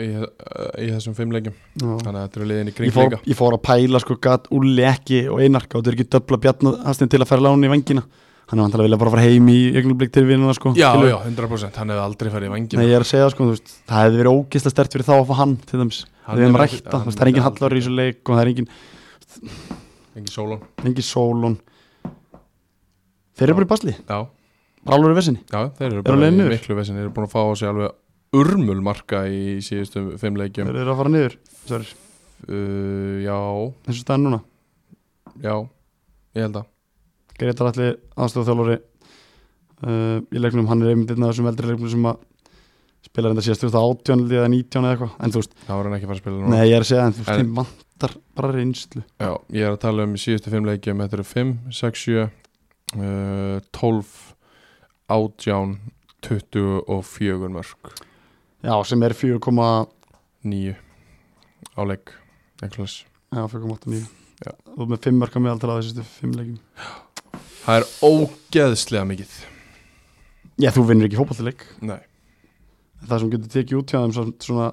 B: í, uh, í þessum 5 leikjum
C: já.
B: Þannig að þetta eru liðin í
C: ég
B: kring
C: fór,
B: líka
C: ég fór að pæla sko gat Ulli ekki og Einar gáttu ekki döbla bjarnastin til að færa láni í vengina hann er vantilega að vilja bara fara heim í augnablik til vinnuna sko
B: Já,
C: Skilur?
B: já, 100% Hann hefði aldrei farið í vangina
C: Nei, ég er að segja sko, þú veist, það hefði verið ógeðslega stert fyrir þá að fá hann til dæmis,
B: Hann
C: við hefum
B: hefur-
C: rækta
B: hann
C: þú veist, það er engin
B: myndi aldrei-
C: hallar í þessu leik og það er engin,
B: Engin sólun
C: engin sólun þeir eru bara í basli,
B: Já,
C: bara alveg í vissinni
B: Já, þeir eru
C: á
B: bara
C: leiðinni
B: í
C: yfir?
B: miklu vesin Þeir eru búin að fá á sig alveg urmul marka í síðustu fimm leikjum
C: þeir eru að fara niður, sorry,
B: uh, Já,
C: þessu staðan núna
B: já, ég held að
C: Greitar Alli, aðstofþjálfari uh, í leiknum, hann er einmitt einn af þessum eldri leiknum sem að spilar enda síðast 18 eða 19 eða eitthvað, en þú veist
B: Það var hann ekki að fara að spila núna
C: Nei, ég er að segja en þú veist,
B: En-
C: þeim vantar bara reynslu
B: Já, ég er að tala um í síðustu fimm leikjum Þetta eru 5, 6, 7 uh, 12 18 24 mörg
C: Já, sem er 4,8
B: 9 á leik Ekkulis.
C: mjög
B: Já.
C: og með 5 mörka meðal til að þessu 5 leikum
B: Það er ógeðslega mikið
C: Já, þú vinnur ekki hópalltileik
B: Nei,
C: það sem getur tekið út hjá þeim svona, svona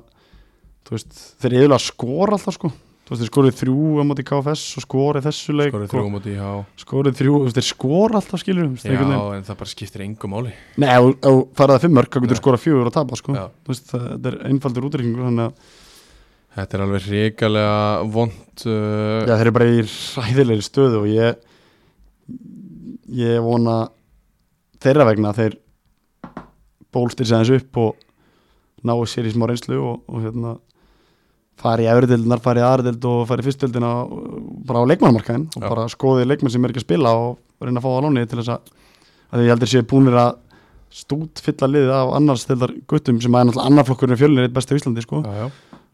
C: þú veist, þeir eru að skora alltaf sko þú veist, þeir skorið þrjú á móti KFS og skorið þessu leik
B: Skorið
C: og
B: þrjú múti í há
C: skorið þrjú, þú veist, þeir skora alltaf skilur þú veist,
B: Já,
C: einhvern veginn.
B: en það bara skiptir engu máli
C: Nei, ef ef þú farið að fimm mörg, þá getur þú skorað fjögur og tapa sko
B: Já.
C: þú veist, það þetta er einfaldur útrykkingur þannig að
B: Þetta er alveg hrikalega vond uh,
C: Já, þeir eru bara í ræðilegri stöðu og ég ég vona þeirra vegna að þeir bólstir sig aðeins upp og náu sér í smá reynslu og, og hérna fari í efriðildinar, fari í aðriðild og fari í fyrstildina bara á leikmannmarkaðin og
B: Já.
C: bara skoði leikmann sem er ekki að spila og reyna að fá það á lónið til þess að, að ég heldur séu búinir að stút fylla liðið af annars stildar guttum sem að er náttúrulega annar flokkurinn í fjölunir eitt besti á Íslandi sko
B: Já, já,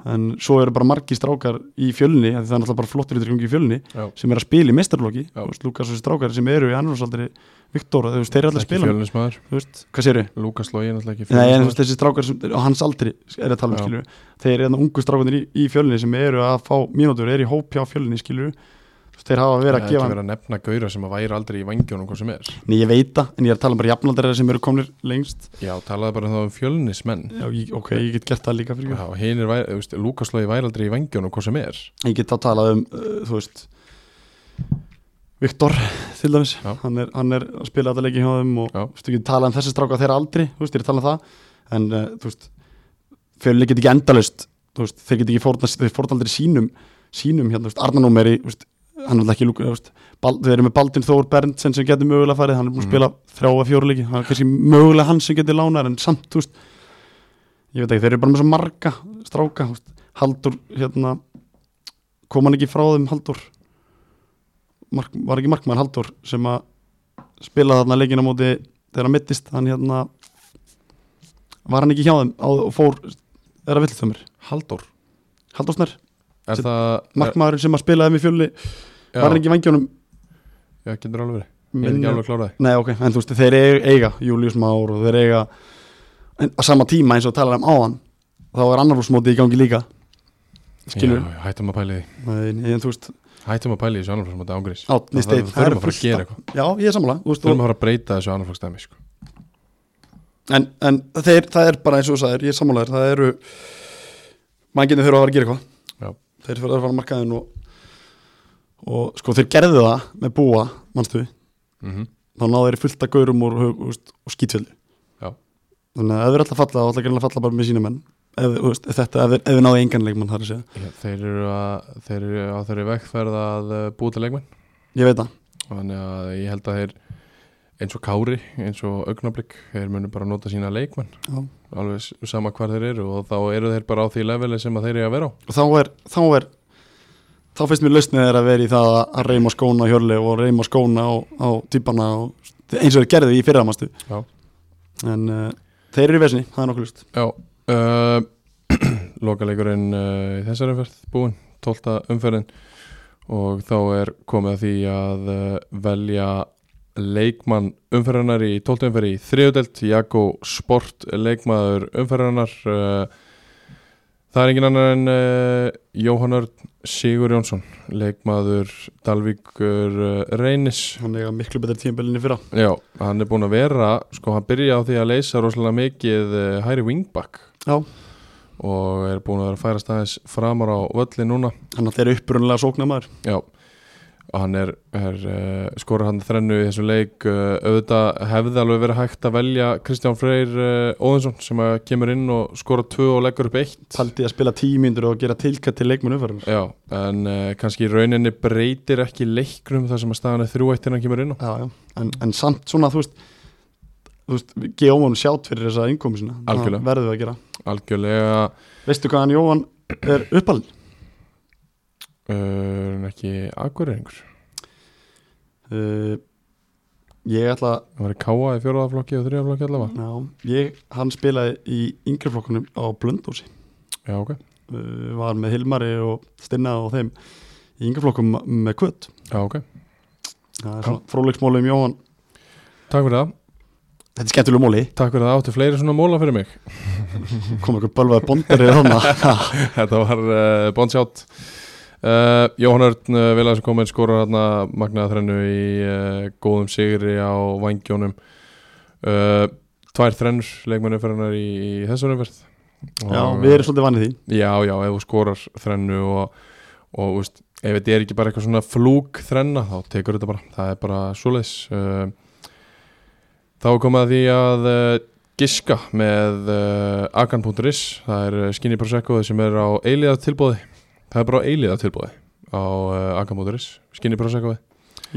C: en svo eru bara margi strákar í fjölni af því það er náttúrulega bara flottur yttergengi í fjölni
B: já
C: sem er að spila í meistarflokki
B: Já.
C: Þú veist, Lukas og þessi strákar sem eru í annarsaldri Viktor, þú veist, þeir eru allir að
B: Ekki
C: spila
B: fjölnismæður
C: þú veist, hvað séru?
B: Lúkas Lógin alltaf ekki
C: Nei, en þú
B: fjölnismaður.
C: veist, þessi strákar sem, á hans aldri er að tala um
B: Já.
C: skilur þeir eru þarna ungu strákarnir í, í fjölni sem eru að fá mínútur, eru í hópja á fjölni skilur þeir hafa verið að
B: Ekki
C: gefa
B: verið að nefna gauðra sem að væri aldrei í vangjónum hvað sem er
C: Nei, ég veit það, en ég er að tala um bara jafnaldræðar sem eru komnir lengst
B: Já, talaði bara þá um fjölnismenn
C: Já, ég, ok, ég get gert það líka fyrir
B: Já, hinn er, væri- þú veist, Lúkas Lógi væri aldrei í vangjónum hvað sem er
C: ég get þá talað um uh, þú veist Viktor til dæmis
B: Já.
C: hann er, hann er að spila þetta leiki hjá þeim og
B: Já.
C: þú veist, ég get talað um þessi stráka þeirra aldrei þú veist, ég er að tala um það en uh, þú veist, fjölni get ekki endalaust þú veist, þeir get ekki fórna, þeir fórna aldrei sínum sínum hérna, þú veist, Arnanóm er í þú veist, hann er alltaf ekki lúka, þú veist Bald, þeir eru með Baldin Þór Berndsen sem getur mögulega farið hann er búin að
B: Mhm.
C: spila þrjá að fjóra leiki hann er kannski mögulega hann sem getur lánar en samt, þú veist ég veit ekki, þeir eru bara með svo marga stráka, þú veist, Haldur hérna, kom hann ekki frá þeim Haldur Mark, var ekki markmann Haldur sem að spilaði þarna leikina á móti þegar hann mittist, hann hérna var hann ekki hjá þeim á, og fór, er að villið þau mér
B: Halldór
C: Haldur Snær,
B: Er
C: Sitt-
B: það
C: markmaðurinn sem að spilaði þeim í fjölni,
B: Já,
C: var hann ekki í vangjónum
B: já, getur alveg verið Ég er ekki alveg klárað
C: Nei, ok, en þú veist, þeir eiga, eiga Július Már og þeir eiga en á sama tíma eins og talar um áðan þá er annarflósmóti í gangi líka skilur,
B: Já, hættum að pæli því
C: Nei, nei, en þú veist
B: Hættum að pæli þessu annarflagsmóti ángurís
C: Átni Steinn,
B: Þurfum að fara að gera eitthvað
C: Já, ég er sammála þú veist,
B: Þurfum að fara að breyta þessu annarflagsdæmi sko.
C: og, en, en þeir, það er bara eins og þú sagðir, ég er sammála þér, það eru mannginni þurfa að fara að gera
B: Já.
C: eitthvað þeir þurfa að fara að markaðin og, og sko, þeir gerðu það með búa, mannstu
B: mm
C: þá náðu þeir fullt að gaurum og, og, og skítfjöld
B: Já.
C: þannig að ef þeir ætla að falla þá ætla ekki að falla bara með sína menn ef, þú veist, ef þetta, ef þeir, ef þeir náðu engan leikmann þar að segja,
B: Já, Þeir eru, að, þeir eru á þeirri vekkferð að eh, búa til leikmenn
C: ég veit það
B: Þannig að ég held að þeir eins og Kári, eins og Augnablík þeir munu bara nota sína leikmenn
C: Já.
B: alveg s- sama hvar þeir eru og þá eru þeir bara á því leveli sem að þeir eru að vera á
C: og þá er, þá er þá finnst mér lausnið þeir að vera í það að- að reyma skóna á hjörli og reyma skóna á, á týpana og eins og þeir gerðu í fyrramastu
B: Já.
C: en uh, þeir eru í vesinni, það er nokkuð lust
B: Já uh, [CLEARS THROAT] Lokaleikurinn uh, í þessari umferð búinn 12. umferðin og þá er komið að því að uh, velja leikmann umferðarnar í 12. umferð í þriðudelt Jakko Sport leikmaður umferðarnar uh, Það er engin annar en uh, Jóhann Örn Sigur Jónsson leikmaður Dalvíkur uh, Reynis
C: hann eiga miklu betur tímbelinni fyrra
B: Já, hann er búinn að vera sko, hann byrja á því að leysa rosalega mikið uh, hæri wingback
C: Já.
B: og er búinn að vera að færa staðins framar á völli núna
C: hann að þeir eru upprunlega sóknamaður
B: Já, og hann er, er uh, skorur hann þrennu í þessum leik uh, auðvitað hefði alveg verið hægt að velja Kristján Freyr uh, Óðinsson sem að kemur inn og skora tvö og leggur upp eitt
C: paldið að spila tímyndur og gera tilkætt til leikmannu fyrir
B: Já, en uh, kannski í rauninni breytir ekki leiknum þar sem að staðan er þrjúættir hann kemur inn á
C: já, já. En, en samt svona þú veist þú veist, við gefum hann sjátt fyrir þessa innkomi sína,
B: Algjörlega.
C: það verðum við að gera
B: algjörlega
C: veistu hvað hann Jóhann er uppalinn
B: uh, en ekki akureyringur
C: uh, ég ætla að
B: hann var í káa í fjóraðaflokki og þriðaflokki allavega
C: já, ég, hann spilaði í yngri flokkunum á Blöndósi
B: Já, ok
C: uh, var með Hilmari og Stinna og þeim í yngri flokkum með Kvöt
B: Já, ok.
C: það er svona fróleiksmóli um Jóhann
B: Takk fyrir það.
C: þetta er skemmtileg móli,
B: Takk fyrir það. Áttu fleiri svona móla fyrir mig.
C: [LAUGHS] kom eitthvað bölvaði bondarið [LAUGHS] þannig
B: Þetta var uh, bondsjátt. Uh, Jóhann Örn uh, Vilaði sem kom inn skorar hérna eh, magnaða þrennu í uh, góðum sigri á vangjónum. Uh, tvær þrennur leikmannuferðanar í, í þessu umferð
C: Já, við erum svolítið vanið því
B: já, já, ef þú skorar þrennu og, og veist, ef þetta er ekki bara eitthvað svona flúk þrenna þá tekur þetta bara, það er bara svoleiðis uh, þá er komið að því að uh, giska með uh, akan.is það er uh, Skinny Prosecco sem er á eiliða tilbúði það er bara á eiliða tilbúði á uh, akan.is, Skinny Prosecco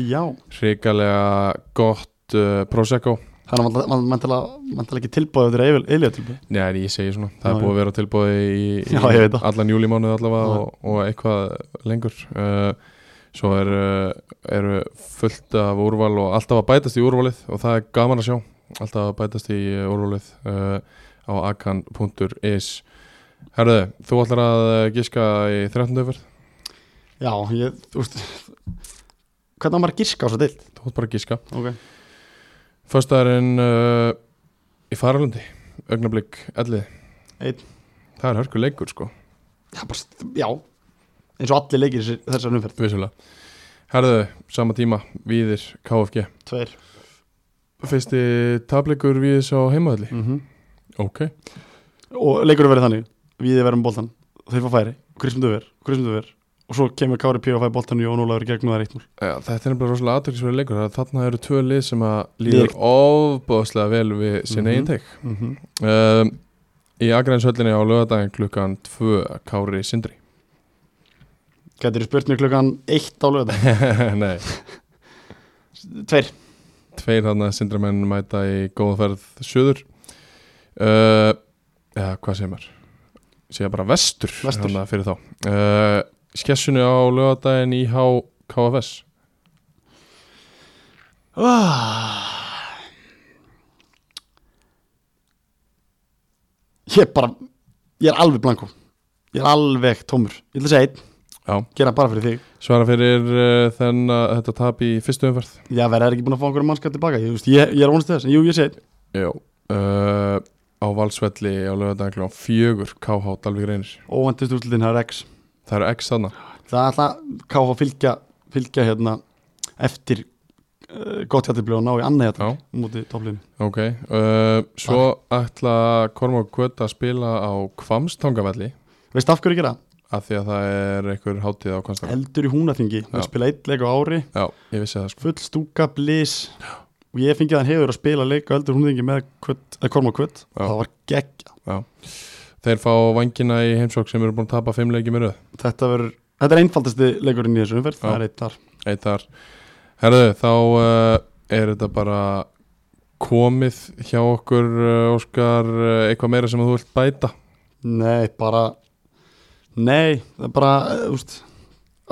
C: Já,
B: hrikalega gott uh, Prosecco
C: þannig að mann til að ekki tilbúið þetta er eilíða tilbúið
B: Nei, en ég segi svona, það
C: Já,
B: er búið að vera tilbúið í, í
C: Já, ég veit það.
B: allan júlímánuð allavega
C: Já.
B: og, og eitthvað lengur uh, Svo er, uh, eru fullt af úrval og alltaf að bætast í úrvalið og það er gaman að sjá alltaf að bætast í uh, úrvalið uh, á akan.is Herðu, þú ætlar að uh, giska í 13. öfur
C: Já, ég, þú veist Hvernig á maður að giska á svo deilt?
B: Þú ætlar bara að giska
C: Okay.
B: Föstaðarinn uh, í Faralundi, augnablík, ellið
C: Einn.
B: Það er hörku leikur sko
C: Já, bara, st- já, eins og allir leikir þessi- þessar umferð
B: Vissulega Herðu, sama tíma, Víðir, KFG
C: Tveir
B: Fyrsti tableikur Víðis á heimaðli
C: Mhm.
B: Ok
C: Og leikur verið þannig Við verðum boltan Þeir fá færi Kristum duver Kristum duver Og svo kemur Kári P. og fæ boltan í Jón Ólafur í gegnum það reitt múl
B: Já, Þetta er bara rosalega aðtökisverið leikur það er- Þarna eru tvö lið sem að líður
C: Líður-
B: ofbóðslega vel við sinn
C: Mhm.
B: eigin teik
C: mm -hmm.
B: um, Í Akrænshöllinni á lögadaginn klukkan 2 Kári Sindri
C: Gætir spurt mér klukkan eitt á lögða
B: [LAUGHS] Nei,
C: Tveir
B: tveir þarna Sindramenn mæta í góðferð söður uh, Já, hvað segir maður? Segja bara vestur,
C: Vestur.
B: þarna fyrir þá uh, Skessunni á lögadaginn í HKFS
C: Ah. Ég er bara Ég er alveg blanko Ég er alveg tómur Ég ætla að segja einn
B: Já,
C: Gera bara fyrir þig
B: svara fyrir uh, þenn að þetta tap í fyrstu umferð
C: Já, verða er ekki búin að fá einhverja mannskap tilbaka Ég, þú veist, ég, ég er vonast til þess En jú, ég segi einn
B: Já uh, Á Valsvelli á lögadaginn klukkan fjögur KH Dalvík reynir
C: Óvæntist úrslutin Það er X
B: Það eru X þarna
C: Það ætla KH fylgja Fylgja hérna Eftir uh, Gott hjartiblið og ná í annað hjartiblið
B: Já,
C: Múti topplinu
B: ok uh, Svo ætla Kormák Kvöt að spila á Kvamstangavelli
C: Veist af hverju ég gera?
B: af því að það er einhver hátíð á Kvamstangavelli
C: Eldur í húnaþingi Við
B: Já.
C: spila einn leik á ári
B: Já, ég vissi það sko
C: Full stúka blis Og ég fengið hann hefur að spila leik á eldur í húnaþingi með kvöt, eh, Korma og kvöt
B: Já.
C: Það var gegg
B: Þeir fá vangina í heimsók sem eru búin að tapa fimm leikjum í röð
C: Þetta verður Þetta er einfaldasti leikurinn í þessu umferð Það
B: Já.
C: er eitt þar
B: Eitt þar Herðu, þá uh, er þetta bara komið hjá okkur uh, Óskar, uh, eitthvað meira sem þú vilt bæta
C: Nei, bara Nei, það er bara eh, Þú veist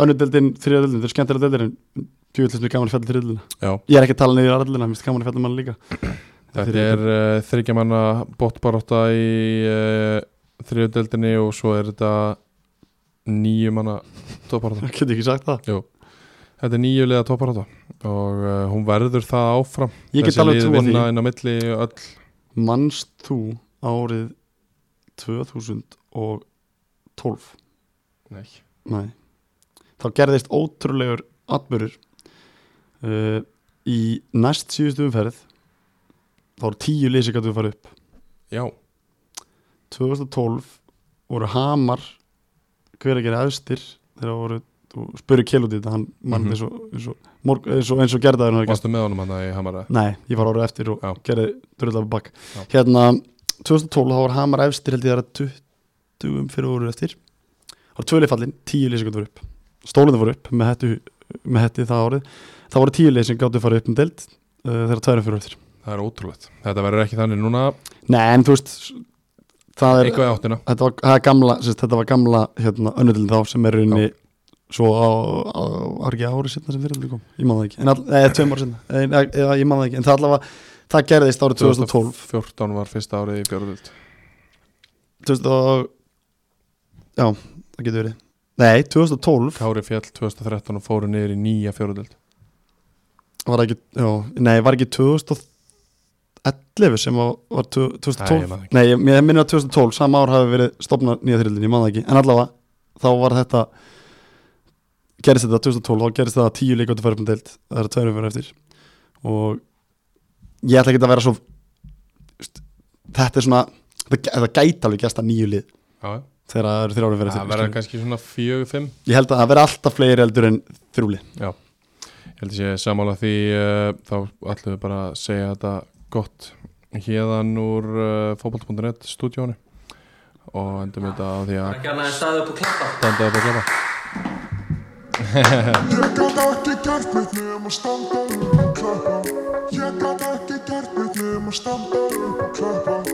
C: Önnudeldin, þriðadeldin, þeir skemmtilega deildir en fjöldlist mér gaman að fjalla um þriðadeldina
B: Já,
C: Ég er ekki að tala niður aðraldina, mér finnst gaman að fjalla mann líka [LAUGHS]
B: þetta er uh, þryggja manna bóttbaróta í uh, þriðudeldinni og svo er þetta nýju manna topparóta
C: Ég get ekki sagt það
B: Þetta er nýju liða topparóta og uh, hún verður það áfram
C: Ég get
B: Þessi
C: alveg
B: lið
C: trúa því
B: vinna inn á milli öll
C: Manst þú árið 2012
B: Nei
C: Nei Þá gerðist ótrúlegur atbyrður uh, Í næst síðustu umferð Þá voru tíu lýsir gætu að fara upp
B: Já,
C: 2012 voru Hamar hver að gera efstir þegar voru, þú spurði Kjellut í þetta hann mann
B: Mhm.
C: eins og, eins og, morg, eins og, eins og gerðaður hann
B: varstu með honum hann í Hamara
C: Nei, ég var árið eftir og
B: Já.
C: gerði dröðlega bak
B: Já.
C: Hérna, 2012 þá var Hamar efstir held ég það er 20 um fyrir árið eftir Það var tvöleifallin, tíu leysingar voru upp Stólunni voru upp með hætti, með hætti það árið Það voru tíu leysingar gáttu að fara upp um deild uh, þegar tværum fyrir árið eftir
B: Það er ótrúlegt Þetta verður ekki þannig núna
C: Nei, en þú veist Það er,
B: Eitthvað í áttina
C: þetta var, það er gamla, sérst, þetta var gamla hérna, önnudilin þá sem er rauninni svo á, á, á ekki ári setna sem fyrirlega kom, ég man það ekki en all, eða tveim ári setna, eða, eða ég man það ekki en það allavega, það gerðist árið 2012
B: 2014 var fyrsta árið í Björnvöld
C: 2000 og já, það getur verið nei, 2012
B: Kári Fjell 2013 og fóru niður í nýja fjörðvöld
C: var ekki, já, nei, var ekki 2011 sem var, var tu-
B: Nei, ég man
C: 2012
B: það ekki.
C: nei, ég, ég minna að 2012, sama ár hafi verið stopnað nýja þyrildin, ég man það ekki, en allavega þá var þetta gerist þetta 2012, þá gerist þetta tíu líka til færum um deild, það eru tveir fyrir eftir og ég ætla ekki að vera svo þetta er svona þetta, gæ- þetta gæti alveg gæsta nýju lið
B: já, já.
C: þegar það eru um þrjára
B: það
C: fyrir þrjú
B: verða
C: skilur.
B: kannski svona fjögur, fimm
C: ég held að það verða alltaf fleiri eldur en þrjúli
B: Já, ég held að sé sammála því uh, þá ætlum við bara að segja þetta gott hérðan úr uh, fótbolt.net stúdíónu og endum þetta á því
E: Það er
B: að
E: ekki annað en staðið upp og klappa.
B: standa upp og glefa
A: Ég gat ekki gert neitt nema standa upp og klappa Ég gat ekki gert neitt nema standa upp og klappa